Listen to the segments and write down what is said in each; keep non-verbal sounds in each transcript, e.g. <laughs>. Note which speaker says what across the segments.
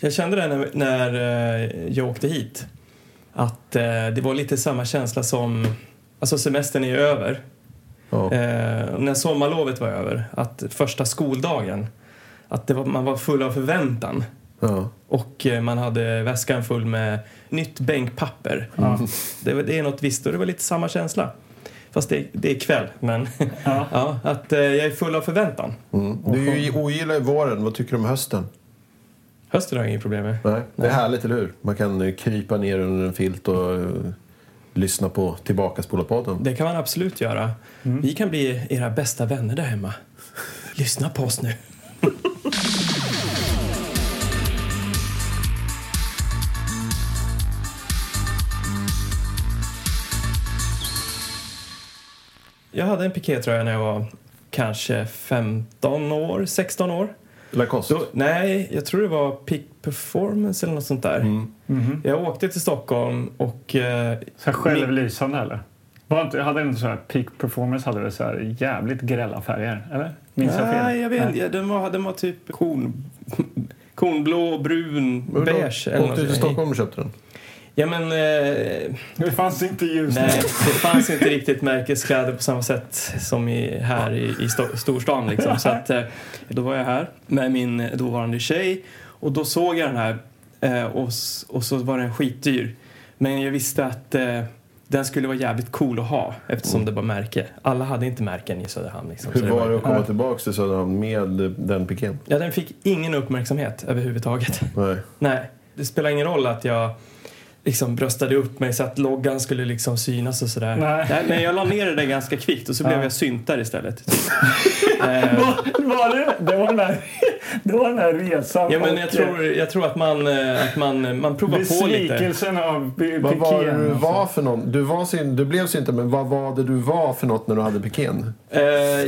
Speaker 1: Jag kände det när, när eh, jag åkte hit. Att eh, det var lite samma känsla som... Alltså semestern är ju över.
Speaker 2: Ja.
Speaker 1: Eh, när sommarlovet var över, att första skoldagen, att det var, man var full av förväntan.
Speaker 2: Ja.
Speaker 1: Och eh, man hade väskan full med nytt bänkpapper.
Speaker 3: Mm.
Speaker 1: Ja. Det, var- det är något visst och det var lite samma känsla. Fast det, det är kväll, men <laughs> ja. att eh, jag är full av förväntan.
Speaker 2: Mm. Du ogillar ju våren. Vad tycker du om hösten?
Speaker 1: Hösten har jag inget problem med.
Speaker 2: Nej. Det är härligt, eller hur? Man kan eh, krypa ner under en filt och eh, lyssna på Tillbakaspolat-podden.
Speaker 1: Det kan man absolut göra. Vi kan bli era bästa vänner där hemma. Lyssna på oss nu. Jag hade en pikétröja när jag var kanske 15 år, 16 år.
Speaker 2: Lacoste.
Speaker 1: Då, nej, jag tror det var Peak Performance eller något sånt där.
Speaker 2: Mm.
Speaker 1: Jag åkte till Stockholm och eh,
Speaker 3: Så här självlysande eller? Var inte, hade den inte så här, peak performance hade väl så här jävligt grälla färger? Eller? Minns jag fel?
Speaker 1: Nej, jag vet inte. Den var, den var typ korn, kornblå, brun,
Speaker 2: Hur då?
Speaker 1: beige. eller något
Speaker 2: Åkte du till
Speaker 1: sånt.
Speaker 2: Stockholm och köpte den?
Speaker 1: Ja, men... Eh,
Speaker 3: Det fanns inte ljus.
Speaker 1: nej, det fanns inte riktigt märkeskläder på samma sätt som i, här i, i sto, storstan. Liksom. Så att, eh, då var jag här med min dåvarande tjej och då såg jag den här eh, och, s- och så var den skitdyr. Men jag visste att eh, den skulle vara jävligt cool att ha eftersom det var märke. Alla hade inte märken i Söderhamn. Liksom, så
Speaker 2: Hur var det att komma
Speaker 1: Ja.
Speaker 2: tillbaka till Söderhamn med eh, den piken?
Speaker 1: Ja, den fick ingen uppmärksamhet överhuvudtaget. <laughs>
Speaker 2: Nej.
Speaker 1: Nej, det spelar ingen roll att jag liksom bröstade upp mig så att loggan skulle liksom synas och sådär.
Speaker 3: Nej.
Speaker 1: men jag la ner det där ganska kvickt och så blev jag syntare istället. <laughs> eh,
Speaker 3: <laughs> Var, var det, det, var den här, det var den här resan.
Speaker 1: ja, men
Speaker 3: och,
Speaker 1: jag tror, jag tror att man, eh, att man, man
Speaker 3: eh,
Speaker 1: provar på lite.
Speaker 3: Besvikelsen av pi-
Speaker 2: Vad var det du
Speaker 3: pikén.
Speaker 1: alltså.
Speaker 2: var för någon? Du, var sin, du blev synta, men vad var det du var för något när du hade piken?
Speaker 1: Eh,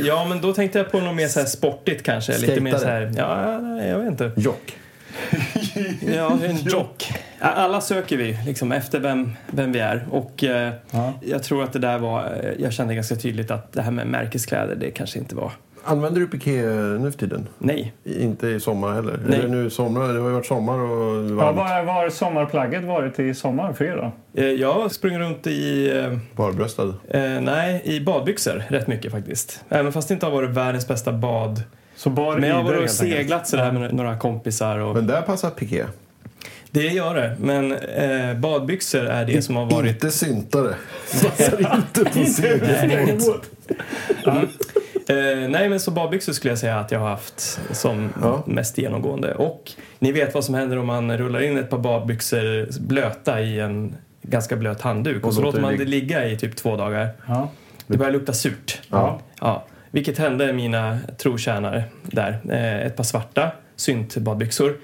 Speaker 1: ja, men då tänkte jag på något mer så här sportigt kanske. Lite mer
Speaker 2: Skatare.
Speaker 1: så här, ja, nej, jag vet inte.
Speaker 2: Jock.
Speaker 1: Ja,
Speaker 3: <laughs>
Speaker 1: en jock. Alla söker vi liksom, efter vem, vem vi är. Och eh,
Speaker 3: Ja.
Speaker 1: jag tror att det där var, eh, jag kände ganska tydligt att det här med märkeskläder, det kanske inte var.
Speaker 2: Använder du piké nu för tiden?
Speaker 1: Nej.
Speaker 2: Inte i sommar heller?
Speaker 1: Nej.
Speaker 2: Eller nu i sommar, det har ju varit sommar och
Speaker 3: Ja,
Speaker 2: varmt.
Speaker 3: var, var sommarplagget varit i sommar för er då?
Speaker 1: Eh, Jag sprang runt i, eh,
Speaker 2: Barbröstad.
Speaker 1: eh, nej, i badbyxor rätt mycket faktiskt. Även fast det inte har varit världens bästa bad.
Speaker 3: Så bar
Speaker 1: Men jag har
Speaker 3: Idre,
Speaker 1: varit och
Speaker 3: helt enkelt.
Speaker 1: seglat sådär med några kompisar. Och
Speaker 2: Men där passar piké.
Speaker 1: det gör det. Men eh, badbyxor är
Speaker 3: Mm.
Speaker 1: det som har varit...
Speaker 2: Inte syntare. Passar inte på segelbåt.
Speaker 1: Eh, nej, men så badbyxor skulle jag säga att jag har haft som
Speaker 2: Ja.
Speaker 1: mest genomgående. Och ni vet vad som händer om man rullar in ett par badbyxor blöta i en ganska blöt handduk. Och,
Speaker 2: Och
Speaker 1: så
Speaker 2: låter
Speaker 1: låter man
Speaker 2: det
Speaker 1: det ligga i typ två dagar.
Speaker 3: Ja.
Speaker 1: Det börjar lukta surt.
Speaker 2: Ja.
Speaker 1: Ja, vilket hände mina trotjänare där. Eh, ett par svarta syntbadbyxor.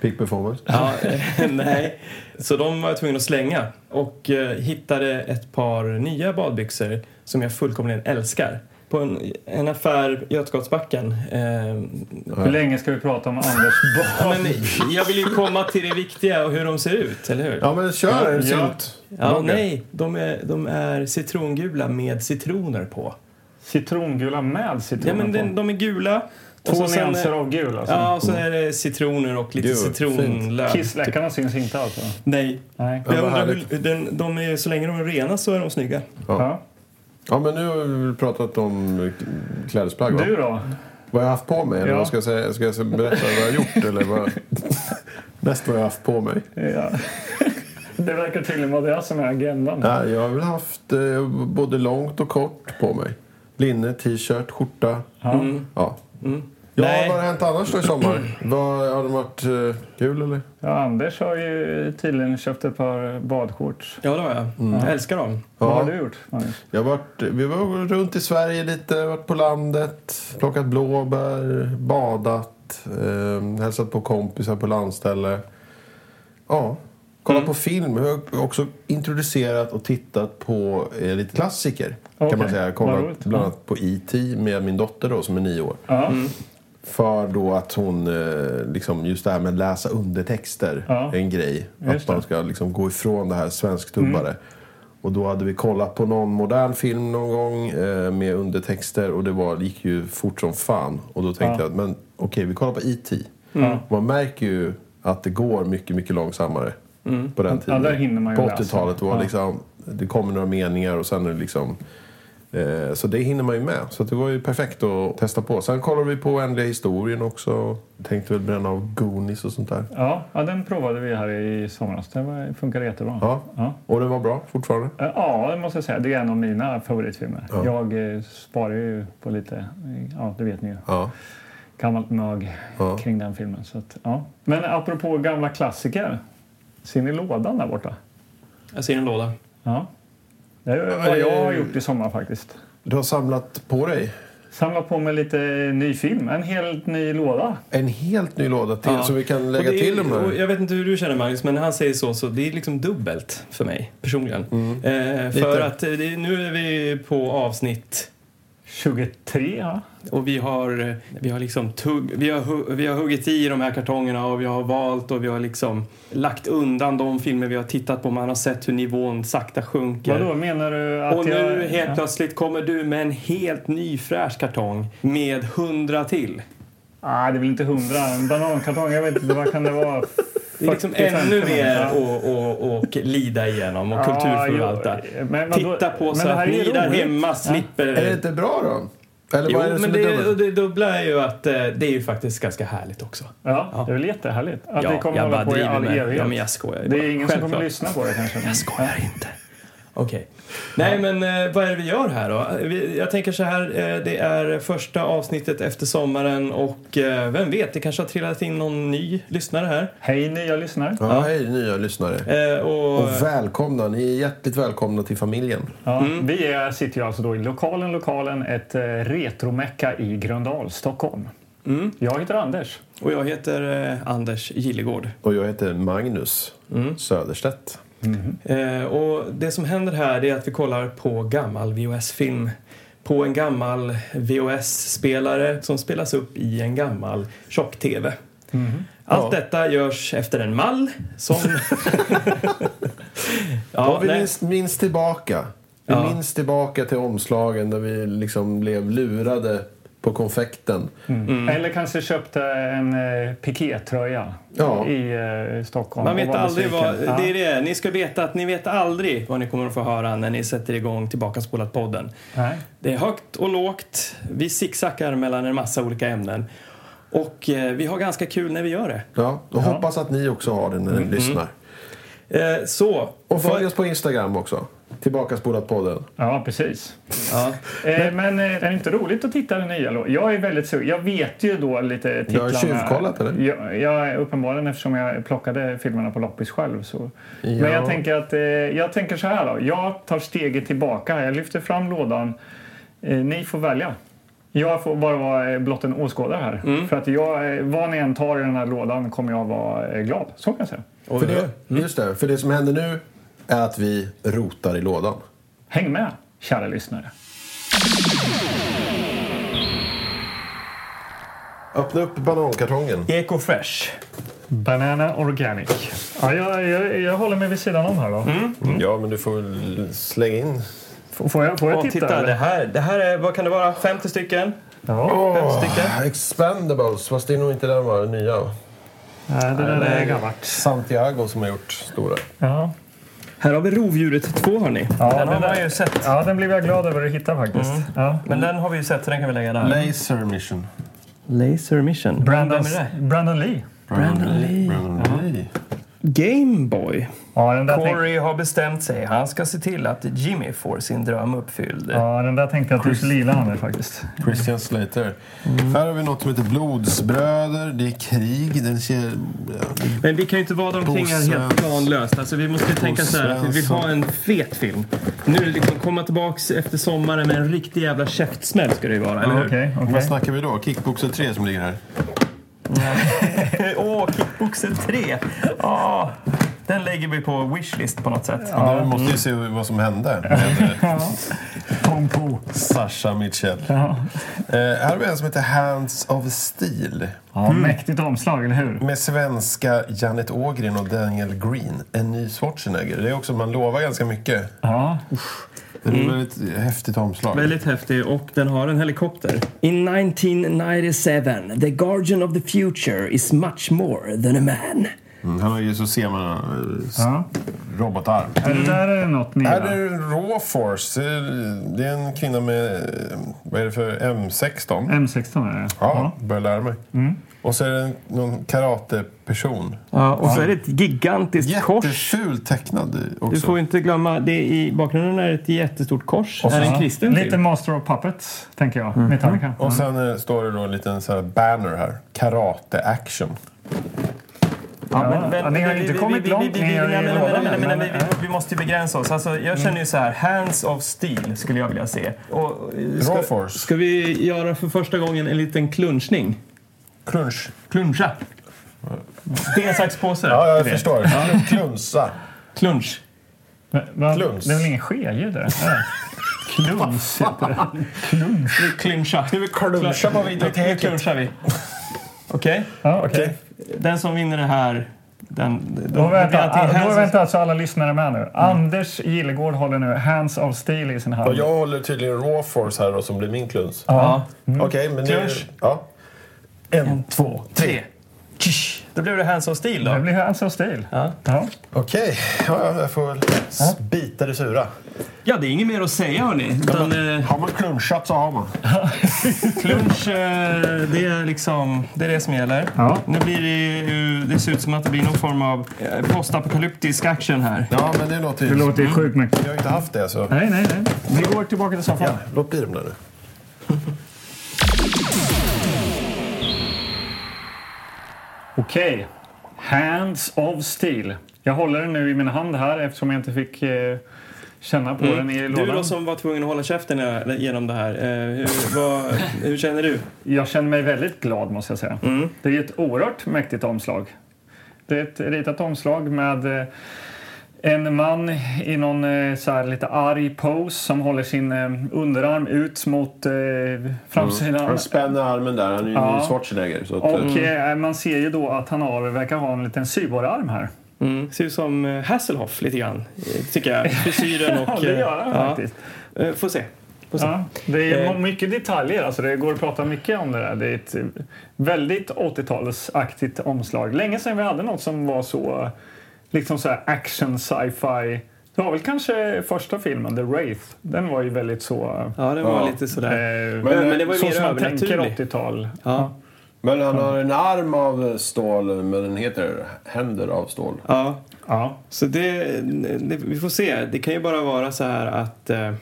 Speaker 2: Peak performance.
Speaker 1: <laughs> Ja, eh, nej. Så de var jag tvungen att slänga och eh, hittade ett par nya badbyxor som jag fullkomligen älskar. På en, en affär i Götgatsbacken. Eh,
Speaker 3: Hur länge ska vi prata om Anders Bach?
Speaker 1: men jag vill ju komma till det viktiga och hur de ser ut, eller hur?
Speaker 2: Ja men kör en
Speaker 3: Ja.
Speaker 2: synt.
Speaker 1: Ja, nej, de är, de är citrongula med citroner på.
Speaker 3: Citrongula med citron.
Speaker 1: Ja, men den, de är gula. och
Speaker 3: Två
Speaker 1: så sen-
Speaker 3: nyanser av gul alltså.
Speaker 1: Ja, och så är det citroner och lite
Speaker 2: Gud, typ.
Speaker 1: citronlök.
Speaker 3: Kissläckarna syns inte alltså.
Speaker 1: Nej.
Speaker 3: Nej.
Speaker 2: Ja,
Speaker 1: Jag
Speaker 2: vad
Speaker 1: undrar
Speaker 2: härligt.
Speaker 1: hur, den, de är, så länge de är rena så är de snygga.
Speaker 3: Ja.
Speaker 2: Ja men nu har vi pratat om eh, klädesplagg va?
Speaker 3: Du då?
Speaker 2: Vad jag har haft på mig? Eller
Speaker 3: Ja.
Speaker 2: vad ska, jag säga? ska jag säga- berätta vad jag har gjort? Eller vad... Mest vad jag har haft på mig.
Speaker 3: Ja. <laughs> Det verkar tydligen vara det som är agendan.
Speaker 2: Nej, jag har väl haft eh, både långt och kort på mig. Linne, t-shirt, skjorta. Ja. Ja,
Speaker 1: Nej.
Speaker 2: vad har hänt annars då i sommar? vad, har det varit eh, kul eller?
Speaker 3: Ja, Anders har ju tydligen köpt ett par badshorts.
Speaker 1: Ja, det har jag.
Speaker 3: Mm.
Speaker 1: Jag älskar dem.
Speaker 3: Vad har
Speaker 2: Ja,
Speaker 3: du gjort? Magnus?
Speaker 2: jag har varit, vi var runt i Sverige lite, varit på landet, plockat blåbär, badat, eh, hälsat på kompisar på landställe. Ja, kollat
Speaker 3: Mm.
Speaker 2: på film. Jag har också introducerat och tittat på eh, lite klassiker.
Speaker 3: Okej,
Speaker 2: Kan man säga.
Speaker 3: vad
Speaker 2: Kollat
Speaker 3: roligt.
Speaker 2: bland annat på E.T. med min dotter då, som är nio år.
Speaker 3: Ja.
Speaker 2: För då att hon, eh, liksom, just det här med att läsa undertexter
Speaker 3: Ja.
Speaker 2: är en grej.
Speaker 3: Just
Speaker 2: Att
Speaker 3: det. Mm.
Speaker 2: man ska liksom gå ifrån det här svensktubbare. Och då hade vi kollat på någon modern film någon gång eh, med undertexter och det var, gick
Speaker 3: Mm.
Speaker 2: ju fort som fan. Och då tänkte jag att men okej, vi kollar på E.T. E Man märker ju att det går mycket, mycket långsammare
Speaker 1: Mm.
Speaker 2: på den
Speaker 3: Ja,
Speaker 2: tiden.
Speaker 3: där hinner man ju
Speaker 2: på
Speaker 3: läsa.
Speaker 2: 80-talet var
Speaker 3: Ja.
Speaker 2: liksom, det kommer några meningar och sen är det liksom... Eh, så det hinner man ju med. Så det var ju perfekt att testa på. Sen kollade vi på Oändliga historien också. Tänkte väl bränna av Goonies och sånt där.
Speaker 3: Ja, ja, den provade vi här i somras. Den var- funkade jättebra.
Speaker 2: Ja,
Speaker 3: Ja.
Speaker 2: och det var bra fortfarande.
Speaker 3: Eh, Ja, det måste jag säga. Det är en av mina favoritfilmer.
Speaker 2: Ja.
Speaker 3: Jag eh, sparar ju på lite, eh, ja det vet ni ju,
Speaker 2: Ja,
Speaker 3: gammalt mög
Speaker 2: ja.
Speaker 3: kring den filmen. Så att, ja. Men apropå gamla klassiker. Ser ni lådan där borta?
Speaker 1: Jag ser en låda.
Speaker 3: Ja. Det är
Speaker 2: Ja,
Speaker 3: vad
Speaker 2: det-
Speaker 3: jag har gjort i sommar faktiskt.
Speaker 2: Du har samlat på dig
Speaker 3: Samla på mig lite ny film, en helt ny låda.
Speaker 2: en helt ny låda till
Speaker 1: Ja.
Speaker 2: som vi kan lägga
Speaker 1: Och det är-
Speaker 2: till de
Speaker 1: och
Speaker 2: här.
Speaker 1: Jag vet inte hur du känner Magnus, men när han säger så, så det är liksom dubbelt för mig personligen.
Speaker 2: Mm.
Speaker 1: Eh, för
Speaker 2: Lite.
Speaker 1: att eh, det, nu är vi på avsnitt
Speaker 3: 23, ja.
Speaker 1: Och vi har, vi har liksom tugg, vi har, hu- vi har huggit i de här kartongerna och vi har valt och vi har liksom lagt undan de filmer vi har tittat på. Man har sett hur nivån sakta sjunker.
Speaker 3: Vadå, menar du att
Speaker 1: Och
Speaker 3: jag...
Speaker 1: nu helt
Speaker 3: ja.
Speaker 1: plötsligt kommer du med en helt ny fräsch kartong med hundra till.
Speaker 3: Nej, Ah, det är väl inte hundra. En banankartong, jag vet inte, vad kan
Speaker 1: <laughs>
Speaker 3: det vara?
Speaker 1: Det är liksom
Speaker 3: 40-50
Speaker 1: ännu mer
Speaker 3: Ja.
Speaker 1: att och, och, och lida igenom och
Speaker 3: Ja,
Speaker 1: kulturförvalta.
Speaker 3: jo, men vadå-
Speaker 1: Titta på
Speaker 3: men
Speaker 1: så
Speaker 3: det här
Speaker 1: att
Speaker 3: är ju
Speaker 1: ni där
Speaker 3: roligt.
Speaker 1: hemma
Speaker 2: Är det
Speaker 1: slipper...
Speaker 2: inte bra då? Eller
Speaker 1: Jo,
Speaker 2: vad är det som
Speaker 1: men
Speaker 2: är
Speaker 1: det, och
Speaker 2: dubbelt?
Speaker 1: det dubbla är ju att eh, det är ju faktiskt ganska härligt också.
Speaker 3: Ja,
Speaker 1: Ja.
Speaker 3: det är väl jättehärligt att
Speaker 1: ja,
Speaker 3: vi kommer
Speaker 1: jag
Speaker 3: hålla
Speaker 1: bara
Speaker 3: på i
Speaker 1: driver
Speaker 3: all
Speaker 1: med. Ja, men
Speaker 3: evighet.
Speaker 1: jag skojar ju
Speaker 3: Det
Speaker 1: bara.
Speaker 3: är ingen som kommer
Speaker 1: Självklart.
Speaker 3: lyssna på det kanske.
Speaker 1: Jag skojar inte. Okej. Nej, men eh, vad är det vi gör här då? Vi, jag tänker så här, eh, det är första avsnittet efter sommaren och eh, vem vet, det kanske har trillat in någon ny lyssnare här.
Speaker 3: Hej nya lyssnare.
Speaker 2: Ja, hej nya lyssnare.
Speaker 1: Eh, och,
Speaker 2: Och välkomna, ni är hjärtligt välkomna till familjen.
Speaker 3: Ja,
Speaker 1: Mm.
Speaker 3: Vi är, sitter ju alltså då i lokalen, lokalen, ett eh, retromecka i Gröndal, Stockholm.
Speaker 1: mm,
Speaker 3: Jag heter Anders.
Speaker 1: och jag heter eh, Anders Gillegård.
Speaker 2: Och jag heter Magnus
Speaker 1: Mm.
Speaker 2: Söderstedt.
Speaker 1: Eh, och det som händer här är att vi kollar på gammal VHS-film. På en gammal VHS-spelare som spelas upp i en gammal tjock-tv. Allt
Speaker 2: Ja.
Speaker 1: detta görs efter en mall <laughs> som...
Speaker 2: Ja,
Speaker 1: ja,
Speaker 2: vi
Speaker 1: nej.
Speaker 2: minns, minns tillbaka. Vi
Speaker 1: Ja.
Speaker 2: minns tillbaka till omslagen där vi liksom blev lurade på konfekten.
Speaker 1: Mm.
Speaker 3: Mm. Eller kanske köpte en eh, pikétröja
Speaker 2: Ja.
Speaker 3: i eh, Stockholm.
Speaker 1: Man
Speaker 3: och
Speaker 1: vet
Speaker 3: var
Speaker 1: aldrig vad...
Speaker 3: besviken.
Speaker 1: Det är det. Ni ska veta att ni vet aldrig vad ni kommer att få höra när ni sätter igång Tillbaka spolat podden.
Speaker 3: Ja. Nej.
Speaker 1: Det är högt och lågt. Vi zigzaggar mellan en massa olika ämnen. Och eh, vi har ganska kul när vi gör det.
Speaker 2: Ja, och hoppas att ni också har den när ni
Speaker 1: Mm.
Speaker 2: lyssnar.
Speaker 1: Eh, så...
Speaker 2: Och följ oss på Instagram också. Tillbakaspolat podden.
Speaker 3: Ja, precis.
Speaker 1: Ja.
Speaker 3: Eh, men eh, är det inte roligt att titta i den nya lådan? Jag är väldigt sugen. Jag vet ju då lite
Speaker 2: Du
Speaker 3: titlarna.
Speaker 2: har tjuvkollat, eller?
Speaker 3: Jag, jag, uppenbarligen eftersom jag plockade filmerna på loppis själv. Så.
Speaker 2: Ja.
Speaker 3: Men jag tänker, att, eh, jag tänker så här då. Jag tar steget tillbaka. här. Jag lyfter fram lådan. Eh, ni får välja. Jag får bara vara eh, blott en åskådare här. För att jag, eh, vad ni än tar i den här lådan kommer jag vara eh, glad. Så kan jag säga.
Speaker 2: För det,
Speaker 1: Mm.
Speaker 2: just det, för det som händer nu är att vi rotar i lådan.
Speaker 3: Häng med, kära lyssnare.
Speaker 2: Öppna upp banankartongen.
Speaker 1: Ecofresh.
Speaker 3: Banana Organic. Ja, jag, jag, jag håller mig vid sidan om här då.
Speaker 2: Ja, men du får väl slänga in.
Speaker 3: F- Får jag, får jag
Speaker 1: Och
Speaker 3: titta?
Speaker 1: titta,
Speaker 3: eller?
Speaker 1: det här, det här är... Vad kan det vara? 50 stycken?
Speaker 3: Ja.
Speaker 1: Fem stycken?
Speaker 2: Expendables, fast det är nog inte den var, den nya.
Speaker 3: Nej, det där är gammalt.
Speaker 2: Santiago som har gjort stora.
Speaker 3: Ja.
Speaker 1: Här har vi Rovdjuret 2, hörni.
Speaker 3: Ja,
Speaker 1: den har man
Speaker 3: den där-
Speaker 1: ju sett.
Speaker 3: ja, den blev jag glad över att hitta faktiskt. Ja.
Speaker 1: Men den har vi ju sett, så den kan vi lägga där.
Speaker 2: Laser Mission.
Speaker 1: Mm. Laser Mission.
Speaker 3: Brandon,
Speaker 1: Vem är det?
Speaker 3: Brandon Lee.
Speaker 1: Brandon Lee. Mm.
Speaker 2: Brandon Lee.
Speaker 1: Gameboy.
Speaker 3: Ja, den där, tänk,
Speaker 1: Corey har bestämt sig. Han ska se till att Jimmy får sin dröm uppfylld.
Speaker 3: ja, den där tänkte jag att du skulle gilla Anders faktiskt.
Speaker 2: Christian Slater. Här har vi något som heter Blodsbröder. Det är krig. Den ser...
Speaker 1: Men vi kan ju inte vada omkring här
Speaker 2: Bosse.
Speaker 1: helt planlöst. Alltså, vi måste tänka så här att vi vill ha en fet film. Nu är det liksom komma tillbaks efter sommaren med en riktig jävla käftsmäll ska det ju vara, eller
Speaker 3: Okej,
Speaker 1: hur?
Speaker 3: okej.
Speaker 2: Vad snackar vi då? Kickboxer 3 som ligger här.
Speaker 1: Åh, Kickboxer 3! Ah, den lägger vi på wishlist på något sätt.
Speaker 2: Ja. Där måste vi se vad som hände.
Speaker 3: Ja. Kung Fu.
Speaker 2: eh, Sasha Mitchell. Eh,
Speaker 3: Ja.
Speaker 2: här har vi en som heter Hands of Steel.
Speaker 3: Mäktigt omslag, eller hur?
Speaker 2: Med svenska Janet Ågren och Daniel Green. En ny Schwarzenegger. Det är också, man lovar ganska mycket.
Speaker 3: Ja.
Speaker 2: Det är
Speaker 3: Mm.
Speaker 2: väldigt häftigt omslag.
Speaker 1: Väldigt häftig och den har en helikopter.
Speaker 4: In 1997, the guardian of the future is much more than a man.
Speaker 2: Mm, här har ju så ser man eh, s-
Speaker 3: ja.
Speaker 2: robotarm.
Speaker 3: Är
Speaker 1: Mm.
Speaker 3: det där är något ni
Speaker 2: Här
Speaker 3: gillar?
Speaker 2: är Raw Force. Det är- Det är en kvinna med, eh, vad är det för, M16?
Speaker 1: Mm.
Speaker 3: M16 är det.
Speaker 2: Ja, börjar lära mig. Och så är det en- någon karateperson.
Speaker 1: Ja, och så är det ett gigantiskt kors.
Speaker 2: Jättefult tecknad också.
Speaker 1: Du får inte glömma, det är i bakgrunden är det ett jättestort kors.
Speaker 2: Och så-
Speaker 1: är det en
Speaker 3: Ja.
Speaker 1: kristen
Speaker 3: Lite
Speaker 1: film?
Speaker 3: Master of Puppets, tänker jag.
Speaker 1: Mm.
Speaker 3: Metallica.
Speaker 2: Och sen eh, står det då en liten så här banner här. Karate action.
Speaker 1: Ja,
Speaker 3: Ja, ni har inte
Speaker 1: vi-
Speaker 3: kommit
Speaker 1: vi- vi-
Speaker 3: långt
Speaker 1: vi-
Speaker 3: ner
Speaker 1: vi-
Speaker 3: i
Speaker 1: nej, men-
Speaker 3: rollen,
Speaker 1: men- men-
Speaker 3: men-
Speaker 1: vi- Vi måste ju begränsa oss. Alltså, jag känner ju så här, hands of steel skulle jag vilja se. Och, eh, ska-
Speaker 2: Raw force.
Speaker 1: Ska vi göra för första gången en liten klunchning?
Speaker 2: Crunch.
Speaker 1: Kluncha! Sten, sax, påse.
Speaker 2: Ja, jag
Speaker 1: Du vet.
Speaker 2: förstår. Klunsa.
Speaker 1: Klunch.
Speaker 3: Va- va-
Speaker 2: Kluns.
Speaker 3: Det är väl ingen skelljud där? Eller? Kluns heter det.
Speaker 1: Vi kluncha. Ska vi
Speaker 2: kluncha på videoteket?
Speaker 1: Nu klunchar vi. <laughs> Okej?
Speaker 3: Ja, okay.
Speaker 1: Den som vinner det här... Den, då,
Speaker 3: Då väntar,
Speaker 1: det blir alltid
Speaker 3: ah, då
Speaker 1: hands-
Speaker 3: väntar alltså alla lyssnare med nu. Anders Gillegård håller nu Hands of Steel i sin hand.
Speaker 2: Och jag håller tydligen raw force här då, som blir min kluns.
Speaker 1: Ja.
Speaker 2: Okej, men det
Speaker 1: Mm. Crunch.
Speaker 2: är... Ja. En, två,
Speaker 1: Tre. Tjish. Då blev det hands of steel
Speaker 3: Det
Speaker 1: då.
Speaker 3: blir Hands of Steel.
Speaker 1: Ja.
Speaker 3: Ja.
Speaker 2: Okej, ja, ja, jag får väl s- bita det sura.
Speaker 1: Ja, det är inget mer att säga hörni. Utan, eh,
Speaker 2: Har man klunchat så har man.
Speaker 1: Klunch, eh, det är liksom det, är det som gäller.
Speaker 3: Ja.
Speaker 1: Nu blir det ju, det ser ut som att det blir någon form av eh, postapokalyptisk action här.
Speaker 2: Ja, men det låter
Speaker 3: Det
Speaker 2: ju...
Speaker 3: låter ju sjukt mycket.
Speaker 2: Jag har inte haft det så...
Speaker 3: Nej, nej, nej. Vi går tillbaka till soffan.
Speaker 2: Ja, låt bli dem där nu.
Speaker 3: Okej. Hands of Steel. Jag håller den nu i min hand här eftersom jag inte fick eh, känna på den i
Speaker 1: Mm. Du
Speaker 3: lådan.
Speaker 1: då som var tvungen att hålla käften eh, genom det här. eh, Hur,
Speaker 3: <laughs>
Speaker 1: vad, hur känner du?
Speaker 3: Jag känner mig väldigt glad måste jag säga. Det är ju ett oerhört mäktigt omslag. Det är ett ritat omslag med eh, en man i någon eh, så här lite arg pose som håller sin eh, underarm ut mot eh, framsidan.
Speaker 2: Han spänner armen där. Han är ju
Speaker 3: Ja.
Speaker 2: en ny Schwarzenegger. Så att,
Speaker 3: Och
Speaker 2: eh,
Speaker 3: eh, man ser ju då att han har, verkar ha en liten cyborgarm här. Mm.
Speaker 1: Ser ut som eh, Hasselhoff lite grann, eh, tycker jag.
Speaker 3: <laughs>
Speaker 1: Frisyren och...
Speaker 3: Ja, det gör
Speaker 1: eh,
Speaker 3: han
Speaker 1: ja.
Speaker 3: faktiskt.
Speaker 1: Eh, Får se. Får se.
Speaker 3: Ja, det är
Speaker 1: Eh.
Speaker 3: må- mycket detaljer. Alltså det går att prata mycket om det där. Det är ett eh, väldigt 80-talsaktigt omslag. Länge sedan vi hade något som var så eh, liksom så här action sci-fi. Det var väl kanske första filmen, The Wraith. Den var ju väldigt så... eh,
Speaker 1: Ja, det var
Speaker 2: Ja.
Speaker 1: lite sådär.
Speaker 3: eh,
Speaker 2: Men, men det
Speaker 1: var ju
Speaker 3: så
Speaker 1: mer
Speaker 3: som man tänker
Speaker 1: övernaturlig.
Speaker 3: 80-tal.
Speaker 1: Ja.
Speaker 2: Men han har en arm av stål, men den heter händer av stål.
Speaker 1: Ja.
Speaker 3: Ja.
Speaker 1: Så det, det, vi får se. Det kan ju bara vara så här att, eh,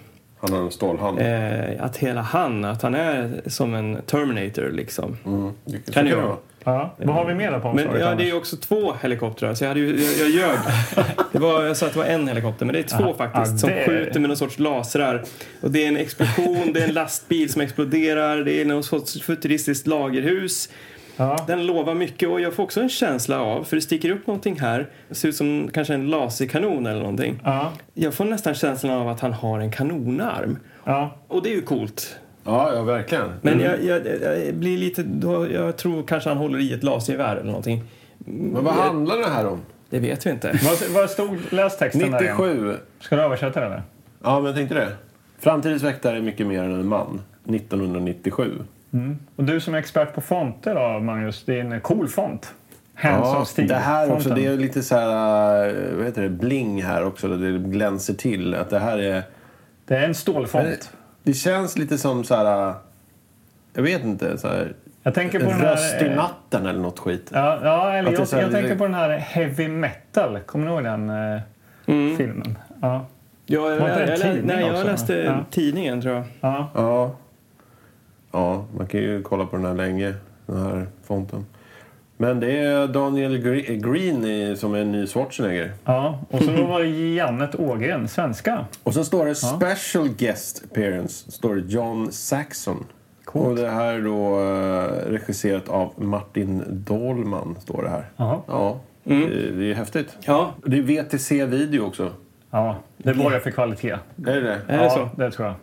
Speaker 2: Han har en stålhand.
Speaker 1: eh, att hela han, att han är som en Terminator liksom.
Speaker 2: Mm. Det- så
Speaker 1: Kan det
Speaker 2: det
Speaker 1: vara.
Speaker 2: vara.
Speaker 3: ja. Vad har vi mer där på omslaget?
Speaker 1: Men ja, det är
Speaker 3: Anders?
Speaker 1: ju också två helikoptrar, så jag, hade ju, jag, jag ljög.
Speaker 3: <laughs>
Speaker 1: Det var, jag sa att det var en helikopter, men det är två faktiskt
Speaker 3: Ja,
Speaker 1: som
Speaker 3: det-
Speaker 1: skjuter med någon sorts lasrar. Och det är en explosion, det är en lastbil som exploderar, det är någon sorts futuristiskt lagerhus.
Speaker 3: ja.
Speaker 1: Den lovar mycket och jag får också en känsla av, för det sticker upp någonting här, det ser ut som kanske en laserkanon eller någonting.
Speaker 3: Ja.
Speaker 1: Jag får nästan känslan av att han har en kanonarm.
Speaker 3: Ja.
Speaker 1: Och det är ju coolt.
Speaker 2: Ja, ja, verkligen.
Speaker 1: Men
Speaker 3: Mm.
Speaker 1: jag, jag, jag blir lite... Då, jag tror kanske han håller i ett lasergevär eller någonting.
Speaker 2: Men vad handlar det här om?
Speaker 1: Det vet vi inte.
Speaker 3: Vad, vad stod... Läs texten där igen.
Speaker 2: 97.
Speaker 3: Ska du översätta det eller?
Speaker 2: Ja, men jag tänkte det. Framtidens väktare är mycket mer än en man. 1997.
Speaker 3: Mm. Och du som är expert på fonter då, Magnus, det är en cool font. Hands
Speaker 2: Ja,
Speaker 3: of Steel.
Speaker 2: det här också.
Speaker 3: fonten.
Speaker 2: Det är lite så här... eh, Vad heter det? Bling här också. där Det glänser till. Att det här är...
Speaker 3: Det är en stålfont.
Speaker 2: Men det- Det känns lite som så här... eh, Jag vet inte. Så här,
Speaker 3: jag tänker på den här... eh,
Speaker 2: röst i natten eller något skit.
Speaker 3: Ja, ja eller
Speaker 2: Att det är
Speaker 3: jag,
Speaker 2: så här
Speaker 3: jag
Speaker 2: lite-
Speaker 3: tänker på den här Heavy Metal. Kommer ni ihåg den eh, filmen? Ja.
Speaker 1: Jag, jag,
Speaker 3: Var
Speaker 1: jag,
Speaker 3: inte det en
Speaker 1: lä-
Speaker 3: tidning
Speaker 1: nej, jag
Speaker 3: också?
Speaker 1: läste
Speaker 3: Ja.
Speaker 1: tidningen, tror jag.
Speaker 3: ja.
Speaker 2: Ja. Ja, man kan ju kolla på den här länge, den här fonten. Men det är Daniel Gre- Green i- som är en ny Schwarzenegger.
Speaker 3: ja. Och så då var det Janet Ågren, svenska.
Speaker 2: Och sen står det Special Guest Appearance, står det John Saxon.
Speaker 3: Coolt.
Speaker 2: Och det här är då eh, regisserat av Martin Dahlman, står det här.
Speaker 3: Ja.
Speaker 2: Ja,
Speaker 3: Mm.
Speaker 2: det, det är häftigt.
Speaker 1: Ja.
Speaker 2: Det är VTC-video också.
Speaker 3: ja. Det borgar för kvalitet.
Speaker 2: Är det det?
Speaker 1: Är det
Speaker 3: ja,
Speaker 1: så?
Speaker 3: det tror jag.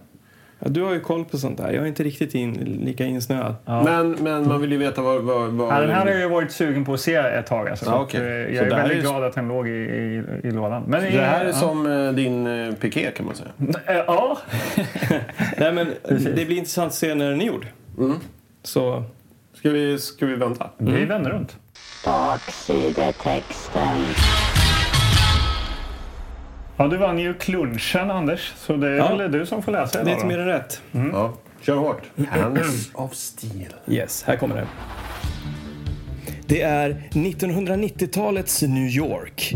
Speaker 1: Ja, du har ju koll på sånt där. Jag är inte riktigt in, lika insnöad.
Speaker 3: Ja.
Speaker 2: Men, men man vill ju veta vad... vad, vad
Speaker 3: Ja, den här har jag ju varit sugen på att se ett tag. Alltså.
Speaker 2: Ja, okej.
Speaker 3: Och, eh,
Speaker 2: Så
Speaker 3: Jag är
Speaker 2: det här
Speaker 3: väldigt
Speaker 2: är ju-
Speaker 3: glad att den låg i, i, i lådan. Men
Speaker 2: det här är
Speaker 3: ja.
Speaker 2: som eh, din eh, piké kan man säga.
Speaker 3: Eh, Ja,
Speaker 1: Nej, men det blir intressant att se när den är gjord.
Speaker 3: Mm.
Speaker 1: Så
Speaker 2: Ska vi, ska vi vänta?
Speaker 3: vi vänder runt.
Speaker 5: Baksidetexten.
Speaker 3: Ja, du vann ju klunchen, Anders. Så det är
Speaker 1: Ja.
Speaker 3: väl du som får läsa
Speaker 1: det är
Speaker 3: idag.
Speaker 1: inte
Speaker 3: då.
Speaker 1: mer än rätt.
Speaker 3: Mm.
Speaker 2: Ja. Kör hårt. Hands of steel.
Speaker 1: Yes, här kommer det. Det är 1990-talets New York.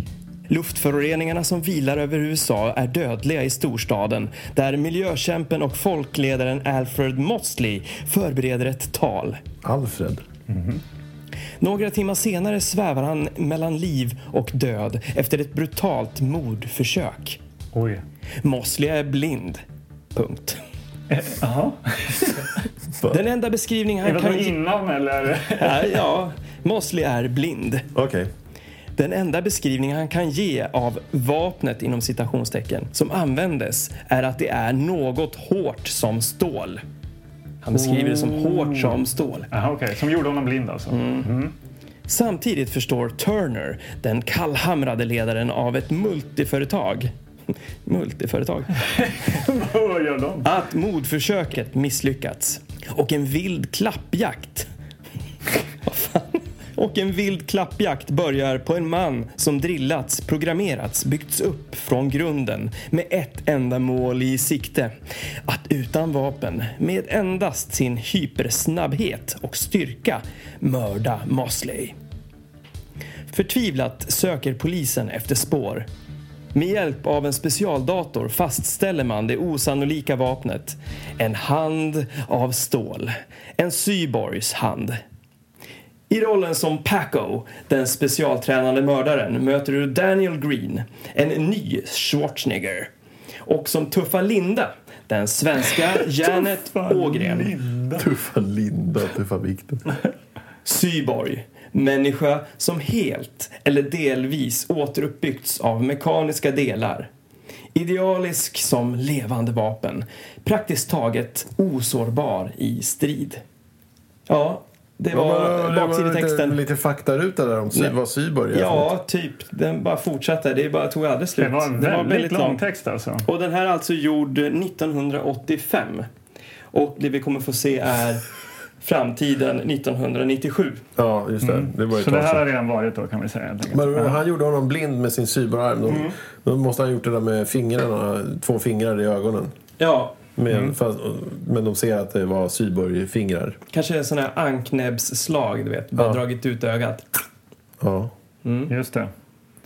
Speaker 1: Luftföroreningarna som vilar över USA är dödliga i storstaden där miljökämpen och folkledaren Alfred Mosley förbereder ett tal.
Speaker 2: Alfred.
Speaker 1: Några timmar senare svävar han mellan liv och död efter ett brutalt mordförsök.
Speaker 3: Oj.
Speaker 1: Mosley är blind. Punkt.
Speaker 3: Jaha.
Speaker 1: <laughs> Den enda beskrivning
Speaker 3: Eh, Är
Speaker 1: han
Speaker 3: det något
Speaker 1: kan ge...
Speaker 3: innan eller? <laughs>
Speaker 1: Ja, ja. Mosley är blind.
Speaker 2: Okej.
Speaker 1: Den enda beskrivning han kan ge av vapnet inom citationstecken som användes är att det är något hårt som stål. Han beskriver det som hårt
Speaker 3: Oh.
Speaker 1: som stål.
Speaker 3: Jaha, okej. Som gjorde honom blind alltså.
Speaker 1: Mm. Samtidigt förstår Turner, den kallhamrade ledaren av ett multiföretag, <laughs> multiföretag,
Speaker 3: <laughs> Vad gör de?
Speaker 1: att mordförsöket misslyckats. Och en vild klappjakt. <laughs> Vad fan? Och en vild klappjakt börjar på en man som drillats, programmerats, byggts upp från grunden med ett enda mål i sikte. Att utan vapen, med endast sin hypersnabbhet och styrka, mörda Mosley. Förtvivlat söker polisen efter spår. Med hjälp av en specialdator fastställer man det osannolika vapnet. En hand av stål. En cyborgs hand. I rollen som Paco, den specialtränade mördaren, möter du Daniel Green, en ny Schwarzenegger. Och som Tuffa Linda, den svenska Janet Ågren.
Speaker 2: Tuffa Linda, tuffa Viktor.
Speaker 1: Cyborg. Människa som helt eller delvis återuppbyggts av mekaniska delar. Idealisk som levande vapen. Praktiskt taget osårbar i strid. Ja, det var
Speaker 2: Lite,
Speaker 1: baksidetexten.
Speaker 2: lite faktaruta där om sy-
Speaker 1: Nej.
Speaker 2: vad cyborg är.
Speaker 1: Ja, typ. Den bara fortsatte. Det bara tog aldrig slut.
Speaker 3: Det var en
Speaker 1: Det
Speaker 3: väldigt, lång, text alltså.
Speaker 1: Och den här är alltså gjord 1985. Och det vi kommer få se är framtiden 1997.
Speaker 2: ja just det.
Speaker 1: Mm.
Speaker 2: Det var ju
Speaker 3: Så
Speaker 2: ett tag
Speaker 3: det här
Speaker 2: sedan.
Speaker 3: har redan varit då kan vi säga. helt enkelt.
Speaker 2: Men han gjorde honom blind med sin cyborgarm. Då,
Speaker 1: Mm.
Speaker 2: då måste han ha gjort det där med fingrarna, två fingrar i ögonen.
Speaker 1: Ja,
Speaker 2: Men,
Speaker 1: Mm.
Speaker 2: fast, men de ser att det var cyborgfingrar.
Speaker 1: Kanske en sån här anknäbbsslag, du vet. Bara
Speaker 2: Ja.
Speaker 1: dragit ut ögat. Mm.
Speaker 2: Ja.
Speaker 3: Just det.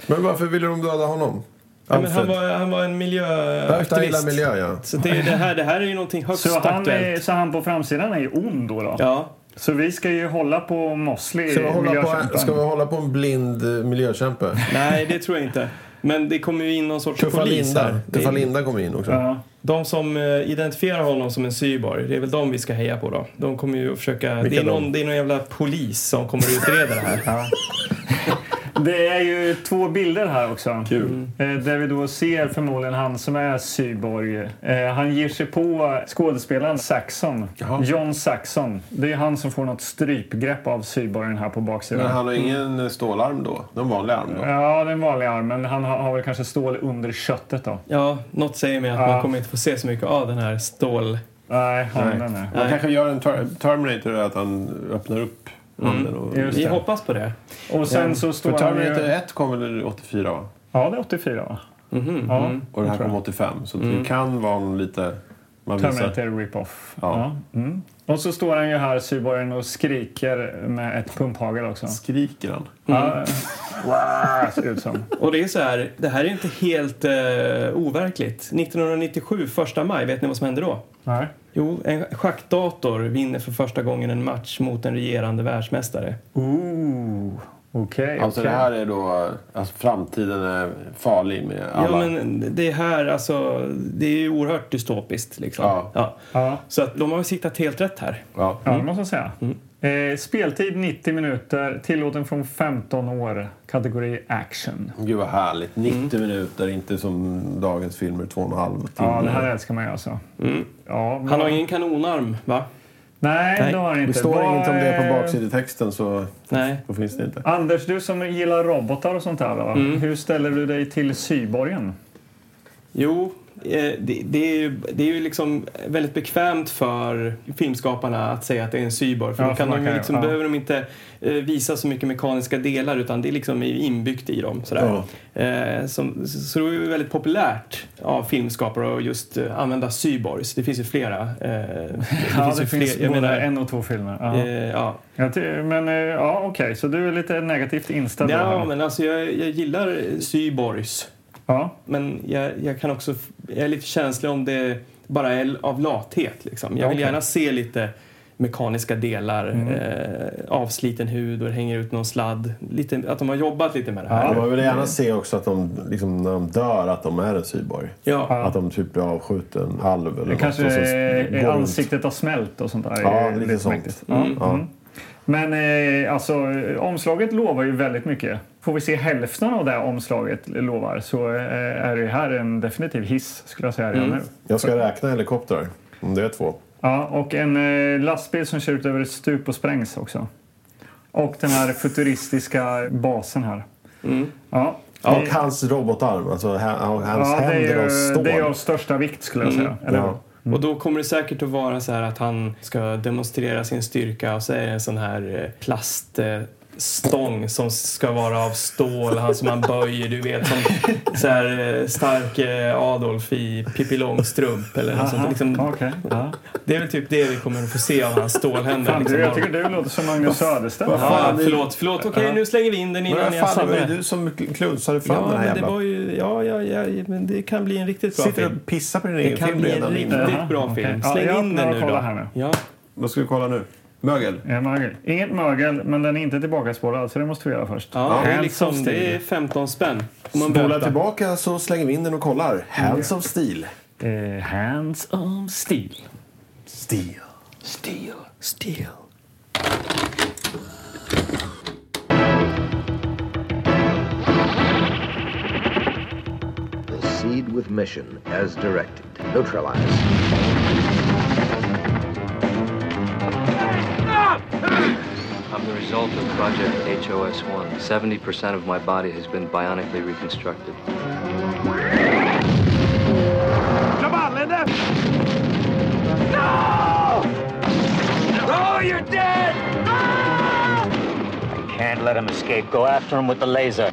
Speaker 2: Men varför ville de döda honom?
Speaker 1: Ja, men han,
Speaker 2: Alfred.
Speaker 1: var, han var en
Speaker 2: Akta illa
Speaker 1: miljöaktivist.
Speaker 2: miljö, ja.
Speaker 1: Så det, är- det, här, det här är ju någonting högst
Speaker 3: Så han, är,
Speaker 1: aktuellt.
Speaker 3: så han på framsidan är ju ond då? då.
Speaker 1: Ja.
Speaker 3: Så vi ska ju hålla på Mosley,
Speaker 2: Ska vi, hålla på,
Speaker 3: miljökämpen.
Speaker 2: ska vi hålla på en blind eh, miljökämpe?
Speaker 1: Nej, det tror jag inte. Men det kommer ju in någon sorts
Speaker 2: Tuffa
Speaker 1: polis
Speaker 2: Linda.
Speaker 1: här.
Speaker 2: Tuffa
Speaker 1: Det-
Speaker 2: Linda kommer in också.
Speaker 3: Ja.
Speaker 1: De som eh, identifierar honom som en cyborg, det är väl de vi ska heja på då. De kommer ju att försöka... Det
Speaker 2: Vilka
Speaker 1: är, någon,
Speaker 2: de?
Speaker 1: det är någon jävla polis som kommer att utreda det
Speaker 2: <laughs>
Speaker 1: här.
Speaker 3: Det är ju två bilder här också. Eh, Där vi då ser förmodligen han som är cyborg. Eh, Han ger sig på skådespelaren Saxon.
Speaker 2: Jaha.
Speaker 3: John Saxon. Det är han som får något strypgrepp av cyborgen här på baksidan.
Speaker 2: Men han har ingen eh, stålarm då? Den vanliga arm då?
Speaker 3: Ja, det är en vanlig arm, men han har har väl kanske stål under köttet då.
Speaker 1: Ja, något säger mig att man kommer inte få se så mycket av den här stål...
Speaker 3: Nej, han
Speaker 2: Nej.
Speaker 3: den är.
Speaker 2: Han kanske gör en ter- Terminator att han öppnar upp handen. Och,
Speaker 3: Mm. Just
Speaker 1: Vi
Speaker 3: det.
Speaker 1: hoppas på det.
Speaker 3: Och sen så står
Speaker 2: För
Speaker 3: han
Speaker 2: Terminator
Speaker 3: ju...
Speaker 2: 1 kom väl 84 va?
Speaker 3: Ja, det är 84 va?
Speaker 1: Mhm.
Speaker 3: ja.
Speaker 2: Och det här kom 85. Så det kan vara en lite... Man visar.
Speaker 3: Mm. Terminator rip-off.
Speaker 2: Ja.
Speaker 3: Ja. Mm. Och så står han ju här, cyborgen, och skriker med ett pumphagel också.
Speaker 2: Skriker han?
Speaker 3: Ja. Wow, ser ut som.
Speaker 1: Och det är så här, det här är inte helt eh, overkligt. 1997, första maj, vet ni vad som hände då?
Speaker 3: Nej.
Speaker 1: Jo, en schackdator vinner för första gången en match mot en regerande världsmästare.
Speaker 3: Ooh, okej.
Speaker 2: Alltså
Speaker 3: okej.
Speaker 2: det här är då... Alltså framtiden är farlig med alla.
Speaker 1: Ja, men det här, alltså, det är ju oerhört dystopiskt liksom.
Speaker 2: Ja.
Speaker 3: Ja,
Speaker 1: Så att de har ju siktat helt rätt här.
Speaker 2: Ja.
Speaker 3: ja det måste jag säga.
Speaker 1: Mm.
Speaker 3: Eh, speltid 90 minuter, tillåten från 15 år, kategori action.
Speaker 1: Mm.
Speaker 2: Gud vad härligt. 90 minuter, inte som dagens filmer, två och en halv timme.
Speaker 3: Ja, det här älskar man ju alltså. Ja, men-
Speaker 1: Mm. Han har ingen kanonarm, va?
Speaker 3: Nej,
Speaker 1: Nej.
Speaker 3: det har han inte.
Speaker 2: Det står
Speaker 3: Vad
Speaker 2: inget om det
Speaker 3: är-
Speaker 2: på baksidetexten så
Speaker 1: Nej.
Speaker 2: då finns det inte.
Speaker 3: Anders, du som gillar robotar och sånt här, va?
Speaker 1: Mm.
Speaker 3: hur ställer du dig till cyborgen?
Speaker 1: Jo, eh, det, det, är ju, det är ju liksom väldigt bekvämt för filmskaparna att säga att det är en cyborg. För
Speaker 3: Ja,
Speaker 1: då
Speaker 3: för
Speaker 1: kan
Speaker 3: man
Speaker 1: de ju
Speaker 3: kan ju-
Speaker 1: liksom,
Speaker 3: ja.
Speaker 1: behöver de inte eh, visa så mycket mekaniska delar utan det är liksom är ju inbyggt i dem. Sådär. Eh, som, så det är ju väldigt populärt av filmskapare att just eh, använda cyborgs. Det finns ju flera. Eh, det
Speaker 3: Ja,
Speaker 1: ju
Speaker 3: det finns
Speaker 1: jag
Speaker 3: både
Speaker 1: menar,
Speaker 3: en och två filmer. Ja.
Speaker 1: eh, ja.
Speaker 3: Jag ty- men eh, ja, okej, så du är lite negativt inställd? då
Speaker 1: ja,
Speaker 3: här.
Speaker 1: men alltså jag, jag gillar eh, cyborgs.
Speaker 3: ja.
Speaker 1: Men jag, jag kan också, jag är lite känslig om det bara är av lathet. Liksom. Jag vill
Speaker 3: Okej. Mm.
Speaker 1: gärna se lite mekaniska delar, eh, avsliten hud och det hänger ut någon sladd. Lite, att de har jobbat lite med det här.
Speaker 3: Ja.
Speaker 2: Man vill gärna se också att de, liksom, när de dör, att de är en cyborg.
Speaker 1: Ja.
Speaker 2: Att de typ blir avskjuten halv eller
Speaker 3: Det
Speaker 2: något,
Speaker 3: kanske
Speaker 2: och så
Speaker 3: är,
Speaker 2: går
Speaker 3: är
Speaker 2: de-
Speaker 3: ansiktet har smält och sånt där.
Speaker 2: Ja,
Speaker 3: Eh,
Speaker 2: lite
Speaker 3: lite
Speaker 2: sånt.
Speaker 3: mäktigt.
Speaker 1: Mm.
Speaker 2: Ja.
Speaker 3: Men eh, alltså, eh, omslaget lovar ju väldigt mycket. Får vi se hälften av det här omslaget lovar så eh, är det här en definitiv hiss skulle jag säga redan nu.
Speaker 2: Jag ska räkna helikoptrar, om det är två.
Speaker 3: Ja, och en eh, lastbil som kör ut över ett stup och sprängs också. Och den här futuristiska basen här.
Speaker 1: Mm.
Speaker 3: Ja,
Speaker 2: Ja, och
Speaker 3: det-
Speaker 2: hans robotarm, alltså ha- och hans
Speaker 3: ja, det,
Speaker 2: händer av
Speaker 3: är ju, det är av
Speaker 2: stål. Mm.
Speaker 3: största vikt skulle jag säga. Eller hur?
Speaker 2: Ja.
Speaker 1: Och då kommer det säkert att vara så här att han ska demonstrera sin styrka och så är det en sån här eh, plast eh, stång som ska vara av stål, han som man böjer, du vet som så här, eh, stark eh, Adolf i Pippi Långstrump eller något sånt.
Speaker 3: Aha,
Speaker 1: Liksom,
Speaker 3: okej. Ja.
Speaker 1: Det är väl typ det vi kommer att få se av hans stålhänder.
Speaker 3: Fan,
Speaker 1: Liksom.
Speaker 3: du, jag tycker du låter som Magnus Söderstedt.
Speaker 2: vad
Speaker 1: ja,
Speaker 2: fan, det-
Speaker 1: förlåt, förlåt. Okej, nu slänger vi in den
Speaker 2: Men
Speaker 1: innan
Speaker 2: vad
Speaker 1: jag
Speaker 2: fan, det var ju
Speaker 1: sabbar.
Speaker 2: du som klunsade fram
Speaker 1: Ja,
Speaker 2: den här
Speaker 1: men det
Speaker 2: jävla...
Speaker 1: var ju... Ja, ja, ja, men det kan bli en riktigt bra
Speaker 2: Sitter
Speaker 1: film.
Speaker 2: och pissar på din
Speaker 1: Det
Speaker 2: egen
Speaker 1: kan
Speaker 2: film
Speaker 1: bli en
Speaker 2: redan
Speaker 1: riktigt
Speaker 2: innan.
Speaker 3: Jaha,
Speaker 1: bra
Speaker 3: okej.
Speaker 1: film.
Speaker 3: Ja,
Speaker 1: Släng
Speaker 3: jag
Speaker 1: in
Speaker 3: öppnar
Speaker 1: den
Speaker 3: och
Speaker 1: nu
Speaker 3: kollar
Speaker 1: då.
Speaker 3: här nu.
Speaker 1: Ja.
Speaker 2: Vad ska vi kolla nu? Mögel?
Speaker 3: Ja, mögel. Inget mögel, men den är inte tillbakaspolad så det måste vi göra först.
Speaker 1: Ja, det, är
Speaker 3: Hands of
Speaker 1: liksom,
Speaker 3: Steel.
Speaker 1: det är 15 spänn. Om man
Speaker 2: Spola
Speaker 1: väntar.
Speaker 2: tillbaka så slänger vi in den och kollar. Hands of steel.
Speaker 3: Eh, hands of steel.
Speaker 2: Steel.
Speaker 3: Steel. Steel.
Speaker 5: Proceed with mission as directed. Neutralize.
Speaker 6: I'm the result of Project HOS-1. 70% of my body has been bionically reconstructed.
Speaker 7: Can't let him escape. Go after him with the laser.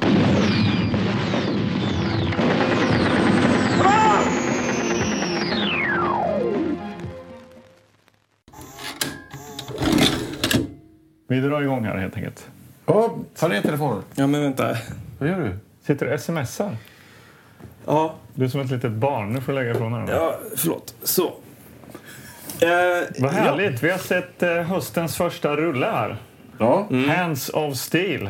Speaker 3: Vi drar igång här helt enkelt.
Speaker 2: Ja, ta ner telefonen.
Speaker 1: Ja, men vänta.
Speaker 2: Vad gör du?
Speaker 3: Sitter du och smsar?
Speaker 1: Ja,
Speaker 3: Du är som ett litet barn. Nu får du lägga ifrån den.
Speaker 1: ja förlåt. Så. Eh,
Speaker 3: Vad härligt. Vi har sett eh, höstens första rulle här.
Speaker 2: Ja.
Speaker 1: Mm.
Speaker 3: Hands of steel.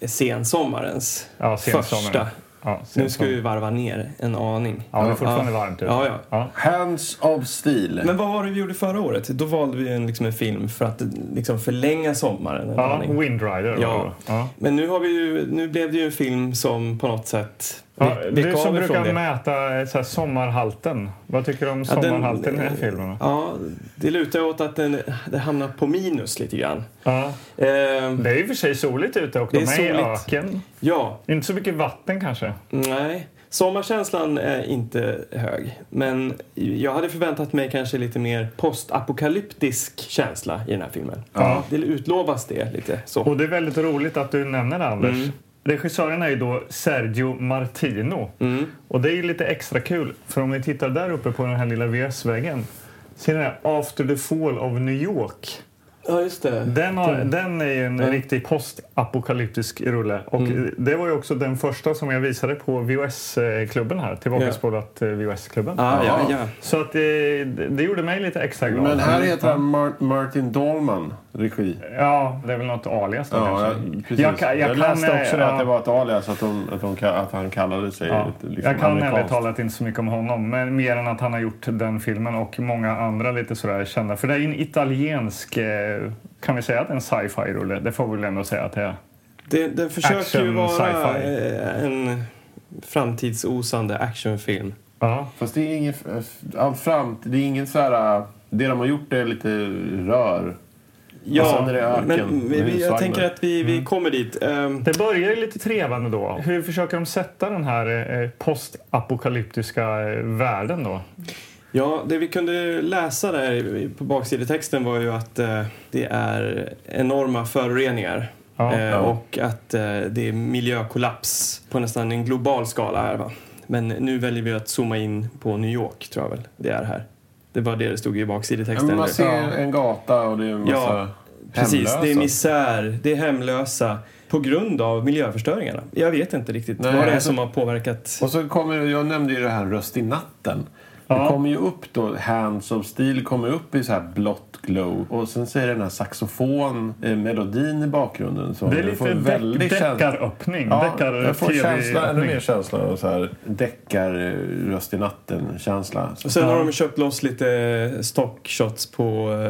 Speaker 1: ja, sensommarens
Speaker 3: Ja, sensommaren.
Speaker 1: första.
Speaker 3: Ja,
Speaker 1: Nu ska
Speaker 3: sensommaren.
Speaker 1: vi varva ner en aning.
Speaker 3: Ja, det är fortfarande varmt ute.
Speaker 1: Ja, ja.
Speaker 3: ja.
Speaker 2: Hands of steel.
Speaker 1: Men vad var det vi gjorde förra året? Då valde vi en, liksom en film för att liksom förlänga sommaren. en
Speaker 3: Ja,
Speaker 1: aning.
Speaker 3: Windrider.
Speaker 1: Ja.
Speaker 3: ja.
Speaker 1: Men nu, har vi ju, nu blev det ju en film som på något sätt
Speaker 3: Ja,
Speaker 1: vek- vek
Speaker 3: du
Speaker 1: av
Speaker 3: som
Speaker 1: ifrån
Speaker 3: brukar
Speaker 1: det.
Speaker 3: mäta eh, så här, sommarhalten. Vad tycker du om
Speaker 1: Ja, den-
Speaker 3: sommarhalten i den här filmen?
Speaker 1: Ja, det lutar ju åt att den, det hamnar på minus lite grann.
Speaker 3: Ja.
Speaker 1: Eh,
Speaker 3: Det är i och för sig soligt ute och
Speaker 1: Det
Speaker 3: de
Speaker 1: är
Speaker 3: är i
Speaker 1: soligt.
Speaker 3: öken.
Speaker 1: ja,
Speaker 3: Inte så mycket vatten kanske.
Speaker 1: nej. Sommarkänslan är inte hög. Men jag hade förväntat mig kanske lite mer postapokalyptisk känsla i den här filmen.
Speaker 3: Ja.
Speaker 1: Det utlovas det lite så.
Speaker 3: Och det är väldigt roligt att du nämner det, Anders.
Speaker 1: Mm.
Speaker 3: Regissören är ju då Sergio Martino.
Speaker 1: Mm.
Speaker 3: Och det är ju lite extra kul, för om ni tittar där uppe på den här lilla VS-väggen ser ni den här After the Fall of New York.
Speaker 1: Ja, just det.
Speaker 3: Den, har,
Speaker 1: Mm.
Speaker 3: den är ju en riktig postapokalyptisk rulle. Och eh,
Speaker 1: Mm.
Speaker 3: det var ju också den första som jag visade på VHS-klubben här, tillbakaspolat eh, VHS-klubben.
Speaker 1: Ah, ja, ja.
Speaker 3: Så att, eh, det, det gjorde mig lite extra glad.
Speaker 2: Men här heter han Mar- Martin Dahlman, regi.
Speaker 3: Ja, det är väl något alias då
Speaker 2: Ja,
Speaker 3: kanske.
Speaker 2: jag, precis.
Speaker 3: Jag
Speaker 2: Jag,
Speaker 3: kan- jag kan,
Speaker 2: läste också
Speaker 3: eh,
Speaker 2: det,
Speaker 3: ja.
Speaker 2: att det var ett alias, att, de, att, de, ka- att han kallade sig
Speaker 3: Ja.
Speaker 2: lite liksom
Speaker 3: jag kan ärligt
Speaker 2: amerikanskt.
Speaker 3: talat inte så mycket om honom, men mer än att han har gjort den filmen och många andra lite sådär kända. För det är ju en italiensk eh, eh, kan vi säga att det är en sci-fi-rulle? Det får vi väl ändå säga att det är.
Speaker 1: Det, den försöker ju
Speaker 3: Action,
Speaker 1: vara
Speaker 3: sci-fi.
Speaker 1: eh, en framtidsosande actionfilm.
Speaker 3: Ja.
Speaker 2: Fast det är ingen, allt fram, det är ingen så här... äh, Det de har gjort är lite rör. Och sen är det öken
Speaker 1: men vi,
Speaker 2: med
Speaker 1: vi,
Speaker 2: husvagnar.
Speaker 1: jag tänker att vi,
Speaker 3: Mm.
Speaker 1: vi kommer dit. Ehm,
Speaker 3: Det börjar ju lite trevande då. Hur försöker de sätta den här eh, postapokalyptiska eh, världen då?
Speaker 1: Ja, det vi kunde läsa där i- på baksidetexten var ju att eh, det är enorma föroreningar.
Speaker 3: Ja,
Speaker 1: eh,
Speaker 3: ja.
Speaker 1: Och att eh, det är miljökollaps på nästan en global skala här va. Men nu väljer vi att zooma in på New York tror jag väl det är här. Det var det det stod i baksidetexten.
Speaker 2: Men man
Speaker 1: nu.
Speaker 2: ser en gata och det är en massa
Speaker 1: Precis, det är
Speaker 2: hemlösa.
Speaker 1: misär, det är hemlösa på grund av miljöförstöringarna. Jag vet inte riktigt
Speaker 2: Nej,
Speaker 1: vad det är
Speaker 2: alltså-
Speaker 1: som har påverkat.
Speaker 2: Och så kommer, jag nämnde ju det här Röst i natten.
Speaker 3: Ja.
Speaker 2: Det kommer ju upp då, Hands of Steel kommer upp i så här blått glow. Och sen så är det den här saxofon-melodin i bakgrunden. Så
Speaker 3: Det är
Speaker 2: jag
Speaker 3: lite
Speaker 2: får
Speaker 3: deck-
Speaker 2: käns-
Speaker 3: deckaröppning.
Speaker 2: Ja,
Speaker 3: deckar
Speaker 2: jag får
Speaker 3: TV
Speaker 2: känsla, ännu
Speaker 3: öppning.
Speaker 2: mer känsla av så här deckarröst i natten-känsla.
Speaker 1: Och sen har de köpt loss lite stockshots på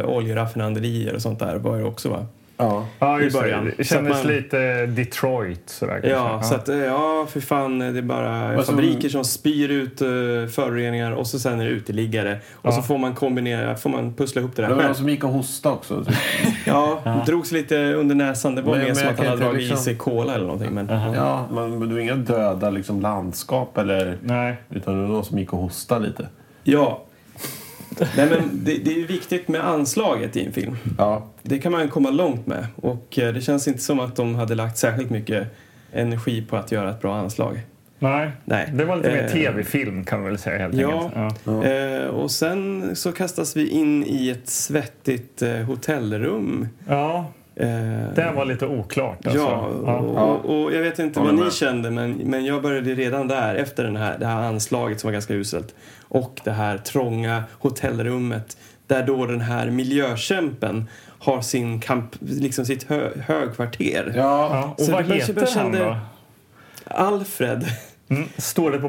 Speaker 1: eh, oljeraffinaderier och sånt där var det också va?
Speaker 2: Ja.
Speaker 3: Ja,
Speaker 1: i
Speaker 3: just
Speaker 1: början.
Speaker 3: Det, det
Speaker 1: Så att
Speaker 3: kändes
Speaker 1: man-
Speaker 3: lite Detroit sådär kanske.
Speaker 1: Ja, så att eh, ja, för fan, eh, det är bara
Speaker 2: Vad som-
Speaker 1: fabriker som spyr ut eh, föroreningar och så sen är det uteliggare. Och så får man kombinera, får man pussla ihop det där
Speaker 2: Det var
Speaker 1: själv.
Speaker 2: någon som gick och hostade också.
Speaker 1: Ja, drogs lite under näsan. Det var
Speaker 2: Men-
Speaker 1: mer
Speaker 2: men
Speaker 1: som
Speaker 2: jag
Speaker 1: att
Speaker 2: kan
Speaker 1: han hade
Speaker 2: inte
Speaker 1: dragit i
Speaker 2: liksom-
Speaker 1: sig cola eller någonting. Men,
Speaker 2: <laughs> Ja, men det var inga döda liksom, landskap eller...
Speaker 3: Nej.
Speaker 2: Utan det var någon som gick och hostade lite.
Speaker 1: Ja. Nej, men det, det är ju viktigt med anslaget i en film.
Speaker 2: Ja.
Speaker 1: Det kan man komma långt med. Och eh, det känns inte som att de hade lagt särskilt mycket energi på att göra ett bra anslag.
Speaker 3: Nej.
Speaker 1: Nej.
Speaker 3: Det var lite mer
Speaker 1: Eh,
Speaker 3: tv-film kan vi väl säga helt
Speaker 1: Ja.
Speaker 3: enkelt. Ja.
Speaker 1: Eh, och sen så kastas vi in i ett svettigt eh, hotellrum.
Speaker 3: ja,
Speaker 1: Eh,
Speaker 3: det var lite oklart alltså.
Speaker 1: Ja, och,
Speaker 2: Ja.
Speaker 1: och, och jag vet inte
Speaker 2: Håller
Speaker 1: vad ni
Speaker 2: med.
Speaker 1: kände men, men jag började redan där efter den här, det här anslaget som var ganska uselt och det här trånga hotellrummet där då den här miljökämpen har sin kamp, liksom sitt hö, högkvarter.
Speaker 2: Ja.
Speaker 3: Ja, och
Speaker 1: Så
Speaker 3: vad
Speaker 1: det kanske
Speaker 3: heter
Speaker 1: bara
Speaker 3: han
Speaker 1: kände-
Speaker 3: då?
Speaker 1: Alfred,
Speaker 3: Mm, står det på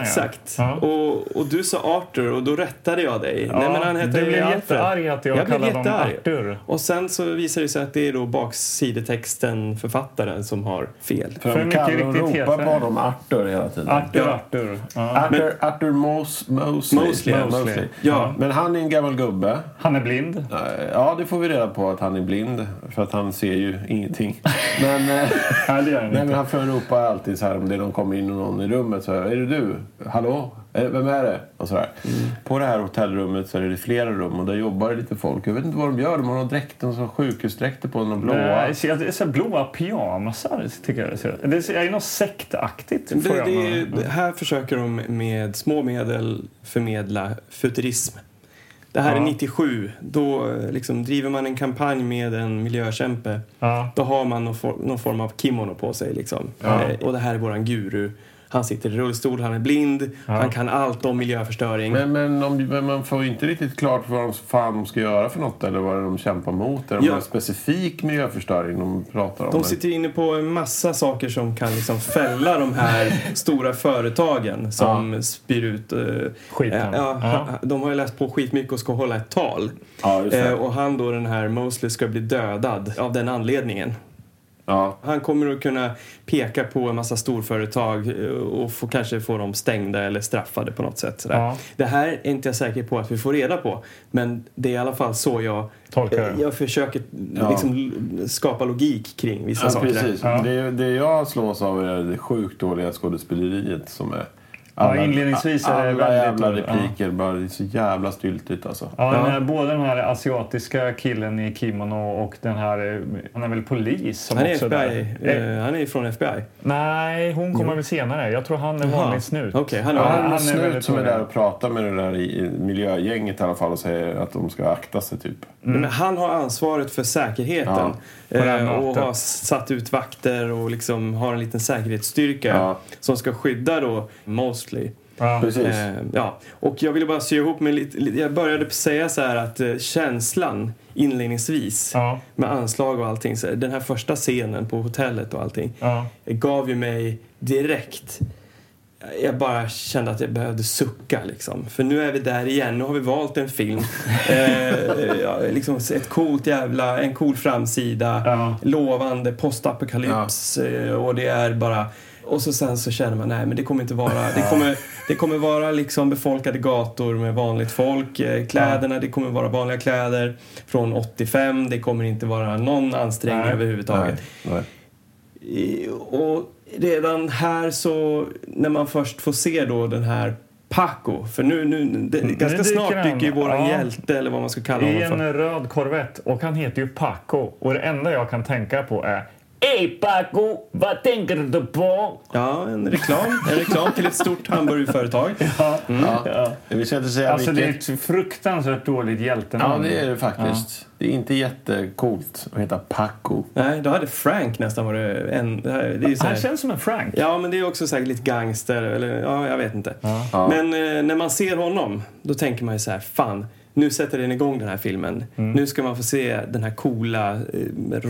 Speaker 1: <laughs> exakt.
Speaker 3: Ja. Ja.
Speaker 1: Och, och du sa Arthur och då rättade jag dig. Nej men han heter
Speaker 3: du
Speaker 1: ju
Speaker 3: blev
Speaker 1: Alfred.
Speaker 3: jättearg att jag,
Speaker 1: Jag blev
Speaker 3: kallade honom
Speaker 1: jättearg.
Speaker 3: Arthur.
Speaker 1: Och sen så visar det sig att det är då baksidetexten författaren som har fel.
Speaker 2: För,
Speaker 3: För
Speaker 2: de kallar
Speaker 3: mycket
Speaker 2: och
Speaker 3: riktigt
Speaker 2: ropar
Speaker 3: heter-
Speaker 2: på honom Arthur hela tiden.
Speaker 3: Arthur,
Speaker 1: Ja.
Speaker 3: Arthur. Ja.
Speaker 2: Arthur, Arthur Mos, Mosley.
Speaker 1: Mosley, ja.
Speaker 2: Mosley.
Speaker 1: Ja.
Speaker 2: Men han är en gammal gubbe.
Speaker 3: Han är blind.
Speaker 2: Eh, Ja, det får vi reda på att han är blind. För att han ser ju ingenting. Men, eh,
Speaker 3: Ja, det gör
Speaker 2: nej,
Speaker 3: han
Speaker 2: men
Speaker 3: inte.
Speaker 2: han förropar alltid så här om det någon kommer in och någon i rummet. Så här, är det du? Hallå? Eh, Vem är det? Och så här.
Speaker 1: Mm.
Speaker 2: På det här hotellrummet så är det flera rum och där jobbar det lite folk. Jag vet inte vad de gör. De har någon dräkt, de har sjukhusdräkter på, någon blåa.
Speaker 3: Nej, så jag- det är så här blåa pyjamasar tycker jag det ser ut. Det ser- är ju något sektaktigt.
Speaker 1: Det,
Speaker 3: får jag Mm.
Speaker 1: det,
Speaker 3: med.
Speaker 1: är- det, här försöker de med små medel förmedla futurism. Det här är
Speaker 3: Ja.
Speaker 1: 97. Då eh, liksom, driver man en kampanj med en miljökämpe
Speaker 3: Ja.
Speaker 1: då har man någon, for, någon form av kimono på sig. Liksom. Eh, och det här är våran guru. Han sitter i rullstol, han är blind, han kan allt om miljöförstöring.
Speaker 2: Men, men, de, men man får ju inte riktigt klart för vad de fan de ska göra för något eller vad de kämpar mot. Är det
Speaker 1: Ja.
Speaker 2: någon specifik miljöförstöring de pratar om?
Speaker 1: de sitter ju inne på en massa saker som kan liksom fälla de här stora företagen som spyr ut... eh,
Speaker 3: Skiten.
Speaker 1: eh, ja, ha- De har ju läst på skitmycket och ska hålla ett tal.
Speaker 2: Ja, just det.
Speaker 1: Eh, och han då, den här Mosley, ska bli dödad av den anledningen.
Speaker 2: ja.
Speaker 1: Han kommer att kunna peka på en massa storföretag eh, och få, kanske få dem stängda eller straffade på något sätt. Sådär.
Speaker 3: Ja.
Speaker 1: Det här är inte jag säker på att vi får reda på, men det är i alla fall så jag,
Speaker 3: Tolkar
Speaker 1: eh,
Speaker 3: det.
Speaker 1: jag försöker
Speaker 2: Ja.
Speaker 1: liksom, l- skapa logik kring vissa
Speaker 2: Ja,
Speaker 1: saker.
Speaker 2: Alltså, precis.
Speaker 3: Alltså, Ja.
Speaker 2: Det, det jag slås av är det sjukt dåliga skådespeleriet som är...
Speaker 3: inledningsvis är det
Speaker 2: alla
Speaker 3: väldigt
Speaker 2: jävla
Speaker 3: dåligt, ja.
Speaker 2: repliker. Bara, det är så jävla styltigt alltså.
Speaker 3: Ja, den här, både den här asiatiska killen i kimono och den här, eh, han är väl polis? Som
Speaker 1: Han är,
Speaker 3: också
Speaker 1: FBI,
Speaker 3: Där. Eh,
Speaker 1: eh, han är från FBI.
Speaker 3: nej, hon kommer väl senare. Jag tror han är
Speaker 1: Jaha.
Speaker 3: vanlig snut.
Speaker 1: Okej, han är
Speaker 2: Ja,
Speaker 1: vanlig.
Speaker 2: han är
Speaker 3: han
Speaker 2: en
Speaker 3: är
Speaker 2: snut
Speaker 3: väldigt
Speaker 2: som är
Speaker 3: dålig.
Speaker 2: där och pratar med det där i, i miljögänget i alla fall och säger att de ska akta sig typ.
Speaker 1: Men han har ansvaret för säkerheten
Speaker 3: på det här
Speaker 1: eh, och
Speaker 3: mötet.
Speaker 1: har s- satt ut vakter och liksom har en liten säkerhetsstyrka
Speaker 2: Ja.
Speaker 1: som ska skydda då Mosley.
Speaker 3: Ja.
Speaker 2: Precis.
Speaker 1: Eh, ja. Och jag ville bara sy ihop med lite, lite- jag började säga så här att eh, känslan inledningsvis
Speaker 3: Ja.
Speaker 1: med anslag och allting, så här, den här första scenen på hotellet och allting
Speaker 3: Ja.
Speaker 1: gav ju mig direkt jag bara kände att jag behövde sucka. Liksom. För nu är vi där igen. Nu har vi valt en
Speaker 3: <laughs>
Speaker 1: film. eh, ja, liksom ett coolt jävla, en cool framsida.
Speaker 3: Ja.
Speaker 1: Lovande postapokalyps. Eh, och det är bara... Och så sen så känner man, nej men det kommer inte vara... Det kommer, det kommer vara liksom befolkade gator med vanligt folk. Eh, Kläderna, det kommer vara vanliga kläder från 85. Det kommer inte vara någon ansträngning
Speaker 3: Nej.
Speaker 1: överhuvudtaget.
Speaker 2: nej.
Speaker 1: I- Och redan här så, när man först får se då den här Paco, för nu, nu det, ganska
Speaker 3: Mm, dyker
Speaker 1: snart
Speaker 3: han,
Speaker 1: dyker ju våran
Speaker 3: ja.
Speaker 1: hjälte eller vad man ska kalla
Speaker 3: I
Speaker 1: honom för.
Speaker 3: en eh, röd korvett och han heter ju Paco och det enda jag kan tänka på är Ey Paco, vad tänker du på?
Speaker 1: Ja, en reklam. En reklam till ett stort hamburgerföretag.
Speaker 2: Ja. Vi ska inte säga
Speaker 3: Alltså det är
Speaker 2: vilket.
Speaker 3: ett fruktansvärt dåligt
Speaker 2: Ja,
Speaker 3: hjältenamn.
Speaker 2: det är det faktiskt. Det är inte jättecoolt att heta Paco.
Speaker 1: Nej, då hade Frank nästan varit en... Det är ju så
Speaker 3: Han
Speaker 1: här,
Speaker 3: känns som en Frank.
Speaker 1: Ja, men det är också säkert lite gangster. Eller, ja, jag vet inte. Men eh, när man ser honom, då tänker man ju så här, fan, nu sätter den igång den här filmen.
Speaker 3: Mm.
Speaker 1: Nu ska man få se den här coola eh,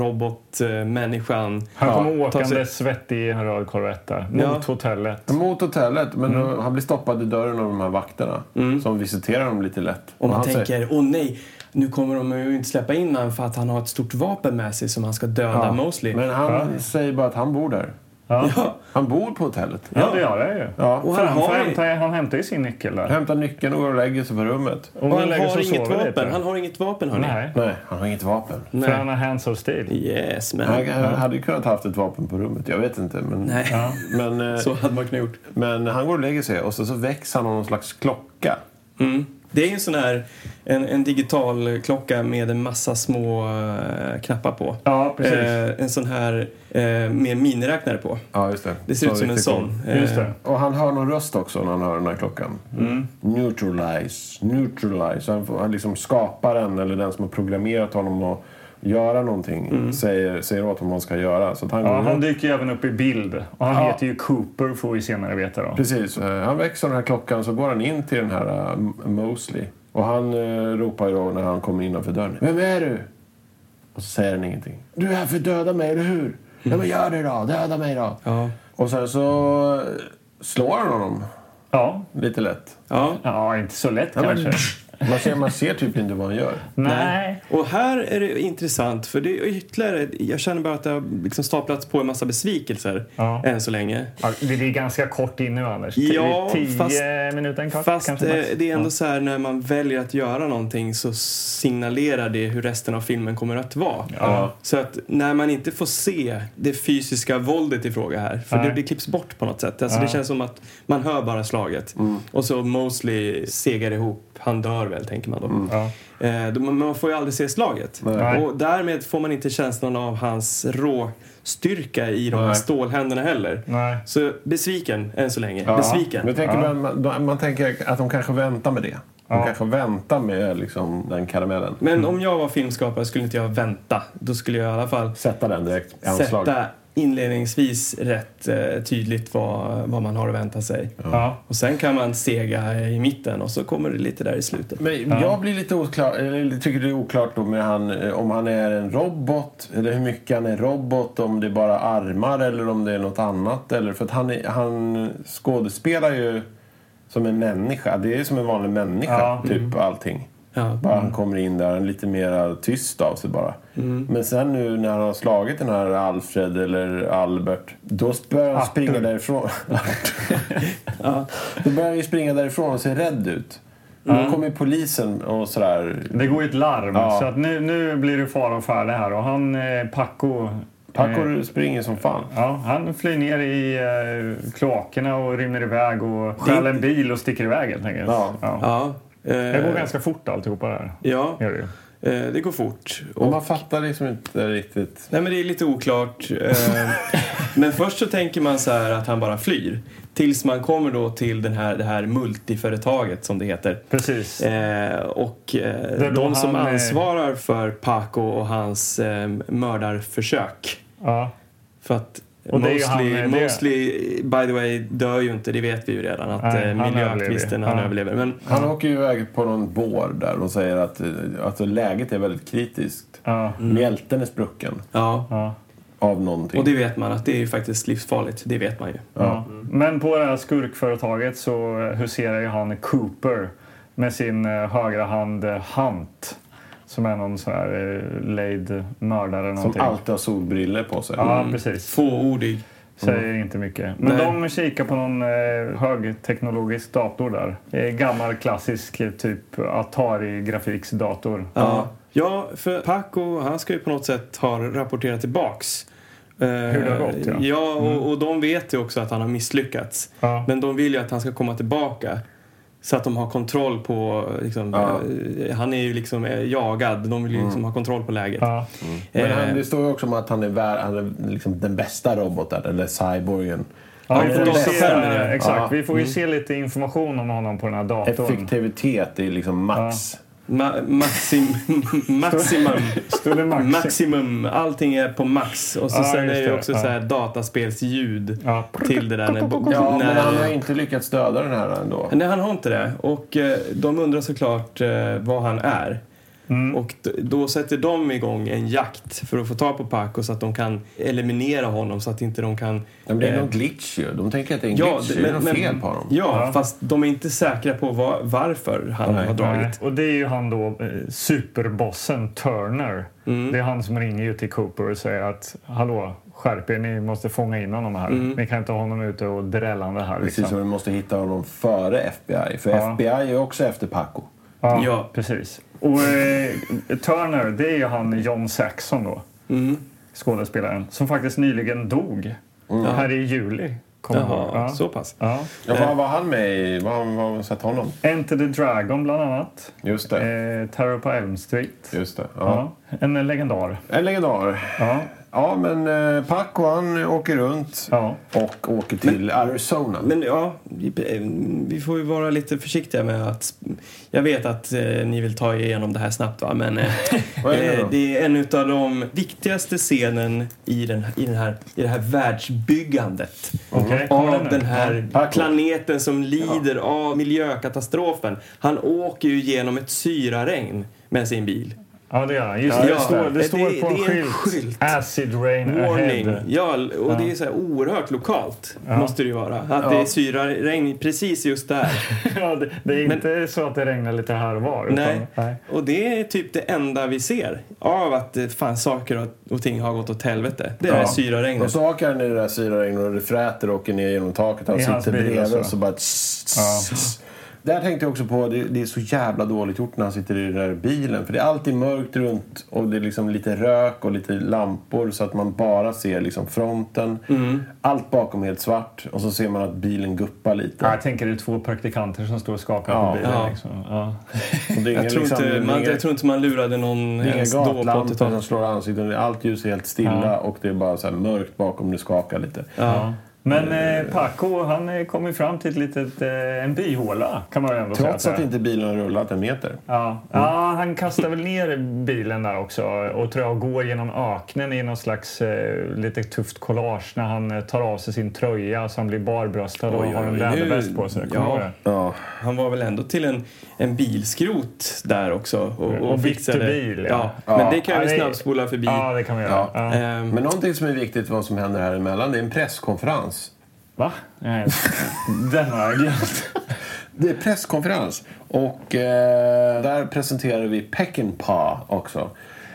Speaker 1: robotmänniskan.
Speaker 3: Han kommer
Speaker 1: ta sig-
Speaker 3: åkande svettig i en röd korvett där,
Speaker 1: Ja.
Speaker 3: mot hotellet.
Speaker 2: Mot hotellet, men
Speaker 3: Mm.
Speaker 2: då- han blir stoppad i dörren av de här vakterna som visiterar dem lite lätt.
Speaker 1: Och man
Speaker 3: alltså-
Speaker 2: han säger-
Speaker 1: tänker, åh nej, nu kommer de ju inte släppa in honom för att han har ett stort vapen med sig som han ska döda
Speaker 2: Ja.
Speaker 1: Mosley.
Speaker 2: Men han säger bara att han bor där.
Speaker 1: Ja.
Speaker 2: Han bor på hotellet.
Speaker 3: Ja, det gör det ju.
Speaker 2: Ja.
Speaker 1: Och
Speaker 2: Och
Speaker 1: han
Speaker 3: Han, får
Speaker 1: har,
Speaker 3: hämta, han hämtar ju sin nyckel där.
Speaker 2: hämtar nyckeln och går och lägger sig på rummet.
Speaker 3: Om
Speaker 1: och
Speaker 3: vi
Speaker 1: han
Speaker 3: lägger
Speaker 1: har
Speaker 3: oss och
Speaker 1: inget
Speaker 3: sover
Speaker 1: vapen.
Speaker 3: lite.
Speaker 1: Han har inget vapen, hörni.
Speaker 3: Nej,
Speaker 2: Nej, han har inget vapen.
Speaker 3: för han har hands of steel.
Speaker 1: Yes,
Speaker 2: Han
Speaker 1: men...
Speaker 2: han hade ju kunnat haft ett vapen på rummet. Jag vet inte. Men,
Speaker 1: Nej.
Speaker 2: men,
Speaker 1: <laughs>
Speaker 2: eh,
Speaker 1: Så hade man kunnat gjort.
Speaker 2: men han går och lägger sig och så, så väcks han av någon slags klocka.
Speaker 1: Mm. Det är ju en sån här en, en digital klocka med en massa små eh, knappar på.
Speaker 3: Ja, precis.
Speaker 1: Eh, en sån här eh, med miniräknare på.
Speaker 2: Ja, just det.
Speaker 1: Det ser ut som en
Speaker 2: riktigt cool.
Speaker 1: sån. Eh,
Speaker 3: Just det.
Speaker 2: Och han hör någon röst också när han hör den här klockan.
Speaker 1: Mm.
Speaker 2: Neutralize, neutralize. Han, får, han liksom skapar den, eller den som har programmerat honom att göra någonting,
Speaker 1: Mm.
Speaker 2: säger, säger åt honom vad han ska göra. Så att han,
Speaker 3: Ja,
Speaker 2: går
Speaker 3: han
Speaker 2: runt.
Speaker 3: dyker ju även upp i bild. Och han heter ju Cooper, får vi senare veta då.
Speaker 2: Precis. Eh, Han växer den här klockan så går han in till den här eh, M- Mosley. Och han eh, ropar ju då när han kommer innanför dörren. Vem är du? Och så säger han ingenting. Du är här för att döda mig, eller hur? Ja, men gör det då! Döda mig då!
Speaker 1: Ja.
Speaker 2: Och sen så eh, slår han honom
Speaker 3: Ja,
Speaker 2: lite lätt.
Speaker 1: ja.
Speaker 3: ja inte så lätt kanske.
Speaker 2: Man ser, man ser typ inte vad han gör.
Speaker 3: Nej.
Speaker 1: Och här är det intressant för det är ytterligare, jag känner bara att det har liksom staplats på en massa besvikelser
Speaker 3: Ja.
Speaker 1: än så länge.
Speaker 3: Ja, det är ganska kort in nu, Anders.
Speaker 1: Ja,
Speaker 3: Tio- tio
Speaker 1: fast-
Speaker 3: minuter, en kvart
Speaker 1: Fast
Speaker 3: kanske.
Speaker 1: eh,
Speaker 3: max.
Speaker 1: det är ändå så här när man väljer att göra någonting så signalerar det hur resten av filmen kommer att vara.
Speaker 3: Ja.
Speaker 1: Så att när man inte får se det fysiska våldet i fråga här, för det, det klipps bort på något sätt. Alltså Det känns som att man hör bara slaget och så Mosley segar ihop, han dör väl tänker man då.
Speaker 3: Ja.
Speaker 1: Eh, då- men man får ju aldrig se slaget.
Speaker 3: Nej.
Speaker 1: Och därmed får man inte känslan av hans råstyrka i de här
Speaker 2: Nej.
Speaker 1: stålhänderna heller.
Speaker 3: Nej.
Speaker 1: Så besviken än så länge. Besviken.
Speaker 2: Men tänker man, man, man tänker att de kanske väntar med det. De kanske väntar med liksom, den karamellen.
Speaker 3: Mm.
Speaker 1: Men om jag var filmskapare skulle inte jag vänta. Då skulle jag i alla fall
Speaker 2: Sätta den direkt i anslag.
Speaker 1: sätta inledningsvis rätt eh, tydligt vad, vad man har att vänta sig.
Speaker 3: Ja.
Speaker 1: Och sen kan man sega i mitten och så kommer det lite där i slutet.
Speaker 2: Men jag blir lite oklar, eller tycker det är oklart då med han, eh, om han är en robot, eller hur mycket han är robot, om det är bara armar eller om det är något annat. Eller, för att han, är- han skådespelar ju som en människa. Det är som en vanlig människa,
Speaker 3: Ja. Mm.
Speaker 2: typ allting.
Speaker 1: Ja.
Speaker 2: Bara han kommer in där, han är lite mer tyst av sig bara.
Speaker 1: Mm.
Speaker 2: Men sen nu när han har slagit den här Alfred eller Albert, då börjar han springa
Speaker 1: <laughs>
Speaker 2: därifrån. Då börjar han ju springa därifrån och ser rädd ut.
Speaker 1: Mm.
Speaker 2: Då kommer polisen och sådär.
Speaker 3: Det går ju ett larm,
Speaker 2: Ja.
Speaker 3: så att nu, nu blir det fara och färde här. Och han, eh, Paco... eh,
Speaker 1: Mm.
Speaker 2: Paco springer som fan.
Speaker 3: Ja, han flyr ner i eh, kloakerna och rymmer iväg och stjäl en bil och sticker iväg helt enkelt.
Speaker 2: Ja.
Speaker 1: Ja, eh,
Speaker 3: Det går ganska fort alltihopa det här.
Speaker 1: ja
Speaker 3: Gör det ju.
Speaker 1: eh, det går fort.
Speaker 2: Och man fattar liksom inte riktigt.
Speaker 1: Nej men det är lite oklart. Eh, men först så tänker man så här att han bara flyr. Tills man kommer då till den här, det här multiföretaget som det heter.
Speaker 3: Precis.
Speaker 1: Eh, och
Speaker 3: Det
Speaker 1: eh,
Speaker 3: är då
Speaker 1: de som
Speaker 3: han, eh,
Speaker 1: ansvarar för Paco och hans eh, mördarförsök.
Speaker 3: Ja.
Speaker 1: För att
Speaker 3: Och det är ju
Speaker 1: Mosley,
Speaker 3: han, eh, det-
Speaker 1: Mosley, by the way, dör ju inte. Det vet vi ju redan att
Speaker 3: Nej,
Speaker 1: eh,
Speaker 3: han
Speaker 1: miljöaktivisten,
Speaker 3: överlever.
Speaker 1: han
Speaker 3: Ja.
Speaker 1: överlever. Men
Speaker 2: Han åker ju iväg på någon bår där och säger att, eh, att läget är väldigt kritiskt.
Speaker 3: Ja.
Speaker 2: Mjälten är sprucken
Speaker 1: ja,
Speaker 3: Ja.
Speaker 2: av någonting.
Speaker 1: och det vet man att det är ju faktiskt livsfarligt. Det vet man ju.
Speaker 3: Ja. Men på det här skurkföretaget så huserar ju han Cooper med sin eh, högra hand eh, Hunt. Som är någon sån här eh, lejd mördare.
Speaker 2: Som Mm.
Speaker 3: Någonting.
Speaker 2: alltid har solbriller på sig.
Speaker 3: Ja, precis.
Speaker 1: Fåordig.
Speaker 3: Säger inte mycket. Men
Speaker 1: Nej.
Speaker 3: de kikar på någon eh, högteknologisk dator där. Eh, gammal klassisk eh, typ Atari-grafiksdator.
Speaker 1: Ja. ja, för Paco han ska ju på något sätt ha rapporterat tillbaks. Hur
Speaker 3: det har gått, ja. Mm.
Speaker 1: Ja, och, och de vet ju också att han har misslyckats.
Speaker 3: Ja.
Speaker 1: Men de vill ju att han ska komma tillbaka. Så att de har kontroll på... Liksom,
Speaker 2: Ja.
Speaker 1: eh, han är ju liksom eh, jagad. De vill ju liksom ha kontroll på läget.
Speaker 3: Mm. Ja.
Speaker 2: Men
Speaker 1: Eh,
Speaker 2: han, det står ju också om att han är, vär, han är liksom den bästa roboten, eller cyborgen.
Speaker 3: Ja,
Speaker 1: Han
Speaker 3: vi
Speaker 1: får
Speaker 3: får ju
Speaker 1: data
Speaker 3: se,
Speaker 1: skärmen, ja.
Speaker 3: exakt,
Speaker 2: Ja.
Speaker 3: vi får ju se lite information om honom på den här datorn.
Speaker 2: Effektivitet är liksom max.
Speaker 1: ma- maxim, <laughs> maximum.
Speaker 3: Stod det Maxi?
Speaker 1: Maximum. Allting är på max. Och så
Speaker 3: Ja,
Speaker 1: sen
Speaker 3: just
Speaker 1: är det ju
Speaker 3: det,
Speaker 1: också
Speaker 3: ja.
Speaker 1: så här dataspelsljud
Speaker 3: Ja.
Speaker 1: till det där. När,
Speaker 2: Ja, men
Speaker 1: när-
Speaker 2: han har inte lyckats döda den här ändå.
Speaker 1: Nej, han har inte det. Och eh, de undrar såklart eh, vad han är.
Speaker 2: Mm.
Speaker 1: Och d- då sätter de igång en jakt för att få tag på Paco så att de kan eliminera honom så att inte de kan...
Speaker 2: Men det är
Speaker 1: eh,
Speaker 2: någon glitch ju. De tänker att det är en
Speaker 1: ja,
Speaker 2: glitch.
Speaker 1: d-
Speaker 2: det är
Speaker 1: men-
Speaker 2: något
Speaker 1: men-
Speaker 2: fel på honom.
Speaker 1: Ja, fast de är inte säkra på va- varför han
Speaker 2: Nej.
Speaker 1: har
Speaker 3: Nej,
Speaker 1: dragit.
Speaker 3: Och det är ju han då, eh, superbossen Turner. Det är han som ringer ju till Cooper och säger att hallå, skärp er, ni måste fånga in honom här. Ni kan inte ha honom ute och drällande här.
Speaker 2: Precis som
Speaker 3: Liksom.
Speaker 2: vi måste hitta honom före FBI. För
Speaker 3: Ja.
Speaker 2: FBI är ju också efter Paco.
Speaker 3: Ja,
Speaker 1: Ja.
Speaker 3: precis. Och eh, Turner, det är ju han John Saxon då.
Speaker 1: Mm.
Speaker 3: Skådespelaren, som faktiskt nyligen dog. Här i juli. kommer jag
Speaker 1: Mm. Jaha,
Speaker 3: ihåg. Ja.
Speaker 1: så pass.
Speaker 3: Ja.
Speaker 2: Ja, vad var han med i? Vad har vad har vi sett honom?
Speaker 3: Enter the Dragon bland annat.
Speaker 2: Just det.
Speaker 3: Eh, Terror på Elm Street.
Speaker 2: Just det. Ja.
Speaker 3: Ja. En legendar.
Speaker 2: En legendar.
Speaker 3: Ja.
Speaker 2: Ja, men eh, Paco han åker runt
Speaker 3: Ja.
Speaker 2: och åker till Arizona.
Speaker 1: Men ja, vi, eh, vi får ju vara lite försiktiga med att... Jag vet att eh, ni vill ta er igenom det här snabbt va, men eh,
Speaker 2: <laughs> Vad är det
Speaker 1: eh,
Speaker 2: då?
Speaker 1: det är en utav de viktigaste scenen i, den, i, den här, i det här världsbyggandet.
Speaker 3: Okej, har den
Speaker 1: Mm. Av
Speaker 3: nu?
Speaker 1: den här
Speaker 2: Ja, tack.
Speaker 1: planeten som lider av miljökatastrofen. Han åker ju genom ett syraregn med sin bil.
Speaker 3: Ja, det gör han. Just
Speaker 2: Ja,
Speaker 3: det. Det
Speaker 2: just det.
Speaker 3: står, det
Speaker 1: Det-
Speaker 3: står
Speaker 1: det
Speaker 3: på en
Speaker 1: är en
Speaker 3: skylt.
Speaker 1: skylt.
Speaker 3: Acid rain
Speaker 1: Warning.
Speaker 3: ahead.
Speaker 1: Ja, och det är så här oerhört lokalt, måste det ju vara. Att det är syraregn precis just där.
Speaker 3: <laughs>
Speaker 2: <laughs>
Speaker 3: Ja, det, det är inte så att det regnar lite här och var. utan-
Speaker 1: Nej.
Speaker 3: nej.
Speaker 1: och det är typ det enda vi ser av att eh, fan, saker och- och ting har gått åt helvete. Det är det här
Speaker 2: Och
Speaker 1: syraregnet.
Speaker 2: så åker han i det där syraregnet och det fräter och åker ner genom taket. Han
Speaker 3: I hans
Speaker 2: sitter
Speaker 3: bil alltså.
Speaker 2: bredvid och
Speaker 3: också.
Speaker 2: så, bara... tss, tss. Där tänkte jag också på, det, det är så jävla dåligt gjort när han sitter i den där bilen. För det är alltid mörkt runt och det är liksom lite rök och lite lampor så att man bara ser liksom fronten.
Speaker 1: Mm.
Speaker 2: Allt bakom är helt svart och så ser man att bilen guppar lite.
Speaker 3: Jag tänker det är två praktikanter som står och skakar
Speaker 2: Ja.
Speaker 3: på bilen.
Speaker 1: Ja.
Speaker 3: Liksom. Ja.
Speaker 2: Och det är ingen
Speaker 1: Jag tror,
Speaker 2: liksom-
Speaker 1: inte, man,
Speaker 2: det är
Speaker 1: jag tror inte man lurade någon
Speaker 2: inga-
Speaker 1: ens
Speaker 2: inga
Speaker 1: då på
Speaker 2: gatlampor
Speaker 1: 80-talet.
Speaker 2: som slår i ansiktet. Allt ljus är helt stilla och det är bara så här mörkt bakom. Det skakar lite.
Speaker 3: Ja. Men eh, Paco han eh, kom ju fram till ett litet, eh, en bihåla kan man ju ändå säga.
Speaker 2: Trots
Speaker 3: det är.
Speaker 2: att inte bilen har rullat en meter.
Speaker 3: Ja. ja, han kastar väl ner bilen där också och tror jag går genom öknen i någon slags eh, lite tufft collage när han eh, tar av sig sin tröja så han blir barbröstad och
Speaker 1: Oj, oj,
Speaker 3: har en
Speaker 1: oj,
Speaker 3: läderväst
Speaker 1: nu-
Speaker 3: på sig. Kommer
Speaker 1: ja.
Speaker 3: du ihåg det?
Speaker 2: Ja.
Speaker 1: Han var väl ändå till en, en bilskrot där också. Och, och,
Speaker 3: Mm. Och bytte
Speaker 1: fixade.
Speaker 3: bil, ja.
Speaker 1: Men det kan
Speaker 3: Ja,
Speaker 1: vi
Speaker 3: det-
Speaker 1: snabbspola förbi.
Speaker 3: Ja, det kan vi göra.
Speaker 2: Ja.
Speaker 3: Ja.
Speaker 1: Ehm,
Speaker 2: Men någonting som är viktigt vad som händer här emellan, det är en presskonferens.
Speaker 3: Va? Nej. Den har jag glömt.
Speaker 2: <laughs> Det är presskonferens och eh, där presenterar vi Peckinpah också.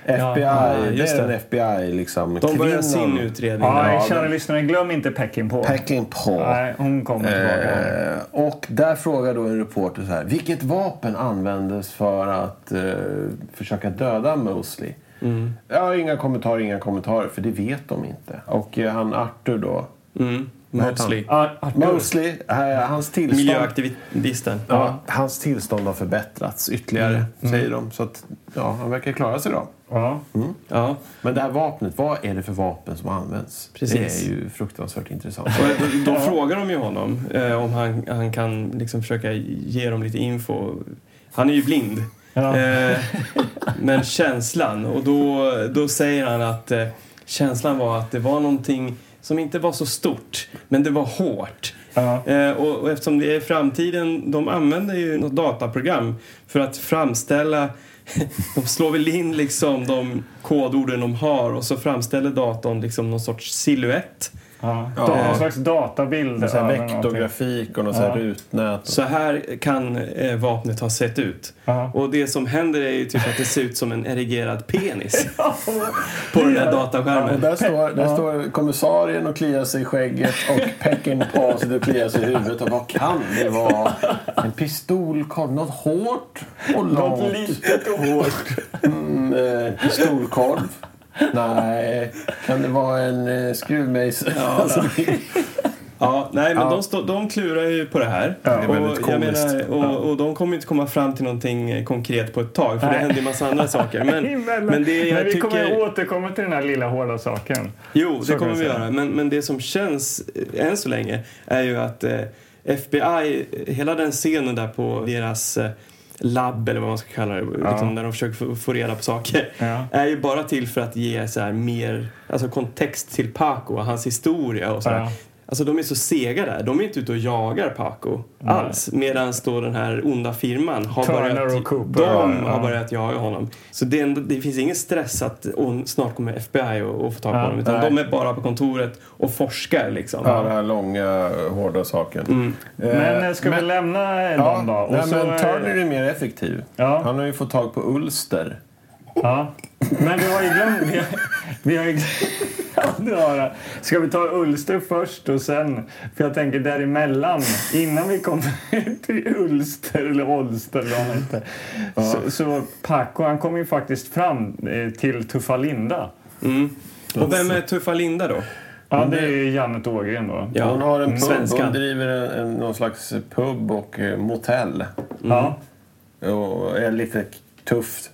Speaker 2: FBI,
Speaker 1: ja,
Speaker 2: det
Speaker 1: just
Speaker 2: är en
Speaker 1: det.
Speaker 2: FBI liksom.
Speaker 1: de började
Speaker 2: kvinnan.
Speaker 1: sin utredning.
Speaker 3: Ja,
Speaker 1: där.
Speaker 3: kära lyssnare, glöm inte Pekin på.
Speaker 2: Peckinpah.
Speaker 3: Nej, hon kommer tillbaka.
Speaker 2: Eh, och där frågar då en reporter så här, vilket vapen användes för att eh, försöka döda Mosley? Ja, inga kommentarer, inga kommentarer, för det vet de inte. Och eh, han Arthur då,
Speaker 1: Mosley.
Speaker 3: Ar- Arthur.
Speaker 2: Mosley, eh, hans tillstånd...
Speaker 1: Miljöaktivisten.
Speaker 2: Ja, hans tillstånd har förbättrats ytterligare, säger de. Så att, ja, han verkar klara sig då.
Speaker 3: Ja.
Speaker 1: Ja.
Speaker 2: Men det här vapnet, vad är det för vapen som används?
Speaker 1: Precis.
Speaker 2: Det är ju fruktansvärt intressant.
Speaker 1: Och då, då frågar de ju honom eh, om han, han kan liksom försöka ge dem lite info. Han är ju blind.
Speaker 3: Ja.
Speaker 1: Eh, men känslan. Och då, då säger han att eh, känslan var att det var någonting som inte var så stort, men det var hårt.
Speaker 3: Ja.
Speaker 1: Eh, och, och eftersom det är framtiden, de använder ju något dataprogram för att framställa <laughs> de slår väl in liksom de kodorden de har och så framställer datorn liksom någon sorts silhuett
Speaker 3: Ja.
Speaker 2: Ja.
Speaker 3: Någon slags databild.
Speaker 2: Så här
Speaker 3: över någonting.
Speaker 2: vektorgrafik och något så här
Speaker 3: Ja.
Speaker 2: rutnät.
Speaker 1: Så här kan eh, vapnet ha sett ut.
Speaker 3: Ja.
Speaker 1: Och det som händer är ju typ att det ser ut som en erigerad
Speaker 3: <laughs>
Speaker 1: penis på den där
Speaker 2: Och
Speaker 1: dataskärmen.
Speaker 2: där står, där står kommissarien och kliar sig i skägget och Pekin Positive och kliar sig i huvudet. Och vad kan det vara? En pistol, kom- något hårt och långt.
Speaker 3: Något litet och hårt.
Speaker 2: Mm, eh, pistolkorv. Nej, kan det vara en eh, skruvmejsel? <laughs> Alltså,
Speaker 1: Ja, nej, men De, stå, de klurar ju på det här.
Speaker 2: är väldigt
Speaker 1: och, jag
Speaker 2: komiskt.
Speaker 1: menar, och, och de kommer ju inte komma fram till någonting eh, konkret på ett tag för det
Speaker 3: Nej.
Speaker 1: händer ju massa andra saker.
Speaker 3: <laughs>
Speaker 1: Men,
Speaker 3: Himmel.
Speaker 1: men det jag
Speaker 3: Men vi
Speaker 1: tycker...
Speaker 3: kommer återkomma till den här lilla hårda saken.
Speaker 1: Jo,
Speaker 3: Så
Speaker 1: det
Speaker 3: kan
Speaker 1: kommer
Speaker 3: vi
Speaker 1: vi
Speaker 3: säga.
Speaker 1: göra. Men, men det som känns eh, än så länge är ju att eh, FBI, eh, hela den scenen där på deras eh, labb eller vad man ska kalla det, liksom, där de försöker få, få reda på saker,
Speaker 3: Ja.
Speaker 1: är ju bara till för att ge så här mer alltså kontext till Paco och hans historia och så här.
Speaker 3: Ja.
Speaker 1: Alltså de är så sega där. De är inte ute och jagar Paco alls. Medan då den här onda firman har
Speaker 3: Turner
Speaker 1: börjat,
Speaker 3: och Cooper.
Speaker 1: de
Speaker 3: Ja.
Speaker 1: har börjat jaga honom. Så det, är ändå, det finns ingen stress att "Åh, snart kommer FBI och, och få tag på
Speaker 3: Ja.
Speaker 1: honom. Utan
Speaker 2: Nej.
Speaker 1: de är bara på kontoret och forskar liksom.
Speaker 2: Ja, den här långa, hårda saken. Eh,
Speaker 3: Men eh, ska vi lämna eh,
Speaker 2: ja,
Speaker 3: dem då? Och
Speaker 2: nej,
Speaker 3: så,
Speaker 2: men
Speaker 3: eh,
Speaker 2: Turner är mer effektiv.
Speaker 3: Ja.
Speaker 2: Han har ju fått tag på Ulster.
Speaker 3: Ja. Men vi har ju glömt... Vi har, vi har ju glömt- <laughs> Ja, det har jag. Ska vi ta Ulster först och sen... För jag tänker däremellan, innan vi kommer <laughs> till Ulster eller Olster eller vad han heter. Så, så Paco, han kommer ju faktiskt fram eh, till Tuffa Linda.
Speaker 1: Och vem är Tuffa Linda då?
Speaker 3: Ja, det är ju Janet Ågren då.
Speaker 1: Ja, Mm.
Speaker 2: Hon har en pub.
Speaker 1: svenskan.
Speaker 2: Hon driver en, en, någon slags pub och eh, motell.
Speaker 3: Ja.
Speaker 2: Och är lite tufft.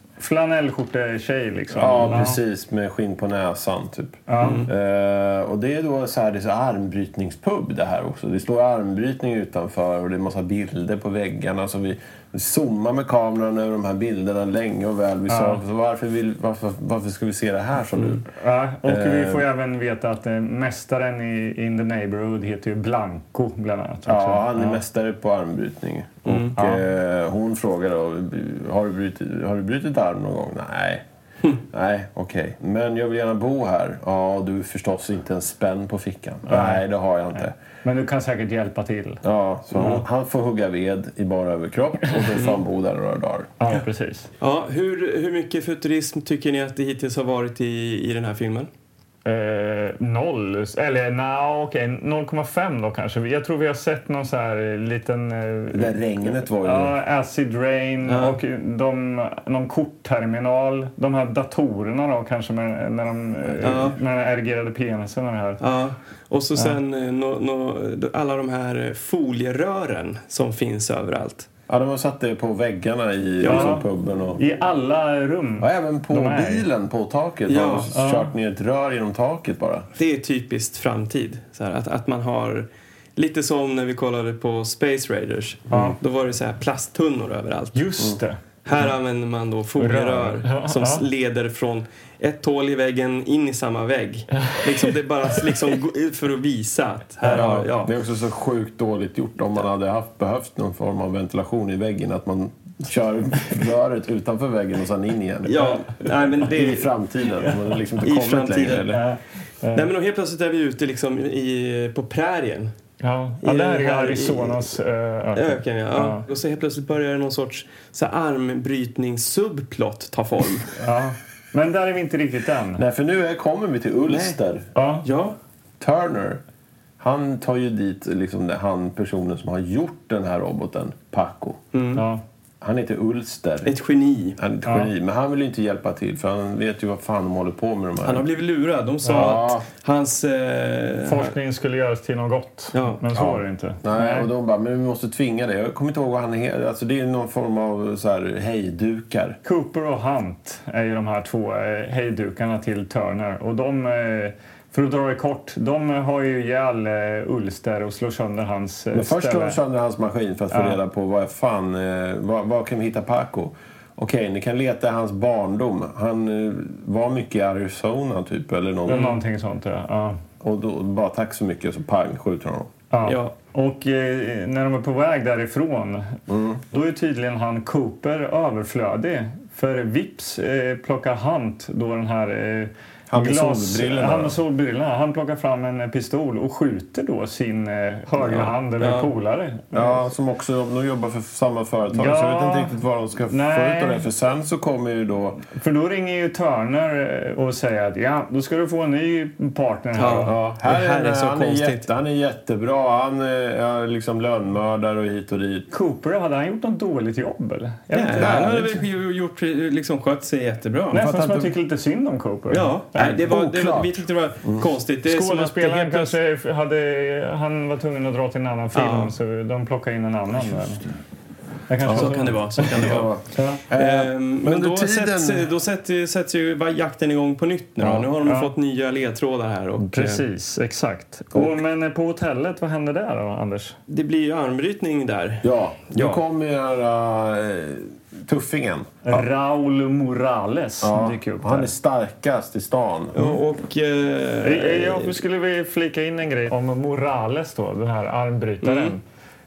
Speaker 3: Flanellskjortetjej liksom.
Speaker 2: Ja, precis. Med skinn på näsan, typ.
Speaker 3: Ja.
Speaker 2: Eh, och det är då så här, det är så armbrytningspub det här också. Det står armbrytning utanför och det är massa bilder på väggarna. Så vi, vi zoomar med kameran över de här bilderna länge och väl. Vi sa, så varför, vill, varför, varför ska vi se det här, sa du?
Speaker 3: Ja, och vi får ju även veta att eh, mästaren i In the Neighborhood heter ju Blanco bland annat. också.
Speaker 2: Ja, han är mästare på armbrytning. Och eh, hon frågar då, har du, brutit, har du brutit arm någon gång? Nej. Nej, okej. Men jag vill gärna bo här. Ja, du är förstås inte en spänn på fickan. Nej, det har jag inte.
Speaker 3: Men du kan säkert hjälpa till.
Speaker 2: Ja, så han, Mm. han får hugga ved i bara överkropp och då får han bo där några dagar.
Speaker 3: Ja, precis.
Speaker 1: Ja, hur, hur mycket futurism tycker ni att det hittills har varit i, i den här filmen?
Speaker 3: Eh, noll, eller no, okej, 0,5 då kanske. Jag tror vi har sett någon så här eh, liten...
Speaker 2: Det
Speaker 3: Eh,
Speaker 2: där regnet var ju...
Speaker 3: Ja, acid rain
Speaker 1: Ja.
Speaker 3: och eh, de, någon kortterminal. De här datorerna då kanske med, när de eh,
Speaker 1: Ja.
Speaker 3: med den erigerade penisen och det här.
Speaker 1: Ja, och så sen eh, nå- nå- alla de här eh, folierören som finns överallt.
Speaker 2: Ja, de har satt det på väggarna i
Speaker 1: Ja.
Speaker 2: liksom, puben och...
Speaker 3: I alla rum.
Speaker 2: Ja, även på
Speaker 3: De är-
Speaker 2: bilen, på taket.
Speaker 1: Ja,
Speaker 2: har de kört ner ett rör genom taket bara.
Speaker 1: Det är typiskt framtid. Så här, att, att man har lite som när vi kollade på Space Raiders. Då var det så här plasttunnor överallt.
Speaker 3: Just det.
Speaker 1: Här använder man då folierör
Speaker 3: Rör.
Speaker 1: som
Speaker 3: Ja.
Speaker 1: leder från ett hål i väggen in i samma vägg. Liksom, det är bara liksom gå- för att visa att här har... Ja.
Speaker 2: Det är också så sjukt dåligt gjort om man hade haft, behövt någon form av ventilation i väggen. Att man kör röret utanför väggen och sen in igen.
Speaker 1: Ja, nej men det
Speaker 2: I framtiden. Man har liksom inte
Speaker 1: I
Speaker 2: kommit längre.
Speaker 1: framtiden.
Speaker 2: Eller?
Speaker 3: Eh,
Speaker 1: Nej men och helt plötsligt är vi ute liksom i, på prärien.
Speaker 3: Ja, ja där är ju
Speaker 1: här i-
Speaker 3: Arizonas eh, öken.
Speaker 1: Öken, ja. ja. Och så helt plötsligt börjar någon sorts så här, armbrytningssubplott ta form.
Speaker 3: Ja. Men där är vi inte riktigt än.
Speaker 2: Nej, för nu är, kommer vi till Ulster.
Speaker 3: Ja.
Speaker 1: ja,
Speaker 2: Turner. Han tar ju dit liksom, det- han personen som har gjort den här roboten, Paco.
Speaker 3: Ja.
Speaker 2: Han heter Ulster.
Speaker 1: Mm. ett geni.
Speaker 2: Han är ett geni, men han vill ju inte hjälpa till för han vet ju vad fan de håller på med de här.
Speaker 1: Han har blivit lurad. De sa
Speaker 2: Ja.
Speaker 1: att hans... Eh,
Speaker 3: Forskningen skulle göras till något gott,
Speaker 1: Ja.
Speaker 3: men så
Speaker 2: Ja.
Speaker 3: var det inte.
Speaker 2: Nej, och de bara, men vi måste tvinga det. Jag kommer inte ihåg vad han heter. Alltså, det är någon form av så här, hejdukar.
Speaker 3: Cooper och Hunt är ju de här två eh, hejdukarna till Turner. Och de, eh, för att dra det kort, de har ju ihjäl eh, Ulster och slår sönder hans eh,
Speaker 2: Men först slår
Speaker 3: ställe.
Speaker 2: de sönder hans maskin för att få reda på vad fan, eh, vad, vad kan vi hitta Paco? Okej, ni kan leta i hans barndom. Han eh, var mycket i Arizona typ, eller
Speaker 3: Eller
Speaker 2: någon.
Speaker 3: någonting sånt. Ja. Ja.
Speaker 2: Och då bara tack så mycket, så pang, skjuter honom.
Speaker 3: Ja.
Speaker 1: Ja.
Speaker 3: Och eh, när de är på väg därifrån
Speaker 1: Mm.
Speaker 3: då är tydligen han Cooper överflödig. För vips eh, plockar Hunt då den här eh,
Speaker 2: Han med
Speaker 3: glas-
Speaker 2: solbrillorna.
Speaker 3: Han med solbrillorna. Han plockar fram en eh, pistol och skjuter då sin eh, högra hand eller polare.
Speaker 2: Ja, som också de jobbar för samma företag. Så jag vet
Speaker 3: Mm. Ja.
Speaker 2: inte riktigt vad de ska få
Speaker 3: Nej.
Speaker 2: ut av det. För sen så kommer ju då...
Speaker 3: För då ringer ju Turner eh, och säger att ja, då ska du få en ny partner här.
Speaker 1: Ja.
Speaker 2: Ja, här
Speaker 1: Det här
Speaker 2: är,
Speaker 1: är så
Speaker 2: han,
Speaker 1: konstigt.
Speaker 2: Är jätte, han är jättebra. Han är ja, liksom lönnmördare och hit och dit.
Speaker 3: Cooper, hade han gjort något dåligt jobb eller? Jag vet
Speaker 1: Nej,
Speaker 3: inte.
Speaker 1: han hade väl ju- gjort, liksom skött sig jättebra.
Speaker 3: Nästan
Speaker 2: fattar
Speaker 3: som jag
Speaker 2: inte-
Speaker 3: tycker lite synd om Cooper.
Speaker 1: Ja, nej, det var, det var,
Speaker 2: Oklart.
Speaker 1: vi tyckte det var konstigt. Det är som att det
Speaker 3: Skådespelaren
Speaker 1: helt plötsligt-
Speaker 3: kanske hade, han var tvungen att dra till en annan film
Speaker 1: Ja.
Speaker 3: så de plockade in en annan. där. Jag kanske
Speaker 1: Så kan det vara. Så kan det vara.
Speaker 2: Ja. Eh,
Speaker 3: Ja.
Speaker 1: Ehm, men
Speaker 2: under
Speaker 1: då,
Speaker 2: tiden-
Speaker 1: sätts, eh, då sätts, sätts ju bara jakten igång på nytt nu då.
Speaker 2: Ja.
Speaker 1: Nu har de
Speaker 3: Ja.
Speaker 1: fått nya ledtrådar här. Och, eh,
Speaker 3: Precis, exakt. Och, men på hotellet, vad hände där då, Anders?
Speaker 1: Det blir ju armbrytning där.
Speaker 2: Ja, nu
Speaker 1: Ja.
Speaker 2: kommer ju här, eh, tuffingen.
Speaker 3: Raul Morales
Speaker 2: Ja,
Speaker 3: dyker upp
Speaker 2: han är
Speaker 3: där.
Speaker 2: starkast i stan.
Speaker 1: Och, eh,
Speaker 3: Eh, Jag skulle vilja flika in en grej Mm. om Morales då, den här armbrytaren.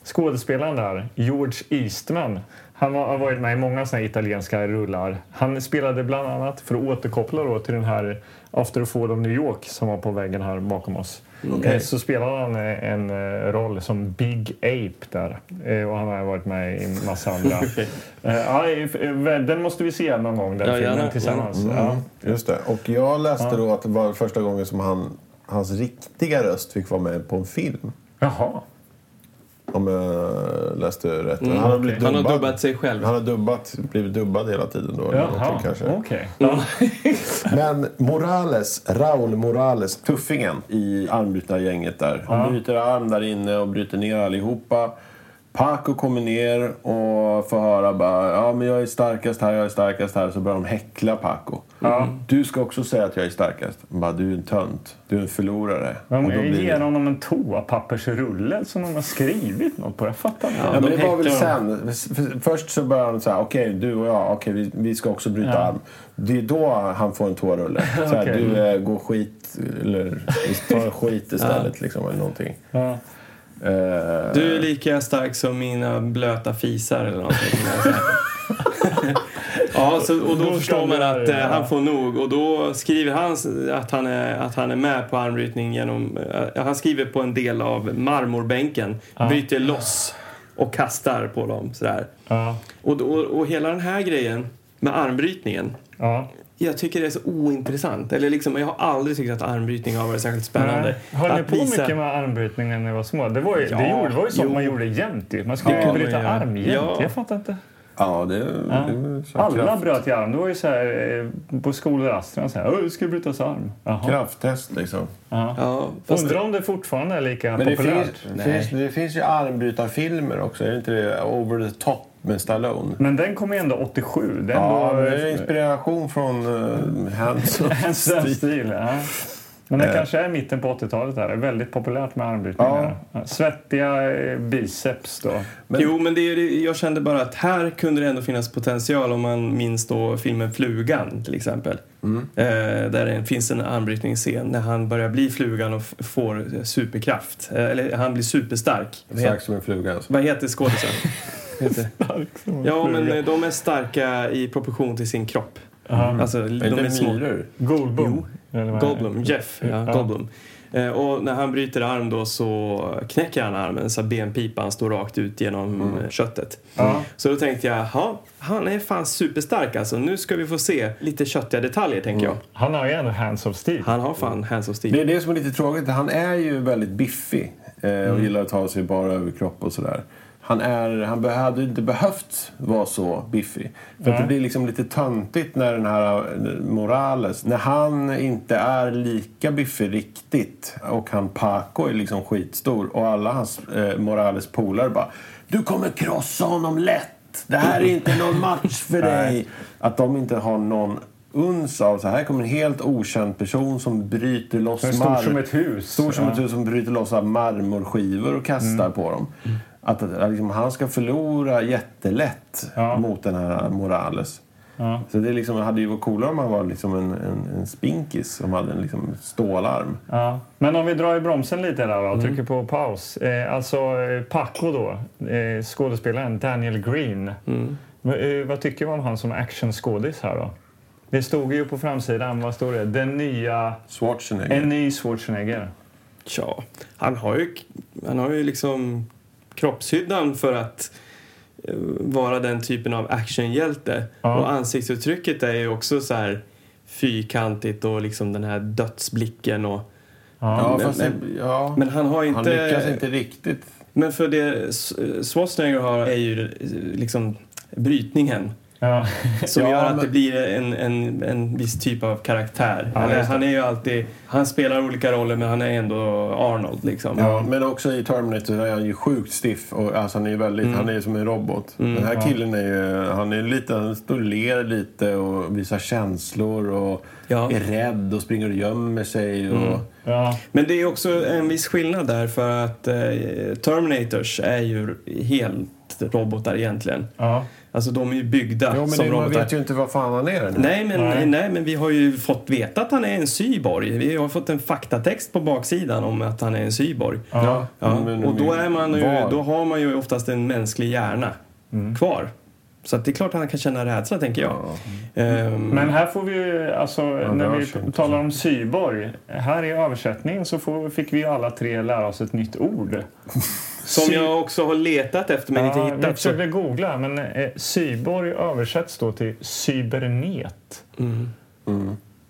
Speaker 3: Skådespelaren där, George Eastman. Han var- har varit med i många såna här italienska rullar. Han spelade bland annat, för att återkoppla då till den här After Fall of New York som var på väggen här bakom oss. Eh, Så spelade han eh, en eh, roll som Big Ape där. Eh, Och han har varit med i massa <laughs> andra. Eh, ja, eh, Den måste vi se någon gång, den
Speaker 1: Ja,
Speaker 3: filmen
Speaker 1: gärna.
Speaker 3: tillsammans. Ja.
Speaker 2: Mm, just det. Och jag läste då att det var första gången som han, hans riktiga röst fick vara med på en film.
Speaker 3: Jaha.
Speaker 2: Om jag läste rätt. han, har blivit
Speaker 1: Han har dubbat sig själv.
Speaker 2: Han har dubbat, blivit dubbad hela tiden då. eller
Speaker 3: Jaha,
Speaker 2: någonting kanske.
Speaker 3: okej. Ja.
Speaker 2: Men Morales, Raul Morales, tuffingen i armbrytargänget där. Han bryter arm där inne och bryter ner allihopa. Paco kommer ner och får höra bara ja men jag är starkast här, jag är starkast här. Så börjar de häckla Paco. Du ska också säga att jag är starkast. Han bara, du är en tönt. Du är en förlorare.
Speaker 3: De
Speaker 2: Och då blir
Speaker 3: ger
Speaker 2: det-
Speaker 3: honom en toapappersrulle som de har skrivit något på. Jag fattar inte.
Speaker 2: Ja, men
Speaker 1: de
Speaker 2: det var väl
Speaker 1: häcklar
Speaker 2: sen. För- Först så börjar de så här, okej du och jag, okej vi, vi ska också bryta arm. Det är då han får en <laughs> tårulle. Så här,
Speaker 3: Okej.
Speaker 2: Du eh, går skit, eller tar en skit istället liksom eller någonting.
Speaker 3: Ja.
Speaker 2: Eh,
Speaker 1: Du är lika stark som mina blöta fisar eller någonting.
Speaker 3: <laughs>
Speaker 1: ja, så, och då
Speaker 3: Då
Speaker 1: förstår man
Speaker 3: stannar
Speaker 1: att
Speaker 3: det,
Speaker 1: eh,
Speaker 3: ja.
Speaker 1: han får nog och då skriver han s- att han är, att han är med på armbrytning genom... Eh, han skriver på en del av marmorbänken, bryter loss och kastar på dem sådär.
Speaker 3: Ja.
Speaker 1: Och, då- och, och hela den här grejen med armbrytningen
Speaker 3: Ja.
Speaker 1: jag tycker det är så ointressant. Eller liksom, jag har aldrig tyckt att armbrytning har varit särskilt spännande.
Speaker 3: Nej. Höll ni
Speaker 1: Att
Speaker 3: på
Speaker 1: visa-
Speaker 3: mycket med armbrytning när ni var små? Det var ju, det
Speaker 1: Ja,
Speaker 3: gjorde, det var ju sånt
Speaker 1: jo.
Speaker 3: man gjorde jämt ju. Man skulle
Speaker 1: Ja,
Speaker 3: ju bryta
Speaker 1: men ja.
Speaker 3: arm jämt.
Speaker 1: Ja.
Speaker 3: Jag fattar inte. Mm.
Speaker 2: Ja, det, det så
Speaker 3: Alla
Speaker 2: kraft,
Speaker 3: bröt ju arm. Det var ju så här eh, på skolrasterna. Så här, "Åh, ska det brytas arm? Jaha.
Speaker 2: krafttest liksom.
Speaker 1: Ja, fast
Speaker 3: Undrar om det fortfarande är lika
Speaker 2: Men det
Speaker 3: populärt.
Speaker 2: finns, finns, det finns ju armbrytarfilmer också. Är det inte det Over the Top med Stallone?
Speaker 3: Men den kom ju ändå 87. Den
Speaker 2: Ja,
Speaker 3: var,
Speaker 2: men det är inspiration från uh, Hanson.
Speaker 3: Svensk stil, ja. Men det
Speaker 1: Eh.
Speaker 3: kanske är mitten på 80-talet. Där. Det är väldigt populärt med armbrytningar. Svettiga eh, biceps då.
Speaker 1: Jo, men det är, jag kände bara att här kunde det ändå finnas potential om man minns då filmen Flugan till exempel. Eh, där det finns en armbrytningsscen när han börjar bli flugan och f- får eh, superkraft. Eh, eller han blir superstark. Vad heter-
Speaker 2: Exakt som en fluga. Alltså.
Speaker 1: Vad heter skådisen? <laughs> Heter- ja, men eh, de är starka i proportion till sin kropp. Alltså, de
Speaker 2: Är det
Speaker 1: är
Speaker 2: inte
Speaker 1: små.
Speaker 2: myror?
Speaker 3: Goldblum. Eller vad-
Speaker 1: Goldblum, Jeff ja, Goldblum. Eh, och när han bryter arm då så knäcker han armen så att benpipan står rakt ut genom eh, köttet.
Speaker 3: Ja.
Speaker 1: Så då tänkte jag, "Ha, han är fan superstark alltså. Nu ska vi få se lite köttiga detaljer tänker
Speaker 2: Mm.
Speaker 1: jag.
Speaker 3: Han har ju ändå hands of steel.
Speaker 1: Han har fan hands of
Speaker 2: Det
Speaker 1: steel.
Speaker 2: är det som är lite tråkigt. Han är ju väldigt biffig eh, och gillar att ta sig bara överkropp och sådär. Han, är, han be, hade inte behövt vara så biffig. För att det blir liksom lite töntigt när den här eh, Morales, när han inte är lika biffig riktigt och han Paco är liksom skitstor och alla hans eh, Morales polare bara Du kommer krossa honom lätt! Det här är inte någon match för dig! Att de inte har någon uns av så här kommer en helt okänd person som bryter loss
Speaker 3: Den är stor
Speaker 2: mar-
Speaker 3: som ett hus.
Speaker 2: Stor som
Speaker 3: Ja. Mm.
Speaker 2: ett hus som bryter loss av marmorskivor och kastar på dem. Att, att, att liksom, han ska förlora jättelätt
Speaker 3: Ja.
Speaker 2: mot den här Morales.
Speaker 3: Ja.
Speaker 2: Så det är liksom, hade ju varit coolare om han var liksom en, en, en spinkis som hade en liksom stålarm.
Speaker 3: Ja. Men om vi drar i bromsen lite där
Speaker 1: Mm.
Speaker 3: då, och trycker på paus. Eh, alltså eh, Paco då, eh,
Speaker 1: Mm.
Speaker 3: skådespelaren Daniel Green. Men, eh, vad tycker vi om han som actionskådis här då? Det stod ju på framsidan, vad står det? Den nya...
Speaker 2: Schwarzenegger.
Speaker 3: En ny Schwarzenegger.
Speaker 1: Tja, han har ju, han har ju liksom kroppshyddan för att eh, vara den typen av actionhjälte.
Speaker 3: Ja.
Speaker 1: Och ansiktsuttrycket är ju också så här fyrkantigt och liksom den här dödsblicken och...
Speaker 2: Ja,
Speaker 1: men-
Speaker 2: fast
Speaker 1: men-
Speaker 2: det, ja.
Speaker 1: Men han har
Speaker 2: han
Speaker 1: inte...
Speaker 2: lyckas inte riktigt.
Speaker 1: Men för det S- Schwarzenegger har är ju eh, liksom brytningen
Speaker 3: Ja.
Speaker 1: som
Speaker 2: Ja,
Speaker 1: gör att
Speaker 2: men-
Speaker 1: det blir en, en, en viss typ av karaktär.
Speaker 3: Ja,
Speaker 1: Eller,
Speaker 3: just det.
Speaker 1: han är ju alltid... Han spelar olika roller men han är ändå Arnold liksom.
Speaker 2: Ja, men också i Terminator är han ju sjukt stiff. Och, alltså, han är ju väldigt, han är ju som en robot. Den här killen är ju, han är lite, han står och ler lite och visar känslor och
Speaker 1: Ja.
Speaker 2: är rädd och springer och gömmer sig. Och,
Speaker 3: ja.
Speaker 1: Men det är också en viss skillnad där för att eh, Terminators är ju helt robotar egentligen.
Speaker 3: ja.
Speaker 1: Alltså de är ju byggda
Speaker 2: Ja, men
Speaker 1: som
Speaker 2: det, man
Speaker 1: robotar.
Speaker 2: vet ju inte vad fan han är. den här.
Speaker 1: Nej men, nej.
Speaker 3: Nej.
Speaker 1: men vi har ju fått veta att han är en cyborg. Vi har fått en faktatext på baksidan om att han är en cyborg.
Speaker 2: Ja,
Speaker 1: Ja,
Speaker 2: men-
Speaker 1: och då, är man ju,
Speaker 2: var?
Speaker 1: då har man ju oftast en mänsklig hjärna
Speaker 3: Mm.
Speaker 1: kvar. Så att det är klart att han kan känna rädsla, tänker jag. Ehm,
Speaker 3: Men här får vi ju, alltså, när
Speaker 2: rör
Speaker 3: vi
Speaker 2: sig inte.
Speaker 3: talar om cyborg, här i översättningen så får, fick vi ju alla tre lära oss ett nytt ord.
Speaker 1: som jag också har letat efter men inte
Speaker 3: Ja, vi
Speaker 1: hittat. Så,
Speaker 3: försökte googla, men eh, cyborg översätts då till cybernet.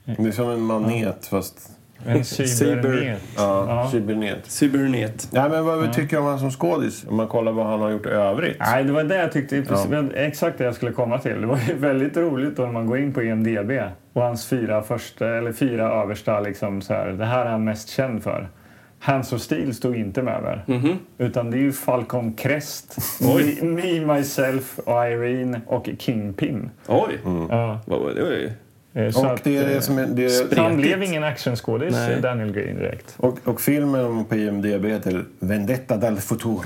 Speaker 2: Det är som en manet fast...
Speaker 1: <laughs>
Speaker 3: En cybernet.
Speaker 2: Ja,
Speaker 3: Ja.
Speaker 2: cybernet.
Speaker 1: cybernet.
Speaker 2: Nej, men vad tycker du om han som skådis? Om man kollar vad han har gjort i övrigt.
Speaker 3: Nej, det var det jag tyckte. precis- Exakt det jag skulle komma till. Det var ju <laughs> väldigt roligt då när man går in på E IMDB och hans fyra första, eller fyra översta, liksom så här, det här är han mest känd för. Hands of Steel stod inte med över. Utan det är ju Falcon <laughs> Crest, Me, Me, Myself och Irene och Kingpin.
Speaker 1: Oj!
Speaker 3: Mm.
Speaker 2: Mm.
Speaker 3: Ja.
Speaker 1: Vad var det? Oj.
Speaker 3: eh, Så
Speaker 2: Och
Speaker 3: att,
Speaker 2: det är
Speaker 3: eh,
Speaker 2: det som är... Det är
Speaker 3: så han
Speaker 1: Spretigt.
Speaker 3: blev ingen actionskådis,
Speaker 1: Nej.
Speaker 3: Daniel Green, direkt.
Speaker 2: och, och filmen på IMDB heter Vendetta del Futuro.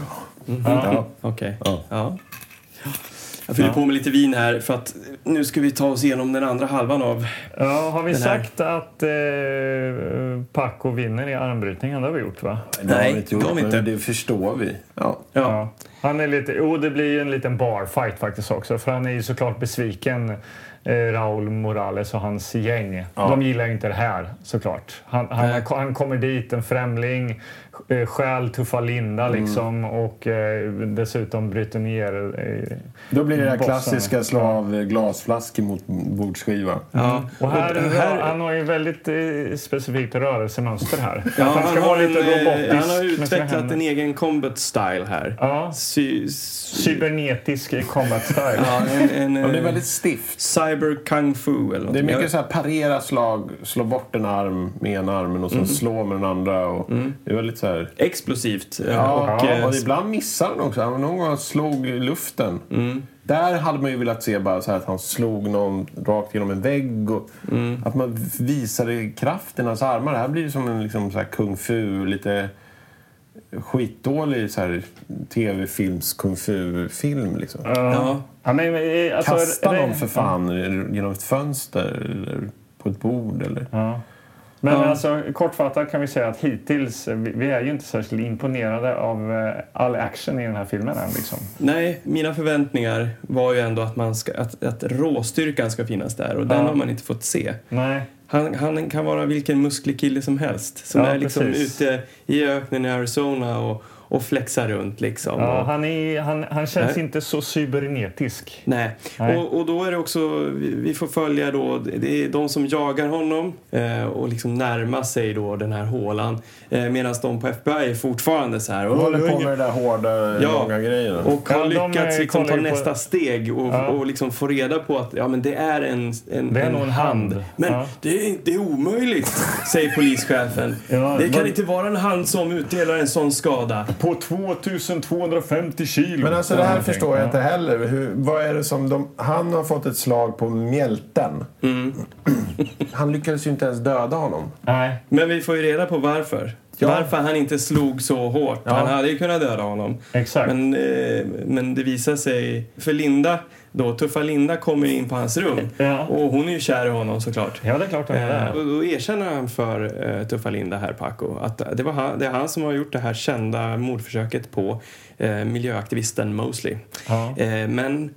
Speaker 2: Ja.
Speaker 1: Okej.
Speaker 2: Ja.
Speaker 1: Ja. Jag fyller på med lite vin här för att nu ska vi ta oss igenom den andra halvan av...
Speaker 3: Ja, har vi
Speaker 1: Den här-
Speaker 3: sagt att eh, Paco vinner i armbrytningen? Det har vi gjort, va?
Speaker 2: Det har
Speaker 1: Nej,
Speaker 2: vi inte gjort,
Speaker 1: det har vi
Speaker 2: men
Speaker 1: inte.
Speaker 2: det förstår vi. Ja.
Speaker 1: Ja.
Speaker 3: Ja. Mm. Han är lite, jo, det blir ju en liten barfight faktiskt också. För han är ju såklart besviken, eh, Raul Morales och hans gäng. De gillar ju inte det här såklart. Han, han, han kommer dit, en främling, eh, stjäl tuffa Linda
Speaker 1: Mm.
Speaker 3: liksom och eh, dessutom bryter ner... Eh,
Speaker 2: Då blir det det här
Speaker 3: bossen.
Speaker 2: klassiska slå av eh, glasflaskor mot bordsskiva.
Speaker 1: Ja.
Speaker 3: Och här,
Speaker 1: här-
Speaker 3: han har ju väldigt eh, specifikt rörelsemönster här.
Speaker 1: Ja,
Speaker 3: Att han ska vara lite
Speaker 1: eh,
Speaker 3: robotisk.
Speaker 1: han har
Speaker 3: med sina
Speaker 1: utvecklat
Speaker 3: händer.
Speaker 1: en egen combat style här.
Speaker 3: Ja.
Speaker 1: Sy, sy,
Speaker 3: Cybernetisk combat style.
Speaker 1: ja, en, en,
Speaker 2: Men det är
Speaker 1: eh,
Speaker 2: väldigt stift.
Speaker 1: Cyber kung fu eller
Speaker 2: Det är
Speaker 1: någonting.
Speaker 2: mycket så här parera slag, slå bort en arm med en armen och sen slå med den andra. Och Det är väldigt så här...
Speaker 1: Explosivt. eh,
Speaker 2: Ja,
Speaker 1: och,
Speaker 2: och,
Speaker 1: eh,
Speaker 2: ibland missar han också. Han någon gång slog i luften. Där hade man ju velat se bara så här att han slog någon rakt genom en vägg. Och Att man visade kraften i hans armar. Det här blir ju som en liksom så här kung fu, lite skitdålig så här tv-films kung fu-film. Liksom.
Speaker 1: ja.
Speaker 3: Ja, men, eh, alltså,
Speaker 2: Kasta
Speaker 3: det-
Speaker 2: någon för fan genom ett fönster eller på ett bord. Eller.
Speaker 3: Men
Speaker 1: Ja.
Speaker 3: alltså, kortfattat kan vi säga att hittills, eh, vi vi är ju inte särskilt imponerade av eh, all action i den här filmen än. Liksom.
Speaker 1: Nej, mina förväntningar var ju ändå att, man ska, att, att råstyrkan ska finnas där och den
Speaker 3: Ja.
Speaker 1: har man inte fått se.
Speaker 3: Nej.
Speaker 1: Han, han kan vara vilken musklig kille som helst som
Speaker 3: Ja,
Speaker 1: är liksom
Speaker 3: precis.
Speaker 1: ute i öknen i Arizona och, och flexar runt liksom.
Speaker 3: Ja,
Speaker 1: och,
Speaker 3: han, är, han, han känns
Speaker 1: Nej.
Speaker 3: inte så cybernetisk.
Speaker 1: Nej.
Speaker 3: Nej.
Speaker 1: Och, och då är det också, vi, vi får följa då, det är de som jagar honom eh, och liksom närmar sig då den här hålan eh, medan de på FBI är fortfarande så här. "Åh,
Speaker 2: Håller
Speaker 1: vi har
Speaker 2: på
Speaker 1: ingen-"
Speaker 2: med det där hårda,
Speaker 1: Ja.
Speaker 2: långa grejen.
Speaker 1: Och har
Speaker 3: Ja, de,
Speaker 1: lyckats
Speaker 3: eh,
Speaker 1: liksom ta
Speaker 3: kollar ju på-
Speaker 1: nästa steg och,
Speaker 3: Ja.
Speaker 1: och liksom få reda på att ja, men det är en, en,
Speaker 3: Det är nog en hand.
Speaker 1: Men
Speaker 3: Ja.
Speaker 1: det, är, det är omöjligt, säger polischefen.
Speaker 3: <laughs> Ja,
Speaker 1: det kan
Speaker 3: men-
Speaker 1: inte vara en hand som utdelar en sån skada.
Speaker 3: På 2250 kilo.
Speaker 2: Men alltså det här
Speaker 3: Någonting.
Speaker 2: förstår jag inte heller. Hur, vad är det som de, han har fått ett slag på mjälten.
Speaker 3: Mm.
Speaker 2: <clears throat> Han lyckades ju inte ens döda honom.
Speaker 3: Nej.
Speaker 1: Men vi får ju reda på varför. Varför han inte slog så hårt. Han hade ju kunnat döda honom.
Speaker 3: Exakt.
Speaker 1: Men, eh, men det visar sig... För Linda, då, tuffa Linda kommer in på hans rum.
Speaker 3: Ja.
Speaker 1: Och hon är ju kär i honom såklart.
Speaker 3: Ja, det är klart han är
Speaker 1: Eh,
Speaker 3: det.
Speaker 1: och då erkänner han för eh, tuffa Linda här, Paco, att det, var han, det är han som har gjort det här kända mordförsöket på eh, miljöaktivisten Mosley.
Speaker 3: Ja.
Speaker 1: Eh, men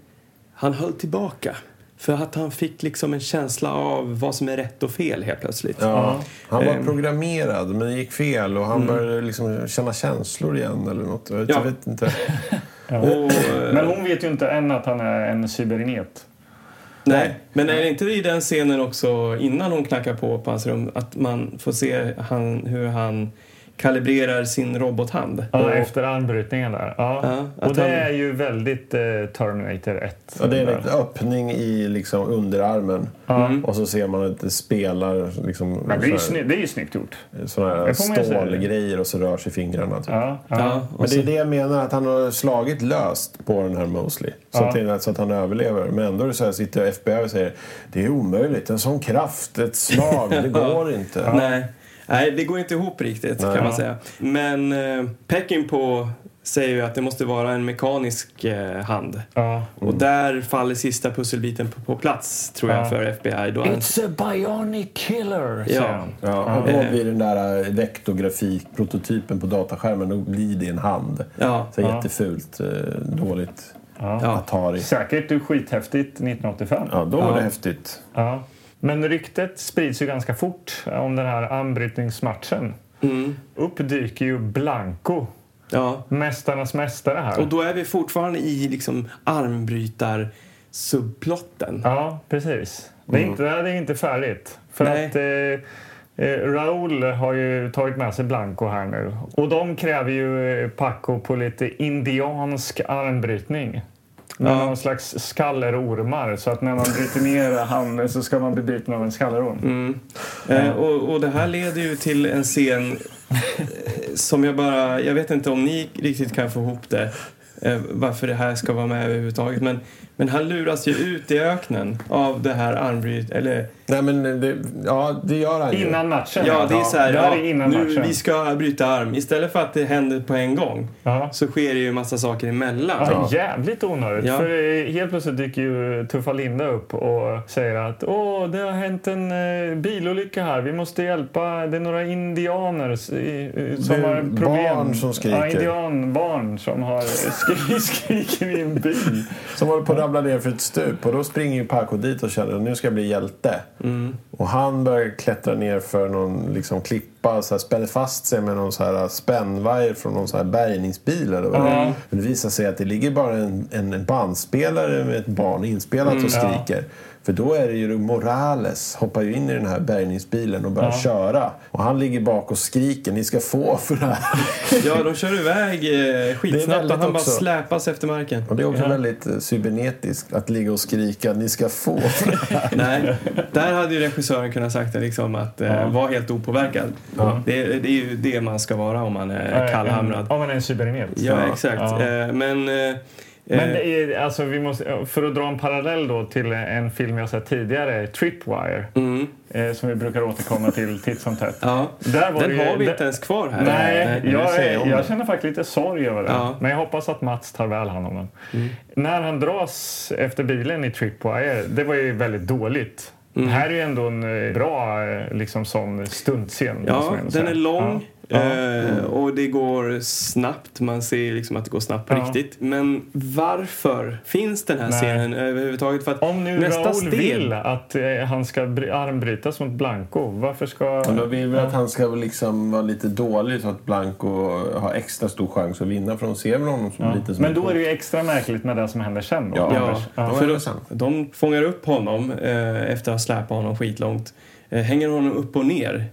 Speaker 1: han höll tillbaka. För att han fick liksom en känsla av vad som är rätt och fel helt plötsligt.
Speaker 2: Ja. Han var
Speaker 1: Ehm.
Speaker 2: programmerad, men det gick fel och han
Speaker 3: Mm.
Speaker 2: började liksom känna känslor igen eller något. Jag vet,
Speaker 1: Ja.
Speaker 2: jag vet inte.
Speaker 1: Och, eh,
Speaker 3: Men hon vet ju inte än att han är en cybernet.
Speaker 1: nej. Men är det inte i den scenen också, innan hon knackar på på hans rum, att man får se han, hur han kalibrerar sin robothand?
Speaker 3: Ja,
Speaker 1: Och-
Speaker 3: eh, efter anbrytningen där. Ja.
Speaker 1: Ja,
Speaker 3: och
Speaker 1: att
Speaker 3: det
Speaker 1: han-
Speaker 3: är ju väldigt eh, Terminator 1.
Speaker 2: Ja, det är en
Speaker 3: där.
Speaker 2: liten öppning i liksom underarmen. Och så ser man att det spelar liksom,
Speaker 3: Men Mm. det är ju
Speaker 2: så här-
Speaker 3: sny- det är ju snyggt gjort.
Speaker 2: såna här
Speaker 3: Det får man ju säga.
Speaker 2: stålgrejer och så rör sig fingrarna. Typ.
Speaker 3: Ja, ja.
Speaker 1: ja, och
Speaker 2: Men det
Speaker 1: så-
Speaker 2: är det jag menar, att han har slagit löst på den här Mosley. Så,
Speaker 3: Ja.
Speaker 2: till, så att han överlever. Men ändå är det så här, sitter FBI och säger det är omöjligt, en sån kraft, ett slag, <laughs> det går inte.
Speaker 1: Nej. Nej, det går inte ihop riktigt kan man säga. Men eh, Peckinpah säger ju att det måste vara en mekanisk eh, hand.
Speaker 3: ja.
Speaker 1: Och där faller sista pusselbiten på, på plats tror jag
Speaker 3: Ja.
Speaker 1: för FBI. Då han,
Speaker 3: It's a bionic killer, säger
Speaker 1: Ja.
Speaker 3: han.
Speaker 2: Ja, och då blir den där eh, vektografikprototypen på dataskärmen, då blir det en hand.
Speaker 1: ja,
Speaker 2: Så jättefult, eh, dåligt.
Speaker 1: Ja.
Speaker 2: Atari.
Speaker 3: Säkert du skithäftigt 1985.
Speaker 2: Ja, då var det häftigt.
Speaker 3: Ja. Men ryktet sprids ju ganska fort om den här anbrytningsmatchen. Upp dyker ju Blanco,
Speaker 1: ja.
Speaker 3: mästarnas mästare här.
Speaker 1: Och då är vi fortfarande i liksom armbrytar-subplotten.
Speaker 3: Ja, precis. Det är inte, det här är inte färdigt. För
Speaker 1: Mm. Nej.
Speaker 3: att eh, eh, Raul har ju tagit med sig Blanco här nu. Och de kräver ju eh, Paco på lite indiansk armbrytning. Med
Speaker 1: Ja.
Speaker 3: någon slags skallerormar. Så att när man bryter ner handen så ska man bli biten av en skallerorm.
Speaker 1: Eh, och, och det här leder ju till en scen eh, som jag bara... Jag vet inte om ni riktigt kan få ihop det. Eh, varför det här ska vara med överhuvudtaget. Men, men han luras ju ut i öknen av det här armbryt... Eller
Speaker 2: Nej, men det, ja, det gör han ju.
Speaker 3: Innan matchen.
Speaker 1: ja, det är så här.
Speaker 3: det
Speaker 1: Ja,
Speaker 3: här är innan
Speaker 1: nu,
Speaker 3: matchen.
Speaker 1: vi ska bryta arm. Istället för att det händer på en gång
Speaker 3: Ja.
Speaker 1: så sker det ju en massa saker emellan.
Speaker 3: Ja, jävligt onödigt.
Speaker 1: Ja.
Speaker 3: För eh, helt plötsligt dyker ju Tuffa Linda upp och säger att Åh, det har hänt en eh, bilolycka här. Vi måste hjälpa. Det är några indianer s- i- eh, som
Speaker 2: Det är
Speaker 3: har problem.
Speaker 2: barn som skriker.
Speaker 3: Ja, indianbarn som har <laughs> skri skriker i en bil.
Speaker 2: Som håller på att ramla ner för ett stup och då springer ju Paco dit och känner att nu ska jag bli hjälte. Och han börjar klättra ner för någon liksom, klippa och så här, spänner fast sig med någon så här äh, spännvajer från någon så här bärgningsbil eller vad det är. Men det visar sig att det ligger bara en, en bandspelare med ett barn inspelat och skriker. För då är det ju Morales hoppar ju in i den här bärgningsbilen och börjar köra. Och han ligger bak och skriker ni ska få för det här.
Speaker 1: <laughs> Ja, de kör iväg eh, skitsnabbt.
Speaker 2: väldigt
Speaker 1: Att de bara
Speaker 2: också-
Speaker 1: släpas efter marken.
Speaker 2: Och det är också väldigt eh, cybernetiskt att ligga och skrika ni ska få för det här.
Speaker 1: <laughs> Nej, där hade ju regissören kunnat sagt det liksom att eh, vara helt opåverkad. Det, det är ju det man ska vara om man är kallhamrad.
Speaker 3: Ja, men en cybernet.
Speaker 1: Ja, exakt. Eh, Men... eh,
Speaker 3: Men
Speaker 1: eh,
Speaker 3: det är, alltså, vi måste, för att dra en parallell då till en film jag sett tidigare, Tripwire,
Speaker 1: Mm.
Speaker 3: eh, som vi brukar återkomma till titt som tätt.
Speaker 1: ja,
Speaker 3: Där var
Speaker 1: den
Speaker 3: det ju-
Speaker 1: har vi
Speaker 3: där-
Speaker 1: inte ens kvar här.
Speaker 3: Nej, jag,
Speaker 2: säger jag
Speaker 3: är,
Speaker 2: om
Speaker 3: jag
Speaker 2: det.
Speaker 3: känner faktiskt lite sorg över det.
Speaker 1: Ja. Mm.
Speaker 3: Men jag hoppas att Mats tar väl hand om den. När han dras efter bilen i Tripwire, det var ju väldigt dåligt.
Speaker 1: Mm.
Speaker 3: Det här är ju ändå en eh, bra eh, liksom, sån stuntscen. måste
Speaker 1: Ja,
Speaker 3: man ändå
Speaker 1: den
Speaker 3: säga.
Speaker 1: är lång
Speaker 3: Ja. Ja.
Speaker 1: eh, och det går snabbt. Man ser liksom att det går snabbt på
Speaker 3: Ja.
Speaker 1: riktigt. Men varför finns den här
Speaker 3: Nej.
Speaker 1: scenen överhuvudtaget? För att
Speaker 3: Om nu
Speaker 1: nästa
Speaker 3: Raoul
Speaker 1: steg...
Speaker 3: vill att eh, han ska bry- armbrytas mot Blanco, varför ska...
Speaker 2: Men då vill vi att han ska väl liksom vara lite dålig så att Blanco har extra stor chans att vinna för de ser väl honom som lite som
Speaker 3: Men då är det ju extra märkligt med det som händer sen. Då.
Speaker 2: Ja.
Speaker 1: Ja,
Speaker 2: Ja,
Speaker 1: för
Speaker 2: det
Speaker 1: då,
Speaker 2: är sant.
Speaker 1: de fångar upp honom eh, efter att ha släpat honom skitlångt. Eh, hänger honom upp och ner.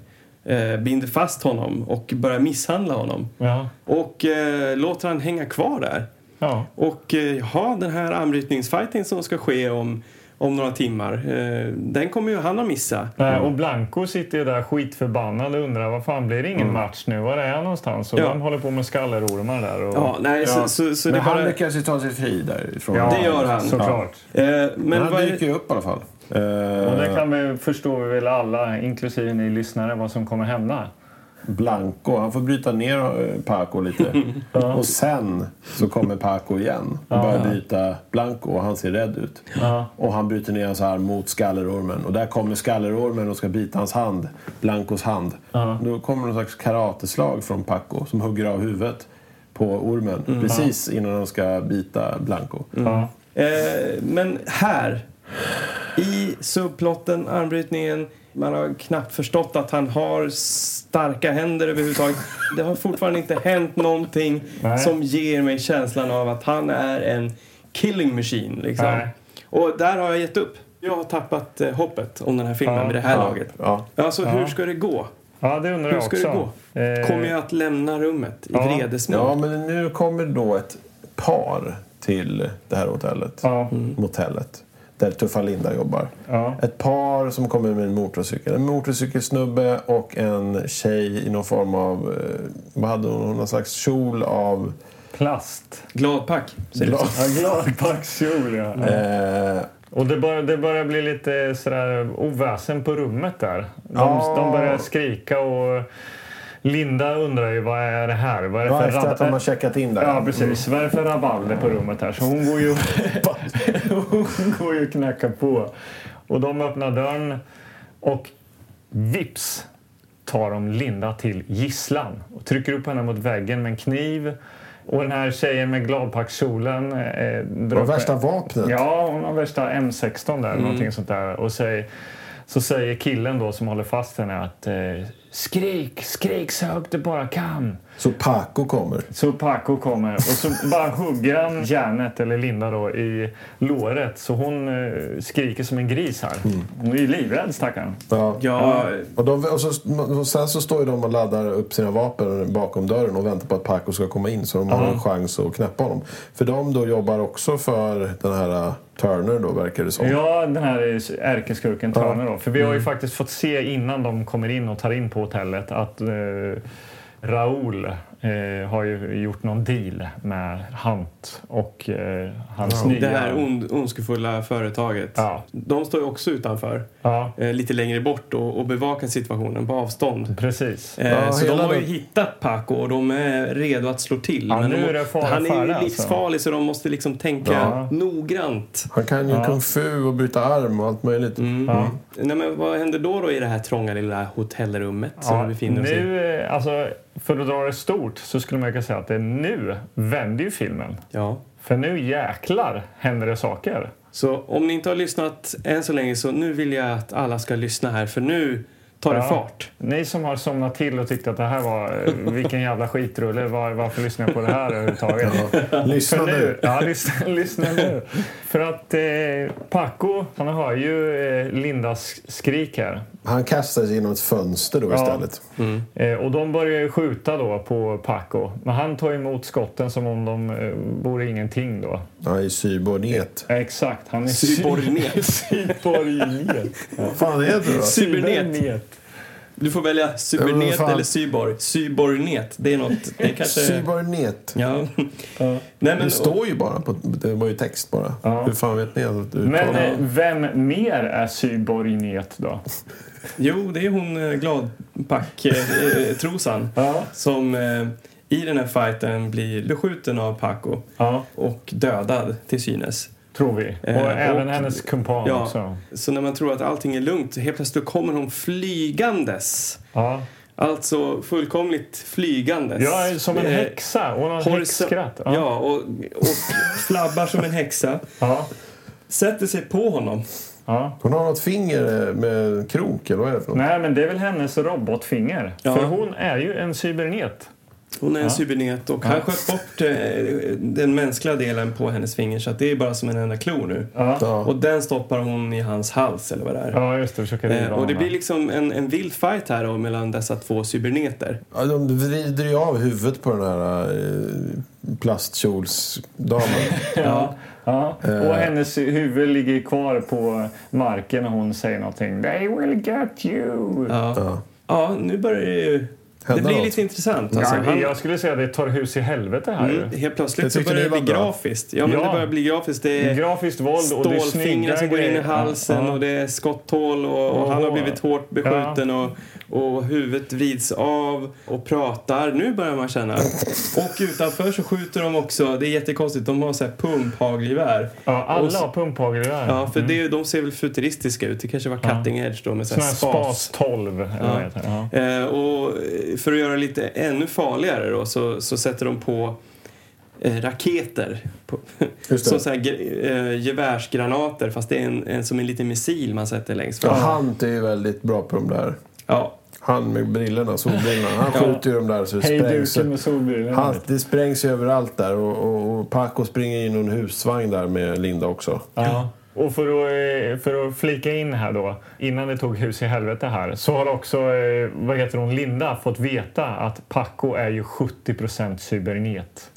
Speaker 1: Eh, binder fast honom och börjar misshandla honom.
Speaker 3: Ja.
Speaker 1: Och eh, låter han hänga kvar där.
Speaker 3: Ja.
Speaker 1: Och eh, ja, den här armbrytningsfighten som ska ske om, om några timmar. Eh, den kommer ju han att missa.
Speaker 3: Nej, och Blanco sitter ju där skitförbannad och undrar vad fan blir det ingen match nu? Var är jag någonstans? Och
Speaker 1: Mm. Ja.
Speaker 3: de håller på med skallerormar där. Och...
Speaker 1: Ja, nej,
Speaker 2: Ja.
Speaker 1: så, så, så
Speaker 2: Men
Speaker 1: det
Speaker 2: han
Speaker 1: bara...
Speaker 2: lyckas ju ta sig fri därifrån.
Speaker 3: Ja,
Speaker 1: det gör han.
Speaker 3: Såklart.
Speaker 1: Eh, men
Speaker 2: Men han
Speaker 1: vad är-
Speaker 2: dyker ju upp i alla fall.
Speaker 3: Och det
Speaker 2: Eh,
Speaker 3: kan vi förstå väl alla, inklusive ni lyssnare, vad som kommer hända.
Speaker 2: Blanco, han får bryta ner eh, Paco lite. Och sen så kommer Paco igen och börjar bryta Blanco och han ser rädd ut. Och han bryter ner hans arm mot skallerormen. Och där kommer skallerormen och ska bita hans hand, Blancos hand. Då kommer någon slags karateslag från Paco som hugger av huvudet på ormen
Speaker 1: Mm.
Speaker 2: precis innan han ska bita Blanco.
Speaker 3: Ja.
Speaker 1: Eh, men här I subplotten, armbrytningen, man har knappt förstått att han har starka händer överhuvudtaget. Det har fortfarande inte hänt någonting
Speaker 3: Nej.
Speaker 1: som ger mig känslan av att han är en killing machine. Liksom.
Speaker 3: Nej.
Speaker 1: Och där har jag gett upp. Jag har tappat eh, hoppet om den här filmen
Speaker 3: Ja,
Speaker 1: vid det här laget.
Speaker 2: Ja.
Speaker 1: Alltså, hur ska det gå?
Speaker 3: Ja, det undrar
Speaker 1: Hur
Speaker 3: jag
Speaker 1: ska
Speaker 3: också.
Speaker 1: det gå?
Speaker 3: Eh,
Speaker 1: Kommer jag att lämna rummet i
Speaker 3: ja.
Speaker 1: vredesmod?
Speaker 2: ja, men nu kommer då ett par till det här hotellet.
Speaker 3: Ja.
Speaker 1: Mm.
Speaker 2: Motellet. Där Tuffa Linda jobbar.
Speaker 3: Ja.
Speaker 2: Ett par som kommer med en motorcykel. En motorcykelsnubbe och en tjej i någon form av... eh, Vad hade hon? Någon slags kjol av...
Speaker 3: Plast.
Speaker 1: Gladpack, ser det Mm. ut som.
Speaker 3: Ja, <laughs> gladpackskjol, ja.
Speaker 2: Eh,
Speaker 3: Och det börjar, det börjar bli lite sådär oväsen på rummet där. De,
Speaker 2: Ja.
Speaker 3: de börjar skrika och Linda undrar ju vad är det här? Vad är det
Speaker 2: ja,
Speaker 3: för
Speaker 2: efter att de har
Speaker 3: rabalder?
Speaker 2: checkat in där.
Speaker 3: Ja, precis. Vad är det för rabalder på rummet här? Så hon går ju <laughs> hon går ju och knackar på. Och de öppnar dörren och vips tar de Linda till gisslan och trycker upp henne mot väggen med en kniv. Och den här tjejen med gladpackkjolen... Eh, drar-
Speaker 2: Och värsta vapnet.
Speaker 3: Ja, hon har värsta M16 där, någonting sånt där. Och säger, så säger killen då som håller fast henne att eh, skrik, skrik så högt du bara kan.
Speaker 2: Så Paco kommer.
Speaker 3: Så Paco kommer och så bara hugger han järnet, eller Linda då, i låret. Så hon eh, skriker som en gris här. Hon är ju livrädd stackarn.
Speaker 2: Ja.
Speaker 1: Ja,
Speaker 2: Och, de, och, så, och sen så står ju de och laddar upp sina vapen bakom dörren och väntar på att Paco ska komma in så de har en chans att knäppa honom. För de då jobbar också för den här uh, Turner då verkar det som.
Speaker 3: Ja, den här ärkeskurken Turner då. För vi har ju faktiskt fått se innan de kommer in och tar in på hotellet att eh, Raoul eh, har ju gjort någon deal med Hunt och eh, hans nya...
Speaker 1: det här ond, ondskefulla företaget.
Speaker 3: Ja.
Speaker 1: De står ju också utanför,
Speaker 3: Ja,
Speaker 1: eh, lite längre bort och, och bevakar situationen på avstånd.
Speaker 3: precis.
Speaker 1: Eh,
Speaker 2: Ja,
Speaker 1: så de
Speaker 2: hela
Speaker 1: har ju
Speaker 2: den-
Speaker 1: hittat Paco och de är redo att slå till.
Speaker 3: Ja,
Speaker 1: de,
Speaker 3: nu är det fara
Speaker 1: han är
Speaker 3: färre,
Speaker 1: ju
Speaker 3: alltså.
Speaker 1: livsfarlig så de måste liksom tänka
Speaker 3: Ja.
Speaker 1: noggrant.
Speaker 2: Han kan ju kung fu och bryta arm och allt möjligt.
Speaker 3: Ja.
Speaker 1: Nej, men vad händer då, då i det här trånga lilla hotellrummet som
Speaker 3: Ja,
Speaker 1: vi befinner oss i?
Speaker 3: nu, eh, alltså, för att dra det stort så skulle man ju kunna säga att det är nu vänder ju filmen.
Speaker 1: Ja.
Speaker 3: För nu jäklar händer det saker.
Speaker 1: Så om ni inte har lyssnat än så länge så nu vill jag att alla ska lyssna här för nu tar det
Speaker 3: Ja.
Speaker 1: fart.
Speaker 3: Ni som har somnat till och tyckte att det här var eh, vilken jävla skitrulle, var, varför lyssnar jag på det här överhuvudtaget? <laughs>
Speaker 2: Lyssna
Speaker 3: För
Speaker 2: nu.
Speaker 3: nu, ja, lyssna, lyssna nu. För att eh, Paco, han hör ju eh, Lindas skrik här.
Speaker 2: Han kastar sig genom ett fönster då istället.
Speaker 1: Mm.
Speaker 3: Eh, och de börjar ju skjuta då på Paco. Men han tar emot skotten som om de eh, vore ingenting då.
Speaker 2: Han är ju cybornet.
Speaker 3: Ja, Exakt, han är <laughs>
Speaker 1: Cyborgnet.
Speaker 3: cyborgnet.
Speaker 2: Vad fan heter det
Speaker 3: <laughs>
Speaker 2: då?
Speaker 1: Cybernet. Du får välja
Speaker 2: Ja, men
Speaker 1: cybernet
Speaker 2: fan.
Speaker 1: eller cyborg. Cyborgnet, det är något. Det är kanske...
Speaker 2: Cybornet.
Speaker 1: Ja. <laughs> Nej, men,
Speaker 2: Det står ju bara på... Det var ju text bara. Hur fan vet ni att du
Speaker 3: Men
Speaker 2: uttalar
Speaker 3: eh, vem mer är cyborgnet då?
Speaker 1: Jo, det är hon eh, gladpack-trosan
Speaker 3: Ja.
Speaker 1: som eh, i den här fighten blir beskjuten av Paco
Speaker 3: Ja,
Speaker 1: och dödad till synes.
Speaker 3: tror vi. Och
Speaker 1: Eh,
Speaker 3: även
Speaker 1: och-
Speaker 3: hennes kumpan
Speaker 1: Ja.
Speaker 3: också.
Speaker 1: Så när man tror att allting är lugnt, helt plötsligt kommer hon flygandes.
Speaker 3: Ja.
Speaker 1: Alltså fullkomligt flygandes.
Speaker 3: Jag är som en
Speaker 1: Eh,
Speaker 3: häxa. Hon har
Speaker 1: horiso-
Speaker 3: häxskratt.
Speaker 1: Ja,
Speaker 3: Ja.
Speaker 1: och, och flabbar som en häxa.
Speaker 3: Ja.
Speaker 1: Sätter sig på honom.
Speaker 3: Ja.
Speaker 2: Hon har något finger eh, med krok eller vad är det för något?
Speaker 3: Nej, men det är väl hennes robotfinger.
Speaker 1: Ja.
Speaker 3: För hon är ju en cybernet.
Speaker 1: Hon är en cybernet och han sköt bort eh, den mänskliga delen på hennes finger så att det är bara som en enda klo nu. Och den stoppar hon i hans hals eller vad det är.
Speaker 3: Ja, just det. Försöker
Speaker 1: Eh,
Speaker 3: riva
Speaker 1: och det
Speaker 3: honom.
Speaker 1: blir liksom en, en vild fight här då, mellan dessa två cyberneter.
Speaker 2: Ja, de vrider ju av huvudet på den här eh,
Speaker 3: <laughs>
Speaker 2: plastkjolsdamen.
Speaker 1: Ja.
Speaker 3: Ja.
Speaker 1: Eh.
Speaker 3: Och hennes huvud ligger kvar på marken när hon säger någonting. They will get you.
Speaker 1: Ja. ja. nu börjar det ju... Det
Speaker 2: Hända
Speaker 1: blir
Speaker 2: något.
Speaker 1: lite intressant. Alltså,
Speaker 3: Ja,
Speaker 1: han,
Speaker 3: jag skulle säga att det tar hus i helvete här. ju.
Speaker 1: Mm, helt
Speaker 2: Det
Speaker 1: plötsligt så
Speaker 2: tyckte
Speaker 1: börjar
Speaker 2: ni
Speaker 1: det bli
Speaker 2: var bra.
Speaker 1: grafiskt. Ja, men
Speaker 3: Ja.
Speaker 1: det börjar bli grafiskt. Det är
Speaker 3: Grafiskt våld och det är
Speaker 1: stålfingrar
Speaker 3: snygga
Speaker 1: som går in i
Speaker 3: grejer.
Speaker 1: halsen
Speaker 3: Ja.
Speaker 1: och det är skotthål och, och han har
Speaker 3: Åh.
Speaker 1: blivit hårt beskjuten och, och huvudet vrids av och pratar. Nu börjar man känna. Och utanför så skjuter de också. Det är jättekonstigt. De har så här pumphagelgevär.
Speaker 3: Ja, Mm.
Speaker 1: Och
Speaker 3: alla
Speaker 1: så-
Speaker 3: har pumphagelgevär.
Speaker 1: Ja, för det, de ser väl futuristiska ut. Det kanske var cutting edge då med så här
Speaker 3: Sån här spas
Speaker 1: spas.
Speaker 3: 12. Eller vad det heter. Ja.
Speaker 1: Eh, och för att göra det lite ännu farligare då så, så sätter de på eh, raketer. På,
Speaker 8: Just
Speaker 1: <laughs>
Speaker 8: det.
Speaker 1: som så här, ge- eh, gevärsgranater fast det är en, en, som en liten missil man sätter längst
Speaker 8: Ja,
Speaker 1: fram.
Speaker 8: han är ju väldigt bra på de där.
Speaker 1: Ja.
Speaker 8: Han med brillorna, solbrillorna. Han skjuter ju de där så det
Speaker 3: Hej
Speaker 8: sprängs.
Speaker 3: duken med solbrillorna.
Speaker 8: Han, det sprängs ju överallt där och, och, och Paco springer in i någon husvagn där med Linda också.
Speaker 3: Ja. Och för att, eh, för att flika in här då, innan det tog hus i helvete här, så har också, eh, vad heter hon, Linda fått veta att Paco är ju 70 cybernet.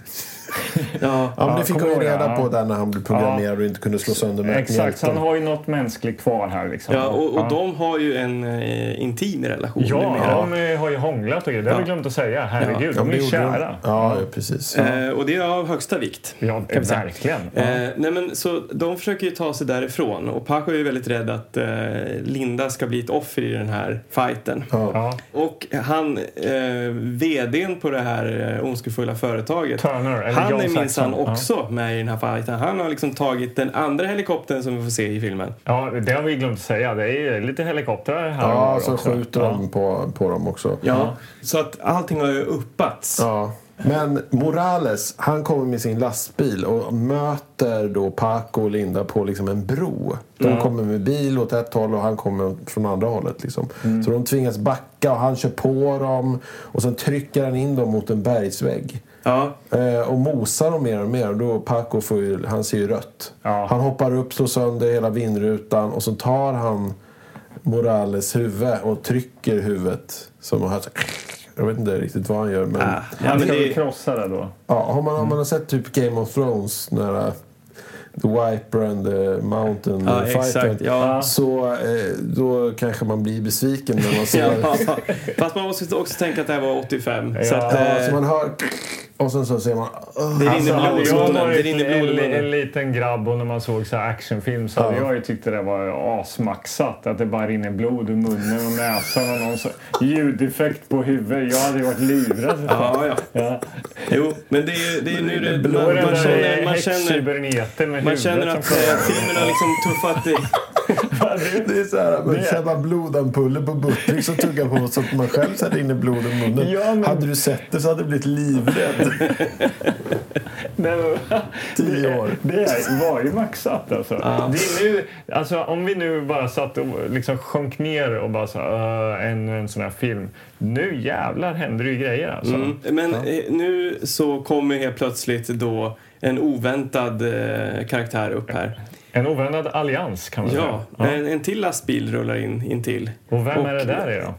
Speaker 1: Ja.
Speaker 8: Ja, men det
Speaker 3: Ja,
Speaker 8: fick hon
Speaker 3: kommer
Speaker 8: ju
Speaker 3: jag ihåg,
Speaker 8: reda
Speaker 3: ja.
Speaker 8: på där när han blev programmerad och inte kunde slå sönder mjölken.
Speaker 3: Exakt, så han har ju något mänskligt kvar här liksom.
Speaker 1: Ja, och, och de har ju en eh, intim relation
Speaker 3: Ja,
Speaker 1: numera.
Speaker 3: de eh, har ju hånglat och grejer. Det har vi
Speaker 1: Ja.
Speaker 3: glömt att säga. Herregud,
Speaker 8: Ja,
Speaker 3: de
Speaker 8: men
Speaker 3: är
Speaker 8: det
Speaker 3: ju
Speaker 8: gjorde de.
Speaker 3: kära.
Speaker 8: Ja, ja, precis.
Speaker 1: Eh, och det är av högsta vikt.
Speaker 3: Ja,
Speaker 1: kan vi säga.
Speaker 3: verkligen. Ja.
Speaker 1: Eh, nej men, så de försöker ju ta sig därifrån och Paco är ju väldigt rädd att eh, Linda ska bli ett offer i den här fighten.
Speaker 3: Ja.
Speaker 1: Och han, eh, vdn på det här eh, ondskefulla företaget,
Speaker 3: Turner, eller
Speaker 1: han
Speaker 3: John
Speaker 1: är minsann
Speaker 3: Saxon. Ja.
Speaker 1: också med i den här fighten. Han har liksom tagit den andra helikoptern som vi får se i filmen.
Speaker 3: ja, det har vi glömt att säga. Det är ju lite helikoptrar här och var
Speaker 8: Ja, så
Speaker 3: också.
Speaker 8: skjuter
Speaker 3: Ja.
Speaker 8: de på, på dem också.
Speaker 1: Ja. Så att allting har ju uppats.
Speaker 8: Ja. Men Morales, han kommer med sin lastbil och möter då Paco och Linda på liksom en bro. De kommer med bil åt ett håll och han kommer från andra hållet. Liksom. Så de tvingas backa och han kör på dem och sen trycker han in dem mot en bergsvägg.
Speaker 1: Ja.
Speaker 8: Eh, och mosar dem mer och mer. Och då Paco får ju, han ser ju rött.
Speaker 3: Ja.
Speaker 8: Han hoppar upp, slår sönder hela vindrutan och så tar han Morales huvud och trycker huvudet. Som han, jag vet inte riktigt vad han gör. Men,
Speaker 1: Ah, ja,
Speaker 3: Han
Speaker 1: men
Speaker 3: ska väl
Speaker 1: det,
Speaker 3: krossa det då.
Speaker 8: ja, har, man, har man har sett typ Game of Thrones när eh, The Viper and the Mountain
Speaker 1: ja,
Speaker 8: eh, fighten.
Speaker 1: exakt. Ja.
Speaker 8: Så eh, då kanske man blir besviken
Speaker 1: <laughs>
Speaker 8: när man ser
Speaker 1: Ja, <laughs> fast man måste också tänka att det här var 85. Så
Speaker 3: Ja.
Speaker 1: att,
Speaker 8: Ja,
Speaker 1: eh,
Speaker 8: så man hör och sen så ser man... "Ugh."
Speaker 1: det
Speaker 3: Alltså,
Speaker 1: rinner blod
Speaker 3: hade
Speaker 1: i
Speaker 3: jag
Speaker 1: munnen. Det
Speaker 3: varit en,
Speaker 1: rinner blod i
Speaker 3: en,
Speaker 1: munnen.
Speaker 3: en liten grabb och när man såg så här actionfilm så hade jag ju tyckt det där var asmaxat. Att det bara rinner blod ur munnen och näsan och någon så, ljudeffekt på huvudet. Jag hade ju varit livrädd.
Speaker 1: Ja, ja.
Speaker 3: Ja.
Speaker 1: Jo, men det är ju det är nu det...
Speaker 3: Blå
Speaker 1: Man, man känner... Man känner
Speaker 3: häxcyberneten med
Speaker 1: man känner
Speaker 3: huvudet
Speaker 1: att
Speaker 3: som
Speaker 1: eh, filmen har liksom tuffat i...
Speaker 8: Det är så här, man känner blodampuller på Buttrick som tuggar på så att man själv sätter in i blod i munnen.
Speaker 3: Ja, men-
Speaker 8: Hade du sett det så hade du blivit livrädd.
Speaker 3: Nej, men-
Speaker 8: Tio år.
Speaker 3: Det är- var ju maxat alltså. Det är nu, alltså. Om vi nu bara satt och liksom sjönk ner och bara så här, "Öh, ännu en sån här film. Nu jävlar händer det ju grejer alltså.
Speaker 1: Mm. Men eh, nu så kommer helt plötsligt då en oväntad eh, karaktär upp här.
Speaker 3: En oväntad allians kan man
Speaker 1: Ja,
Speaker 3: säga.
Speaker 1: En, en till lastbil rullar in, in till.
Speaker 3: Och vem är det där är då?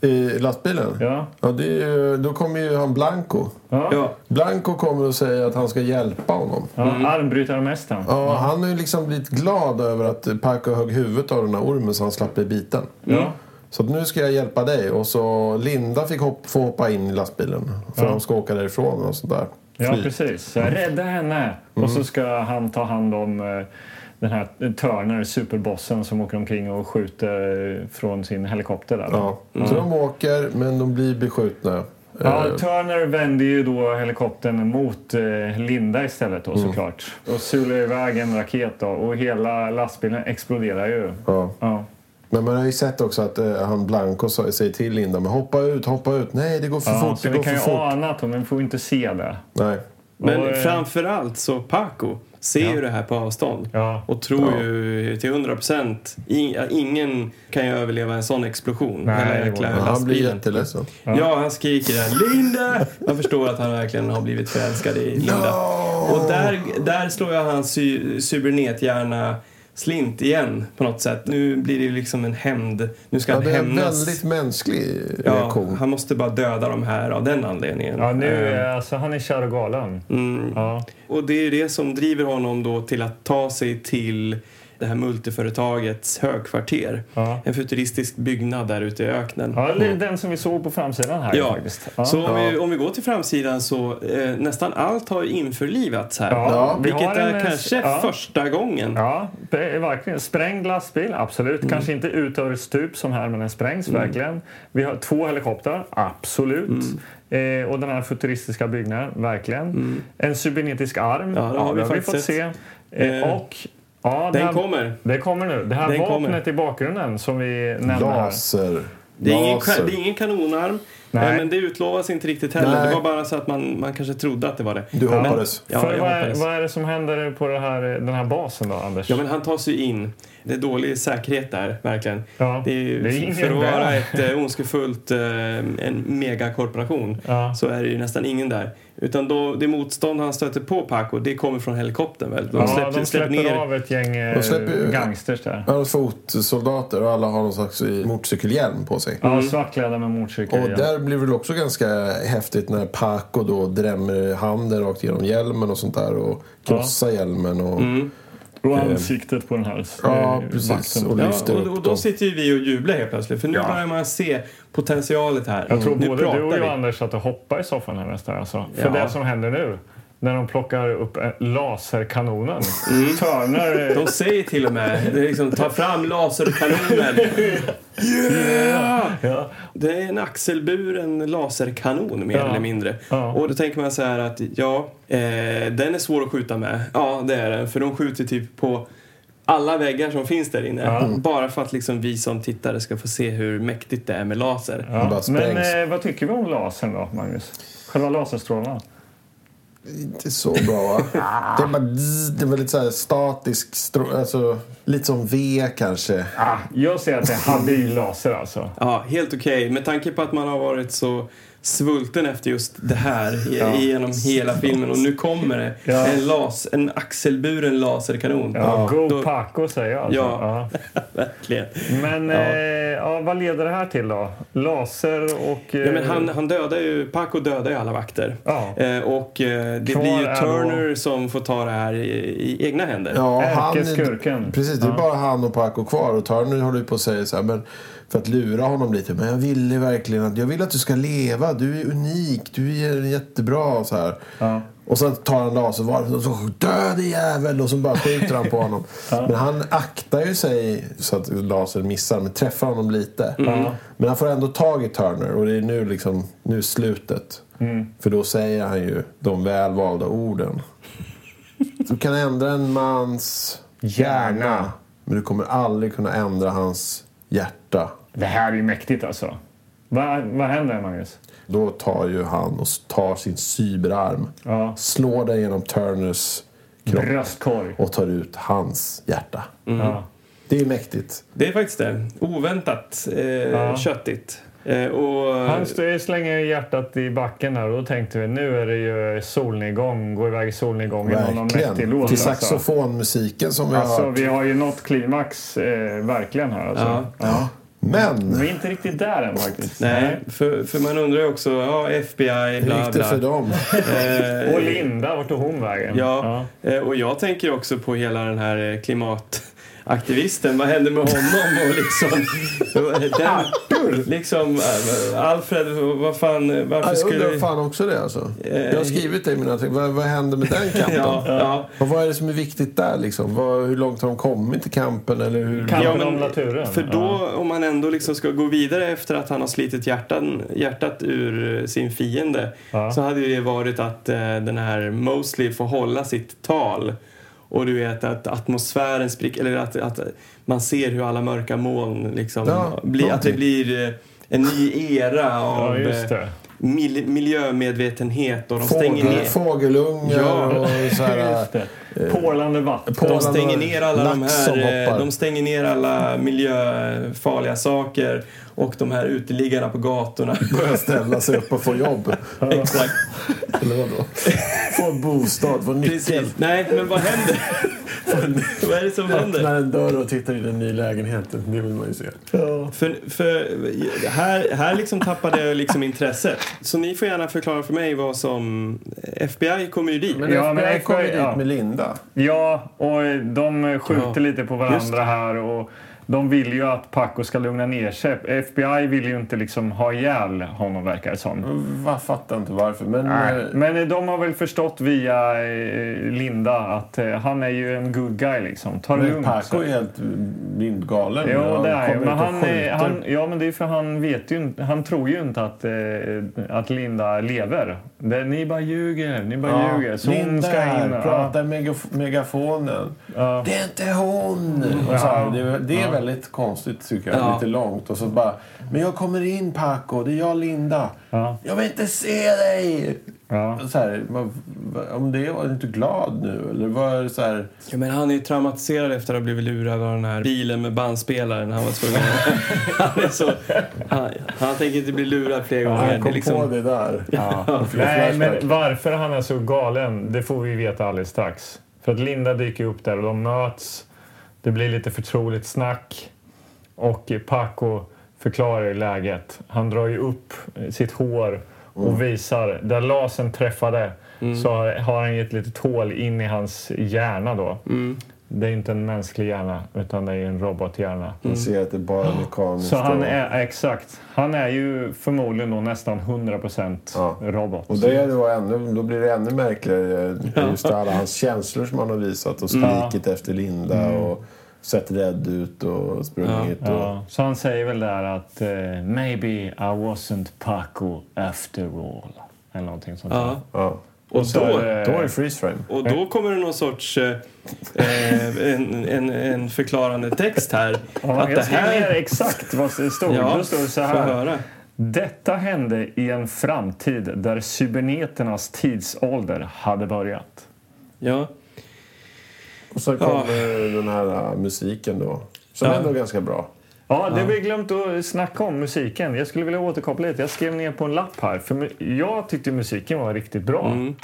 Speaker 8: I lastbilen?
Speaker 3: Ja.
Speaker 8: det är ju, då kommer ju han Blanco.
Speaker 1: Ja,
Speaker 8: Blanco kommer och säger att han ska hjälpa honom.
Speaker 3: Ja, Armbrytarmästaren.
Speaker 8: Ja, Han har ju liksom blivit glad över att Paco högg huvudet av den här ormen så han slapp bli biten.
Speaker 3: Ja.
Speaker 8: Så att nu ska jag hjälpa dig. Och så Linda fick hopp, få hoppa in i lastbilen. För de ska åka därifrån och sånt där.
Speaker 3: Ja,
Speaker 8: Fly.
Speaker 3: precis. Så jag räddar henne. Och så ska han ta hand om eh, den här Turner, superbossen som åker omkring och skjuter eh, från sin helikopter. Där.
Speaker 8: Ja.
Speaker 1: Mm.
Speaker 8: Så de åker, men de blir beskjutna.
Speaker 3: Ja,
Speaker 8: Eh,
Speaker 3: Turner vänder ju då helikoptern mot eh, Linda istället
Speaker 8: Mm.
Speaker 3: då såklart. Och sular iväg en raket då och hela lastbilen exploderar ju.
Speaker 8: ja.
Speaker 3: Ja.
Speaker 8: Men man har ju sett också att eh, han Blanco sa- säger till Linda, men hoppa ut, hoppa ut. Nej, det går för
Speaker 3: Ja,
Speaker 8: fort,
Speaker 3: så
Speaker 8: det
Speaker 3: vi
Speaker 8: går
Speaker 3: kan
Speaker 8: för
Speaker 3: ju
Speaker 8: fort.
Speaker 3: ana att men vi får inte se det.
Speaker 8: Nej.
Speaker 3: Och,
Speaker 1: men
Speaker 3: eh,
Speaker 1: framförallt så Paco ser ju det här på avstånd.
Speaker 3: Ja.
Speaker 1: Och tror ju till 100 procent, ingen kan ju överleva en sån explosion.
Speaker 3: Nej,
Speaker 1: Hela
Speaker 3: det
Speaker 1: jäkla
Speaker 3: går inte.
Speaker 8: Han blir
Speaker 1: lastbilen.
Speaker 8: jätteledsen.
Speaker 1: Ja, han skriker där Linda! Man förstår att han verkligen har blivit förälskad i Linda. Och där, där slår jag hans sy- cybernethjärna slint igen på något sätt. Nu blir det ju liksom en hämnd. Nu ska
Speaker 8: Ja,
Speaker 1: han
Speaker 8: det är en
Speaker 1: hämnas.
Speaker 8: väldigt mänsklig
Speaker 1: ja,
Speaker 8: reaktion.
Speaker 1: han måste bara döda de här av den anledningen.
Speaker 3: Ja, nu
Speaker 1: Eh,
Speaker 3: är alltså, han är kär och galen.
Speaker 8: Mm.
Speaker 3: Ja.
Speaker 1: Och det är ju det som driver honom då till att ta sig till det här multiföretagets högkvarter.
Speaker 3: Ja.
Speaker 1: En futuristisk byggnad där ute i öknen.
Speaker 3: Ja, det är den som vi såg på framsidan här
Speaker 1: Ja.
Speaker 3: faktiskt. Ja.
Speaker 1: Så om vi, om vi går till framsidan så eh, nästan allt har ju införlivats här.
Speaker 3: Ja, Ja. vi
Speaker 1: Vilket
Speaker 3: har en,
Speaker 1: är
Speaker 3: eh,
Speaker 1: kanske
Speaker 3: ja.
Speaker 1: första gången.
Speaker 3: Ja, det är verkligen. Sprängd lastbil, absolut.
Speaker 1: Mm.
Speaker 3: Kanske inte ut över ett stup som här, men den sprängs verkligen. Vi har två helikoptrar, absolut.
Speaker 1: Mm.
Speaker 3: Eh, och den här futuristiska byggnaden, verkligen. En cybernetisk arm,
Speaker 1: Ja, det har vi
Speaker 3: har vi
Speaker 1: faktiskt
Speaker 3: fått se.
Speaker 1: sett.
Speaker 3: Eh,
Speaker 1: Eh,
Speaker 3: och ja, det
Speaker 1: Den
Speaker 3: här-
Speaker 1: kommer.
Speaker 3: Det kommer nu. Det här
Speaker 1: Den
Speaker 3: vapnet
Speaker 1: kommer.
Speaker 3: i bakgrunden som vi nämner här.
Speaker 8: Laser.
Speaker 1: Det är, ingen,
Speaker 8: Laser.
Speaker 1: det är ingen kanonarm. Nej.
Speaker 3: Nej.
Speaker 1: Men det utlovas inte riktigt heller.
Speaker 8: Nej.
Speaker 1: Det var bara så att man, man kanske trodde att det var det.
Speaker 8: Du
Speaker 1: Men-
Speaker 8: hoppades.
Speaker 1: Ja,
Speaker 3: För
Speaker 1: jag
Speaker 3: vad, är,
Speaker 1: hoppades.
Speaker 3: vad är det som händer på det här, den här basen då, Anders?
Speaker 1: Ja, men han tar sig in. Det är dålig säkerhet där, verkligen.
Speaker 3: Ja,
Speaker 1: Det är ju,
Speaker 3: det är ingen
Speaker 1: för att
Speaker 3: bra.
Speaker 1: vara ett eh, ondskefullt, eh, en megakorporation,
Speaker 3: Ja.
Speaker 1: så är det ju nästan ingen där. Utan då, det motstånd han stöter på, Paco, det kommer från helikoptern väl? De
Speaker 3: Ja,
Speaker 1: släpper,
Speaker 3: de
Speaker 1: släpper
Speaker 3: släpper
Speaker 1: ner...
Speaker 3: av ett gäng eh,
Speaker 8: De släpper-
Speaker 3: gangsters där.
Speaker 8: Han har fotsoldater och alla har någon slags motorcykelhjälm på sig.
Speaker 3: Ja, svartklädda med motorcykel.
Speaker 8: Och
Speaker 3: igen.
Speaker 8: där blir det väl också ganska häftigt när Paco då drämmer handen rakt genom hjälmen och sånt där och krossar hjälmen. Och,
Speaker 3: Och ansiktet på den här eh,
Speaker 8: Ja, precis.
Speaker 3: vakten.
Speaker 8: Och lyfter
Speaker 1: ja, och, och
Speaker 8: upp
Speaker 1: då
Speaker 8: dem.
Speaker 1: sitter ju vi och jublar helt plötsligt, för nu börjar man se potentialet här. Mm.
Speaker 3: Jag tror
Speaker 1: nu
Speaker 3: både du och
Speaker 1: pratar vi.
Speaker 3: jag, Anders att du hoppar i soffan här nästan. Alltså. För
Speaker 1: Ja.
Speaker 3: det som händer nu, när de plockar upp eh, laserkanonen. Törnar... eh,
Speaker 1: De säger till och med, det är liksom, ta fram laserkanonen. Yeah!
Speaker 3: Ja.
Speaker 1: Det är en axelburen laserkanon mer
Speaker 3: Ja.
Speaker 1: eller mindre.
Speaker 3: Ja.
Speaker 1: Och då tänker man så här att ja, eh, den är svår att skjuta med. Ja, det är den. För de skjuter typ på alla väggar som finns där inne. Bara för att liksom vi som tittare ska få se hur mäktigt det är med laser.
Speaker 3: Ja.
Speaker 8: bara
Speaker 3: Men
Speaker 8: sprängs.
Speaker 3: eh, vad tycker vi om lasern då, Magnus? Själva laserstrålarna?
Speaker 8: Inte så bra va? det, är bara, zzz, det är väldigt så här statisk strå, alltså, lite som V kanske.
Speaker 3: Ah, jag ser att det är habil laser alltså.
Speaker 1: Ja, helt okej. Med tanke på att man har varit så svulten efter just det här i- genom hela filmen och nu kommer det
Speaker 3: Ja.
Speaker 1: en, las, en axelburen laserkanon.
Speaker 3: Ja, go
Speaker 1: Då-
Speaker 3: Paco säger jag alltså.
Speaker 1: Ja. Verkligen.
Speaker 3: Men eh, ja, vad leder det här till då? Laser och... Eh,
Speaker 1: Ja, men han, han dödar ju, Paco dödar ju alla vakter.
Speaker 3: Ja.
Speaker 1: Eh, och eh, det
Speaker 3: Kvar
Speaker 1: blir ju
Speaker 3: är
Speaker 1: Turner som får ta det här i, i egna händer.
Speaker 8: Ja,
Speaker 3: Ärkeskurken.
Speaker 8: Precis, det är bara han och Paco kvar. Och Turner håller ju på att säga så här, men för att lura honom lite. Men jag ville verkligen att, jag vill att du ska leva. Du är unik, du är jättebra och så här. Och sen tar han laservapnet och så död i jävel och så bara skjuter han på honom. Men han aktar ju sig så att lasern missar, men träffar honom lite. Men han får ändå tag i Turner och det är nu liksom, nu är slutet. För då säger han ju de välvalda orden. Du kan ändra en mans hjärna. Men du kommer aldrig kunna ändra hans hjärta.
Speaker 3: Det här är ju mäktigt alltså. Vad, vad händer Magnus?
Speaker 8: Då tar ju han och tar sin cyberarm.
Speaker 3: Ja.
Speaker 8: Slår den genom Turners kropp.
Speaker 3: Bröstkorg.
Speaker 8: Och tar ut hans hjärta.
Speaker 3: Ja.
Speaker 8: Det är mäktigt.
Speaker 1: Det är faktiskt det. Oväntat eh, köttigt. Eh, och,
Speaker 3: Han st- slänger hjärtat i backen där och då tänkte vi nu är det ju solnedgång, gå iväg i solnedgången och någon mäktig
Speaker 8: Verkligen.
Speaker 3: låt.
Speaker 8: Till
Speaker 3: alltså.
Speaker 8: saxofonmusiken som vi har
Speaker 3: Alltså,
Speaker 8: hört.
Speaker 3: vi har ju nått klimax eh, verkligen här alltså.
Speaker 1: Ja.
Speaker 8: Men!
Speaker 3: Vi är inte riktigt där än faktiskt.
Speaker 1: nej, för, för man undrar ju också, ja, FBI,
Speaker 8: Hur
Speaker 1: bla
Speaker 8: gick det
Speaker 1: bla.
Speaker 8: för dem?
Speaker 1: Eh,
Speaker 3: Och Linda, vart tog hon vägen?
Speaker 8: Mm.
Speaker 1: Ja, eh, och jag tänker ju också på hela den här eh, klimataktivisten. Vad hände med honom? Och
Speaker 8: <laughs>
Speaker 1: liksom, den, liksom eh, Alfred, vad fan, eh, varför
Speaker 8: Jag
Speaker 1: skulle...
Speaker 8: undrar fan också det alltså.
Speaker 3: Eh,
Speaker 8: Jag har skrivit det i mina artiklar. Vad, vad händer med
Speaker 3: <laughs>
Speaker 8: den kampen?
Speaker 1: Ja, ja.
Speaker 8: Och vad är det som är viktigt där liksom? Vad, hur långt har de kommit i kampen? Eller hur...
Speaker 3: Kampen
Speaker 1: Ja, men-
Speaker 3: om naturen.
Speaker 1: För då, om man ändå liksom ska gå vidare efter att han har slitit hjärtan, hjärtat ur eh, sin fiende
Speaker 3: Ja.
Speaker 1: så hade ju det varit att eh, den här Mosley får hålla sitt tal och du vet att atmosfären spricker, eller att, att man ser hur alla mörka moln liksom,
Speaker 8: Ja,
Speaker 1: blir, att det
Speaker 8: någonting.
Speaker 1: blir eh, en ny era
Speaker 3: Ja,
Speaker 1: av
Speaker 3: just
Speaker 1: eh,
Speaker 3: det.
Speaker 1: mil, miljömedvetenhet och de stänger
Speaker 8: Fågel,
Speaker 1: ner.
Speaker 8: fågelungar
Speaker 1: Ja.
Speaker 8: och så här...
Speaker 3: Just det.
Speaker 8: Eh,
Speaker 3: Porlande vatten.
Speaker 8: På-
Speaker 1: De stänger ner alla de
Speaker 8: Lax som
Speaker 1: här, eh,
Speaker 8: hoppar.
Speaker 1: de
Speaker 8: <laughs>
Speaker 1: stänger ner alla miljöfarliga saker och de här uteliggarna på
Speaker 8: <laughs>
Speaker 1: gatorna.
Speaker 8: Börja ställa sig upp och få jobb.
Speaker 1: Exakt.
Speaker 8: Eller vadå? Få en bostad, få nyckel.
Speaker 1: Precis. Nej, men vad händer? <laughs> vad är det som händer?
Speaker 8: Öppnar en dörr och tittar in i en ny lägenhet. Det vill man ju se.
Speaker 1: För, för här, här liksom tappade jag liksom intresset. Så ni får gärna förklara för mig vad som... eh, FBI kommer ju dit.
Speaker 8: Men
Speaker 3: Ja,
Speaker 8: ja,
Speaker 3: men
Speaker 8: men jag kommer
Speaker 3: FBI,
Speaker 8: dit
Speaker 3: ja.
Speaker 8: med Linda.
Speaker 3: Ja, och eh, de skjuter
Speaker 1: Ja.
Speaker 3: lite på
Speaker 1: Just
Speaker 3: varandra här och de vill ju att Paco ska lugna ner sig. FBI vill ju inte liksom ha ihjäl honom verkar det som.
Speaker 8: Jag fattar inte varför, men...
Speaker 3: Nej,
Speaker 8: eh,
Speaker 3: Men eh, de har väl förstått via eh, Linda att eh, han är ju en good guy liksom. Ta det
Speaker 8: men
Speaker 3: lugnt.
Speaker 8: Paco är helt blindgalen.
Speaker 3: Jo,
Speaker 8: Han
Speaker 3: det är ju.
Speaker 8: kommer
Speaker 3: Men
Speaker 8: ut och
Speaker 3: han, eh,
Speaker 8: skjuter.
Speaker 3: han, ja, men det är för han vet ju inte, han tror ju inte att, eh, att Linda lever. Det, ni bara ljuger, ni bara
Speaker 8: Ja.
Speaker 3: ljuger. Så hon
Speaker 8: Linda
Speaker 3: ska
Speaker 8: här,
Speaker 3: in. ja.
Speaker 8: prata i megaf- megafonen. Det är inte hon! Och så här, det, det väldigt konstigt tycker jag.
Speaker 1: Ja.
Speaker 8: Lite långt. Och så bara, men jag kommer in Paco, det är jag Linda.
Speaker 9: Ja.
Speaker 8: Jag vill inte se dig!
Speaker 9: Ja.
Speaker 8: Så här, man, om det var inte glad nu eller var det så här...
Speaker 1: Ja, men han är ju traumatiserad efter att ha blivit lurad av den här bilen med bandspelaren. Han var tvungen <laughs> han, är så, han, han tänker inte bli lurad fler gånger.
Speaker 8: Han
Speaker 1: Det
Speaker 8: kom
Speaker 1: är liksom-
Speaker 8: på det där. <laughs> Jag fick
Speaker 3: Nej,
Speaker 8: flashback.
Speaker 3: men varför han är så galen, det får vi veta alldeles strax. För att Linda dyker upp där och de möts. Det blir lite förtroligt snack. Och Paco förklarar ju läget. Han drar ju upp sitt hår
Speaker 8: Mm.
Speaker 3: och visar. Där lasern träffade så har- har han ju ett litet hål in i hans hjärna då.
Speaker 8: Mm.
Speaker 3: Det är inte en mänsklig hjärna, utan det är en robothjärna.
Speaker 8: Man ser att det är bara mekaniskt.
Speaker 3: Så han
Speaker 8: och-
Speaker 3: är, exakt. Han är ju förmodligen då nästan 100%
Speaker 8: Ja.
Speaker 3: robot.
Speaker 8: Och det är då, ännu, då blir det ännu märkligare. eh, Just alla hans känslor som han har visat och skrikit efter Linda
Speaker 1: Mm.
Speaker 8: och sett rädd ut och sprungit. Och,
Speaker 3: Ja, så han säger väl där att eh, maybe I wasn't Paco after all. Eller någonting sånt där.
Speaker 1: Ja.
Speaker 8: ja.
Speaker 1: Och
Speaker 3: Så,
Speaker 1: då,
Speaker 3: eh,
Speaker 8: Då är det freeze frame.
Speaker 1: och då kommer det någon sorts eh, eh, en, en, en förklarande text här.
Speaker 3: Ja,
Speaker 1: att det
Speaker 3: jag skrev ner
Speaker 1: här...
Speaker 3: exakt vad det stod.
Speaker 1: Ja,
Speaker 3: Då stod det så
Speaker 1: får jag
Speaker 3: här.
Speaker 1: höra.
Speaker 3: Detta hände i en framtid där cyberneternas tidsålder hade börjat.
Speaker 1: Ja.
Speaker 8: Och så kommer den här äh, musiken då. Som
Speaker 1: Ja.
Speaker 8: är ändå ganska bra.
Speaker 3: Ja, det har vi glömt att snacka om musiken. Jag skulle vilja återkoppla lite. Jag skrev ner på en lapp här. För mu- jag tyckte musiken var riktigt bra.
Speaker 1: Mm.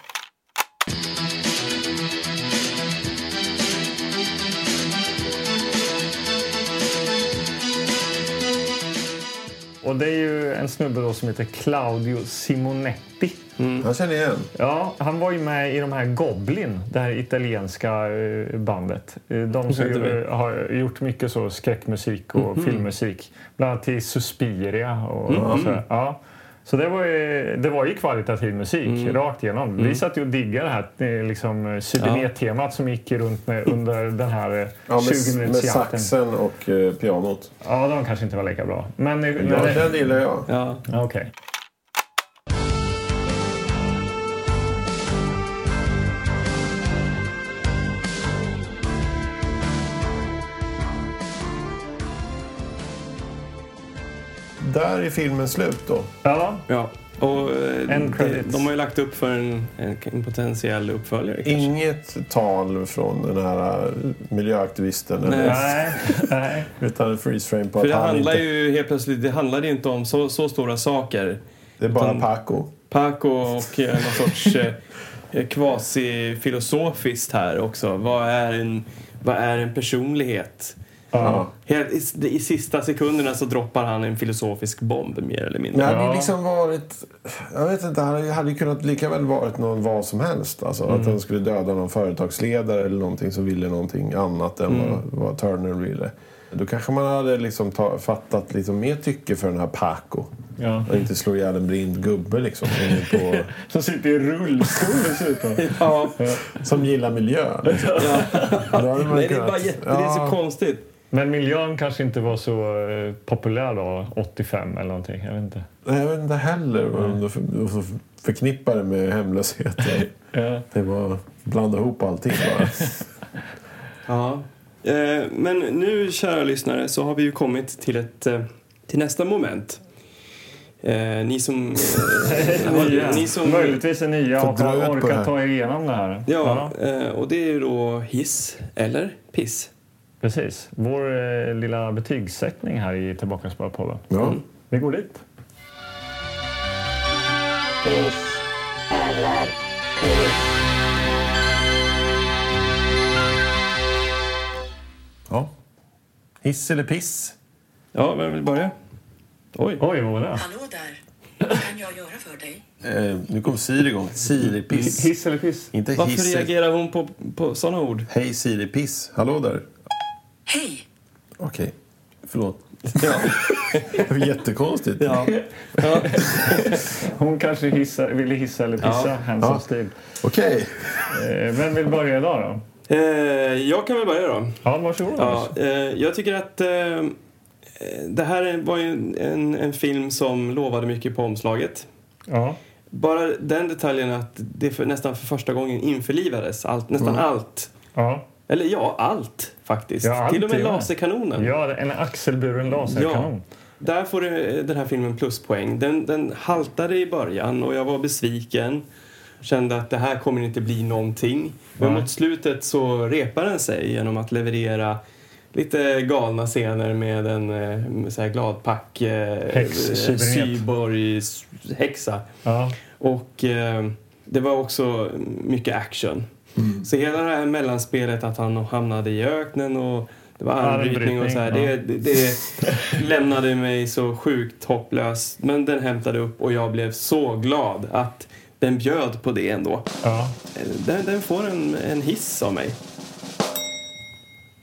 Speaker 3: Och det är ju en snubbe då som heter Claudio Simonetti.
Speaker 1: Mm.
Speaker 8: Han känner igen.
Speaker 3: Ja, han var ju med i de här Goblin, det här italienska eh, bandet. Eh, De som
Speaker 1: heter
Speaker 3: ju, har gjort mycket så skräckmusik och
Speaker 8: Mhm.
Speaker 3: filmmusik. Bland annat till Suspiria och och så. Ja. Så det var, ju, det var ju kvalitativ musik
Speaker 8: Mm.
Speaker 3: rakt igenom. Vi satt ju och diggade det här eh, liksom, cybernet-temat som gick runt med, under den här eh,
Speaker 8: Ja, med, med
Speaker 3: 20-minutersjakten.
Speaker 8: saxen och eh, pianot.
Speaker 3: Ja, de kanske inte var lika bra. Men, eh,
Speaker 8: Ja,
Speaker 3: när det-
Speaker 8: den gillar jag.
Speaker 1: Ja.
Speaker 3: Ja, Okej.
Speaker 8: Där är filmen slut då.
Speaker 3: Ja,
Speaker 1: ja. Och, eh,
Speaker 3: End
Speaker 1: de,
Speaker 3: credits.
Speaker 1: de har ju lagt upp för en, en potentiell uppföljare. kanske.
Speaker 8: Inget tal från den här äh, miljöaktivisten. Eller,
Speaker 3: nej,
Speaker 8: <laughs>
Speaker 3: nej.
Speaker 8: utan en freeze frame på
Speaker 1: För
Speaker 8: att
Speaker 1: det
Speaker 8: han
Speaker 1: handlar
Speaker 8: inte...
Speaker 1: ju helt plötsligt det handlar ju inte om så, så stora saker.
Speaker 8: Det är bara
Speaker 1: utan-
Speaker 8: Paco.
Speaker 1: Paco och eh, någon sorts eh, eh, kvasi-filosofiskt här också. Vad är en, vad är en personlighet?
Speaker 8: Ja.
Speaker 1: Helt, i, I sista sekunderna så droppar han en filosofisk bomb mer eller
Speaker 8: Men
Speaker 1: mindre.
Speaker 8: han hade
Speaker 3: Ja.
Speaker 8: ju liksom varit... Jag vet inte, han hade ju- hade ju kunnat lika väl varit någon vad som helst. Alltså
Speaker 1: Mm.
Speaker 8: att han skulle döda någon företagsledare eller någonting som ville någonting annat än vad,
Speaker 1: Mm.
Speaker 8: vad Turner ville. Då kanske man hade liksom ta, fattat lite mer tycke för den här Paco.
Speaker 3: Ja.
Speaker 8: Och inte slå ihjäl en blind gubbe liksom. inne På,
Speaker 1: <laughs>
Speaker 3: Som sitter i rullstol dessutom.
Speaker 1: Ja,
Speaker 8: som gillar miljö. Liksom. Då hade
Speaker 1: nej,
Speaker 8: man
Speaker 1: det är
Speaker 8: kunnat-
Speaker 1: bara jätte, det är så konstigt.
Speaker 3: Men miljön kanske inte var så eh, populär då, 85 eller någonting. Jag vet inte.
Speaker 8: Nej, jag vet inte heller vad
Speaker 1: Mm.
Speaker 8: de för- vad de förknippar det med hemlöshet.
Speaker 3: Ja.
Speaker 8: Det var blanda ihop allting
Speaker 1: <laughs>
Speaker 8: bara.
Speaker 1: Ja. Eh, men nu, kära lyssnare, så har vi ju kommit till, ett, eh, till nästa moment. Eh, ni <laughs> som... Eh, har, ni som
Speaker 3: Möjligtvis är nya
Speaker 8: Får
Speaker 3: och
Speaker 8: dra ut
Speaker 3: har
Speaker 8: på det här.
Speaker 3: orkat ta er igenom det här.
Speaker 1: ja, eh, och det är ju då hiss eller piss.
Speaker 3: Precis. Vår eh, lilla betygssättning här i Tillbaka till podden.
Speaker 8: Ja.
Speaker 3: Vi går dit.
Speaker 8: ja. Hiss eller piss?
Speaker 1: Ja, vem vill börja? Oj.
Speaker 3: Oj, vad var det?
Speaker 10: Hallå där. Vad kan jag göra för dig?
Speaker 8: Eh, nu kom Siri igång. Siri-piss.
Speaker 3: Hiss eller piss?
Speaker 8: Inte
Speaker 1: Varför
Speaker 8: hiss.
Speaker 1: reagerar hon på, på sådana ord?
Speaker 8: Hej Siri-piss. Hallå där.
Speaker 10: Hej!
Speaker 8: Okej. Förlåt. <laughs> det var jättekonstigt.
Speaker 1: Ja. ja.
Speaker 3: Hon kanske hissa, ville hissa eller pissa.
Speaker 1: Ja.
Speaker 3: Handsome
Speaker 8: Ja.
Speaker 3: Steve.
Speaker 8: Okej.
Speaker 3: Eh, Vem vill börja idag då?
Speaker 1: Eh, jag kan väl börja då.
Speaker 3: Ja, varsågod.
Speaker 1: Ja,
Speaker 3: Ja.
Speaker 1: eh, jag tycker att eh, det här var ju en, en, en film som lovade mycket på omslaget.
Speaker 3: Ja.
Speaker 1: Bara den detaljen att
Speaker 3: Mm.
Speaker 1: det för, nästan för första gången införlivades allt, nästan allt.
Speaker 3: ja.
Speaker 1: Eller ja, allt faktiskt.
Speaker 3: Ja, allt
Speaker 1: Till och med
Speaker 3: är med.
Speaker 1: laserkanonen.
Speaker 3: Ja, en axelburen laserkanon.
Speaker 1: Där får det- den här filmen pluspoäng. Den, den haltade i början och jag var besviken. Kände att det här kommer inte bli någonting. Men
Speaker 3: Nej.
Speaker 1: mot slutet så repar den sig genom att leverera lite galna scener med en eh, med så här gladpack eh,
Speaker 3: Häx,
Speaker 1: eh,
Speaker 3: cybernet.
Speaker 1: cyborg s- häxa.
Speaker 3: Ja.
Speaker 1: Och eh, det var också mycket action. Så hela det här mellanspelet att han hamnade i öknen och det var armbrytning och så här. Det, det, det lämnade mig så sjukt hopplös. Men den hämtade upp och jag blev så glad att den bjöd på det ändå.
Speaker 3: Ja.
Speaker 1: Eh, Den, den får en, en hiss av mig.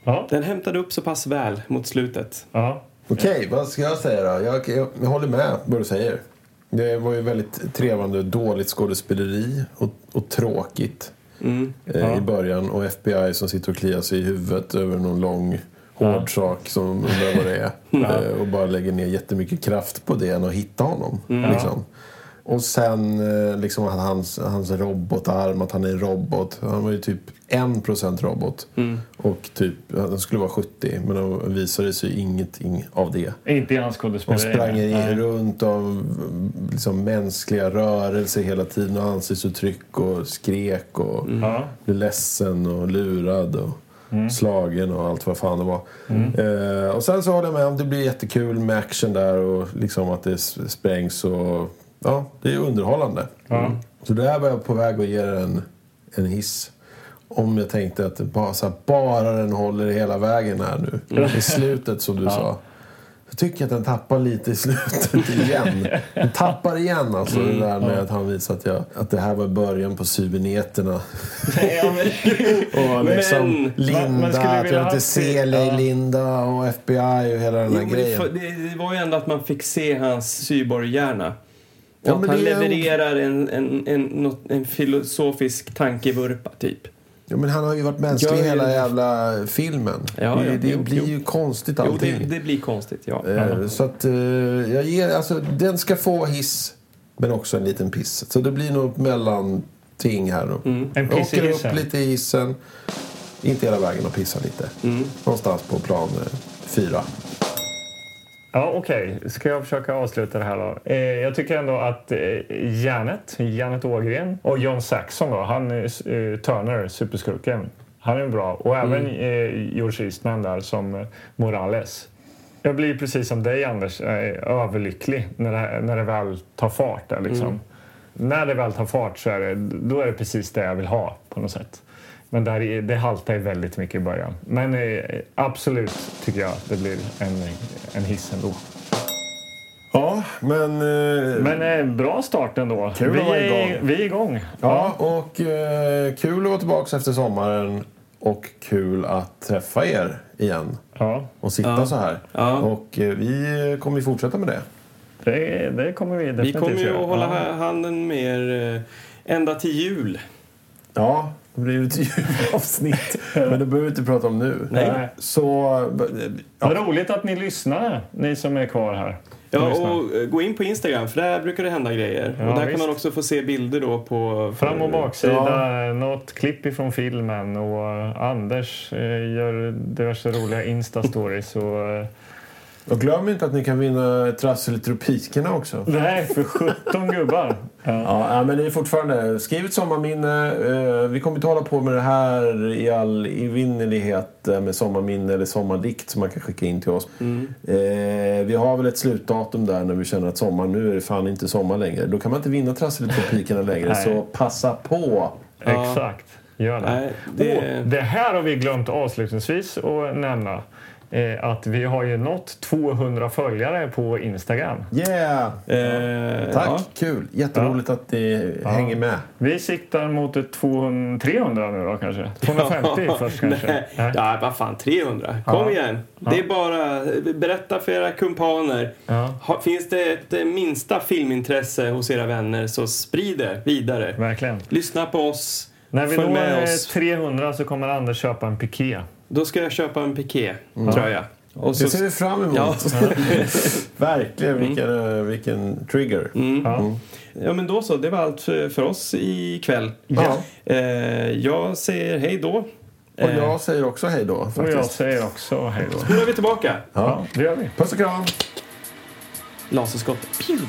Speaker 3: Ja.
Speaker 1: Den hämtade upp så pass väl mot slutet.
Speaker 3: ja.
Speaker 8: Okej, vad ska jag säga då? Jag, jag, jag håller med vad du säger. Det var ju väldigt trevande, dåligt skådespeleri och, och tråkigt eh, i början. Och FBI som sitter och kliar sig i huvudet över någon lång hård sak som undrar vad det är. eh, och bara lägger ner jättemycket kraft på det än att hitta honom. Liksom. Och sen eh, liksom att hans, hans robotarm, att han är en robot. Han var ju typ 1% robot. Och typ, han skulle vara 70 men då visade det sig ingenting av det.
Speaker 2: Inte i hans
Speaker 8: De
Speaker 2: skådespeleri.
Speaker 8: sprang in runt av liksom, mänskliga rörelser hela tiden och ansiktsuttryck och skrek och
Speaker 3: Ja.
Speaker 8: blev ledsen och lurad och slagen och allt vad fan det var. Eh, och sen så håller jag med om det blir jättekul med action där och liksom att det s- sprängs och ja, det är underhållande. Så det här var jag på väg att ge en, en hiss. Om jag tänkte att det bara, så här, bara den håller hela vägen här nu.
Speaker 1: Mm.
Speaker 8: I
Speaker 1: <laughs>
Speaker 8: slutet som du sa. Jag tycker att den tappar lite
Speaker 1: <laughs>
Speaker 8: i slutet igen. Den tappar igen alltså
Speaker 1: Mm,
Speaker 8: det där med att han visar att, jag, att det här var början på cyberneterna.
Speaker 3: Ja, men-
Speaker 8: <laughs> Och liksom
Speaker 1: Men-
Speaker 8: Linda,
Speaker 3: man- man skulle
Speaker 8: att
Speaker 3: vilja
Speaker 8: jag inte
Speaker 3: ha-
Speaker 8: ser dig
Speaker 3: ja.
Speaker 8: Linda och FBI och hela den
Speaker 1: Jo,
Speaker 8: här
Speaker 1: men det,
Speaker 8: grejen.
Speaker 1: för- det, det var ju ändå att man fick se hans cyborghjärna.
Speaker 8: Ja,
Speaker 1: att
Speaker 8: men
Speaker 1: han
Speaker 8: det är-
Speaker 1: levererar en, en, en, något- en filosofisk tankevurpa, typ.
Speaker 8: Ja, men han har ju varit mänsklig
Speaker 1: Jag är-
Speaker 8: hela jävla filmen.
Speaker 1: Ja,
Speaker 8: det
Speaker 1: ja,
Speaker 8: det
Speaker 1: jo,
Speaker 8: blir
Speaker 1: jo.
Speaker 8: ju konstigt
Speaker 1: Jo,
Speaker 8: allting.
Speaker 1: det, det blir konstigt, ja.
Speaker 8: Eh, Så att eh, jag ger, alltså den ska få hiss men också en liten piss. Så det blir nog mellanting här då.
Speaker 2: Mm. En
Speaker 8: Jag
Speaker 2: piss i
Speaker 8: åker upp
Speaker 2: hissen.
Speaker 8: lite i isen, inte hela vägen och pissar lite.
Speaker 2: Mm.
Speaker 8: Någonstans på plan eh, fyra.
Speaker 3: Ja, okej. Ska jag försöka avsluta det här då? Eh, jag tycker ändå att eh, Janet, Janet Ågren och John Saxon då, han är s- eh, Turner, superskurken. Han är bra. Och även eh, George Eastman där som eh, Morales. Jag blir precis som dig Anders, eh, överlycklig när det, här, när det väl tar fart där liksom. När det väl tar fart så är det, då är det precis det jag vill ha på något sätt. Men där, är- det haltar ju väldigt mycket i början. Men eh, absolut tycker jag att det blir en, en hiss ändå.
Speaker 8: Ja, men... eh,
Speaker 2: Men eh, bra start ändå.
Speaker 8: Kul
Speaker 2: vi,
Speaker 8: att vara
Speaker 2: är,
Speaker 8: igång.
Speaker 2: vi är igång.
Speaker 8: ja, och eh, kul att vara tillbaka efter sommaren och kul att träffa er igen
Speaker 2: Ja,
Speaker 8: och sitta så här.
Speaker 1: Ja.
Speaker 8: Och eh, vi kommer ju fortsätta med det.
Speaker 2: det, det kommer vi
Speaker 1: Vi
Speaker 2: definitivt
Speaker 1: kommer ju
Speaker 2: göra.
Speaker 1: att hålla
Speaker 2: Ja.
Speaker 1: här handen med er eh, ända till jul.
Speaker 8: Ja, det
Speaker 2: <laughs>
Speaker 8: blir ju ett julavsnitt. men det behöver vi inte prata om nu.
Speaker 2: Nej.
Speaker 8: Så... eh, Ja.
Speaker 2: Vad roligt att ni lyssnar, ni som är kvar här.
Speaker 1: Ja,
Speaker 2: Lyssna.
Speaker 1: och eh, gå in på Instagram, för där brukar det hända grejer.
Speaker 2: Ja,
Speaker 1: och där
Speaker 2: visst.
Speaker 1: kan man också få se bilder då på...
Speaker 3: Fram och baksida, något klipp ifrån filmen och eh, Anders eh, gör diverse roliga instastories. Och,
Speaker 8: <laughs>
Speaker 3: eh,
Speaker 8: Och glöm inte att ni kan vinna trassel i tropikerna också.
Speaker 3: det här är för 17 gubbar. Ja.
Speaker 8: Ja, ja, men det är fortfarande... Skriv ett sommarminne. Eh, vi kommer inte hålla på med det här i all evinnerlighet eh, med sommarminne eller sommardikt som man kan skicka in till oss. Eh, vi har väl ett slutdatum där när vi känner att sommar, nu är det fan inte sommar längre. Då kan man inte vinna trassel i tropikerna längre,
Speaker 3: Nej.
Speaker 8: så passa på!
Speaker 3: Exakt, gör det.
Speaker 1: Nej,
Speaker 3: det...
Speaker 1: det-
Speaker 3: Och det här har vi glömt avslutningsvis att nämna. Eh, att vi har ju nått 200 följare på Instagram.
Speaker 8: Yeah!
Speaker 1: Eh,
Speaker 8: Tack,
Speaker 1: Ja.
Speaker 8: kul! Jätteroligt att ni hänger med.
Speaker 3: Vi siktar mot ett 200, 300 nu då kanske? 250
Speaker 1: <laughs>
Speaker 3: först kanske?
Speaker 1: Nej.
Speaker 3: Nej.
Speaker 1: Ja, vad fan, 300. Kom
Speaker 3: Ja.
Speaker 1: igen. Det är bara... Berätta för era kumpaner.
Speaker 3: Ja.
Speaker 1: Ha- Finns det ett eh, minsta filmintresse hos era vänner så sprid det vidare.
Speaker 3: Verkligen.
Speaker 1: Lyssna på oss.
Speaker 3: När vi
Speaker 1: Följ med
Speaker 3: når eh,
Speaker 1: oss.
Speaker 3: 300 så kommer Anders köpa en piké.
Speaker 1: Då ska jag köpa en piké,
Speaker 3: Mm.
Speaker 1: tror jag. Och
Speaker 8: Det
Speaker 1: så
Speaker 8: ser vi fram emot!
Speaker 1: Ja. <laughs>
Speaker 8: Verkligen, vilken, eh, vilken trigger!
Speaker 1: Ja, men då så. Det var allt för, för oss ikväll.
Speaker 8: Ja.
Speaker 1: Eh, jag säger hej då.
Speaker 2: Och jag säger också hej då.
Speaker 3: Och jag
Speaker 2: Faktiskt.
Speaker 3: säger också hej då.
Speaker 1: Nu är vi tillbaka.
Speaker 3: Ja, det gör vi.
Speaker 2: Puss och kram!
Speaker 1: Laserskott. Pew!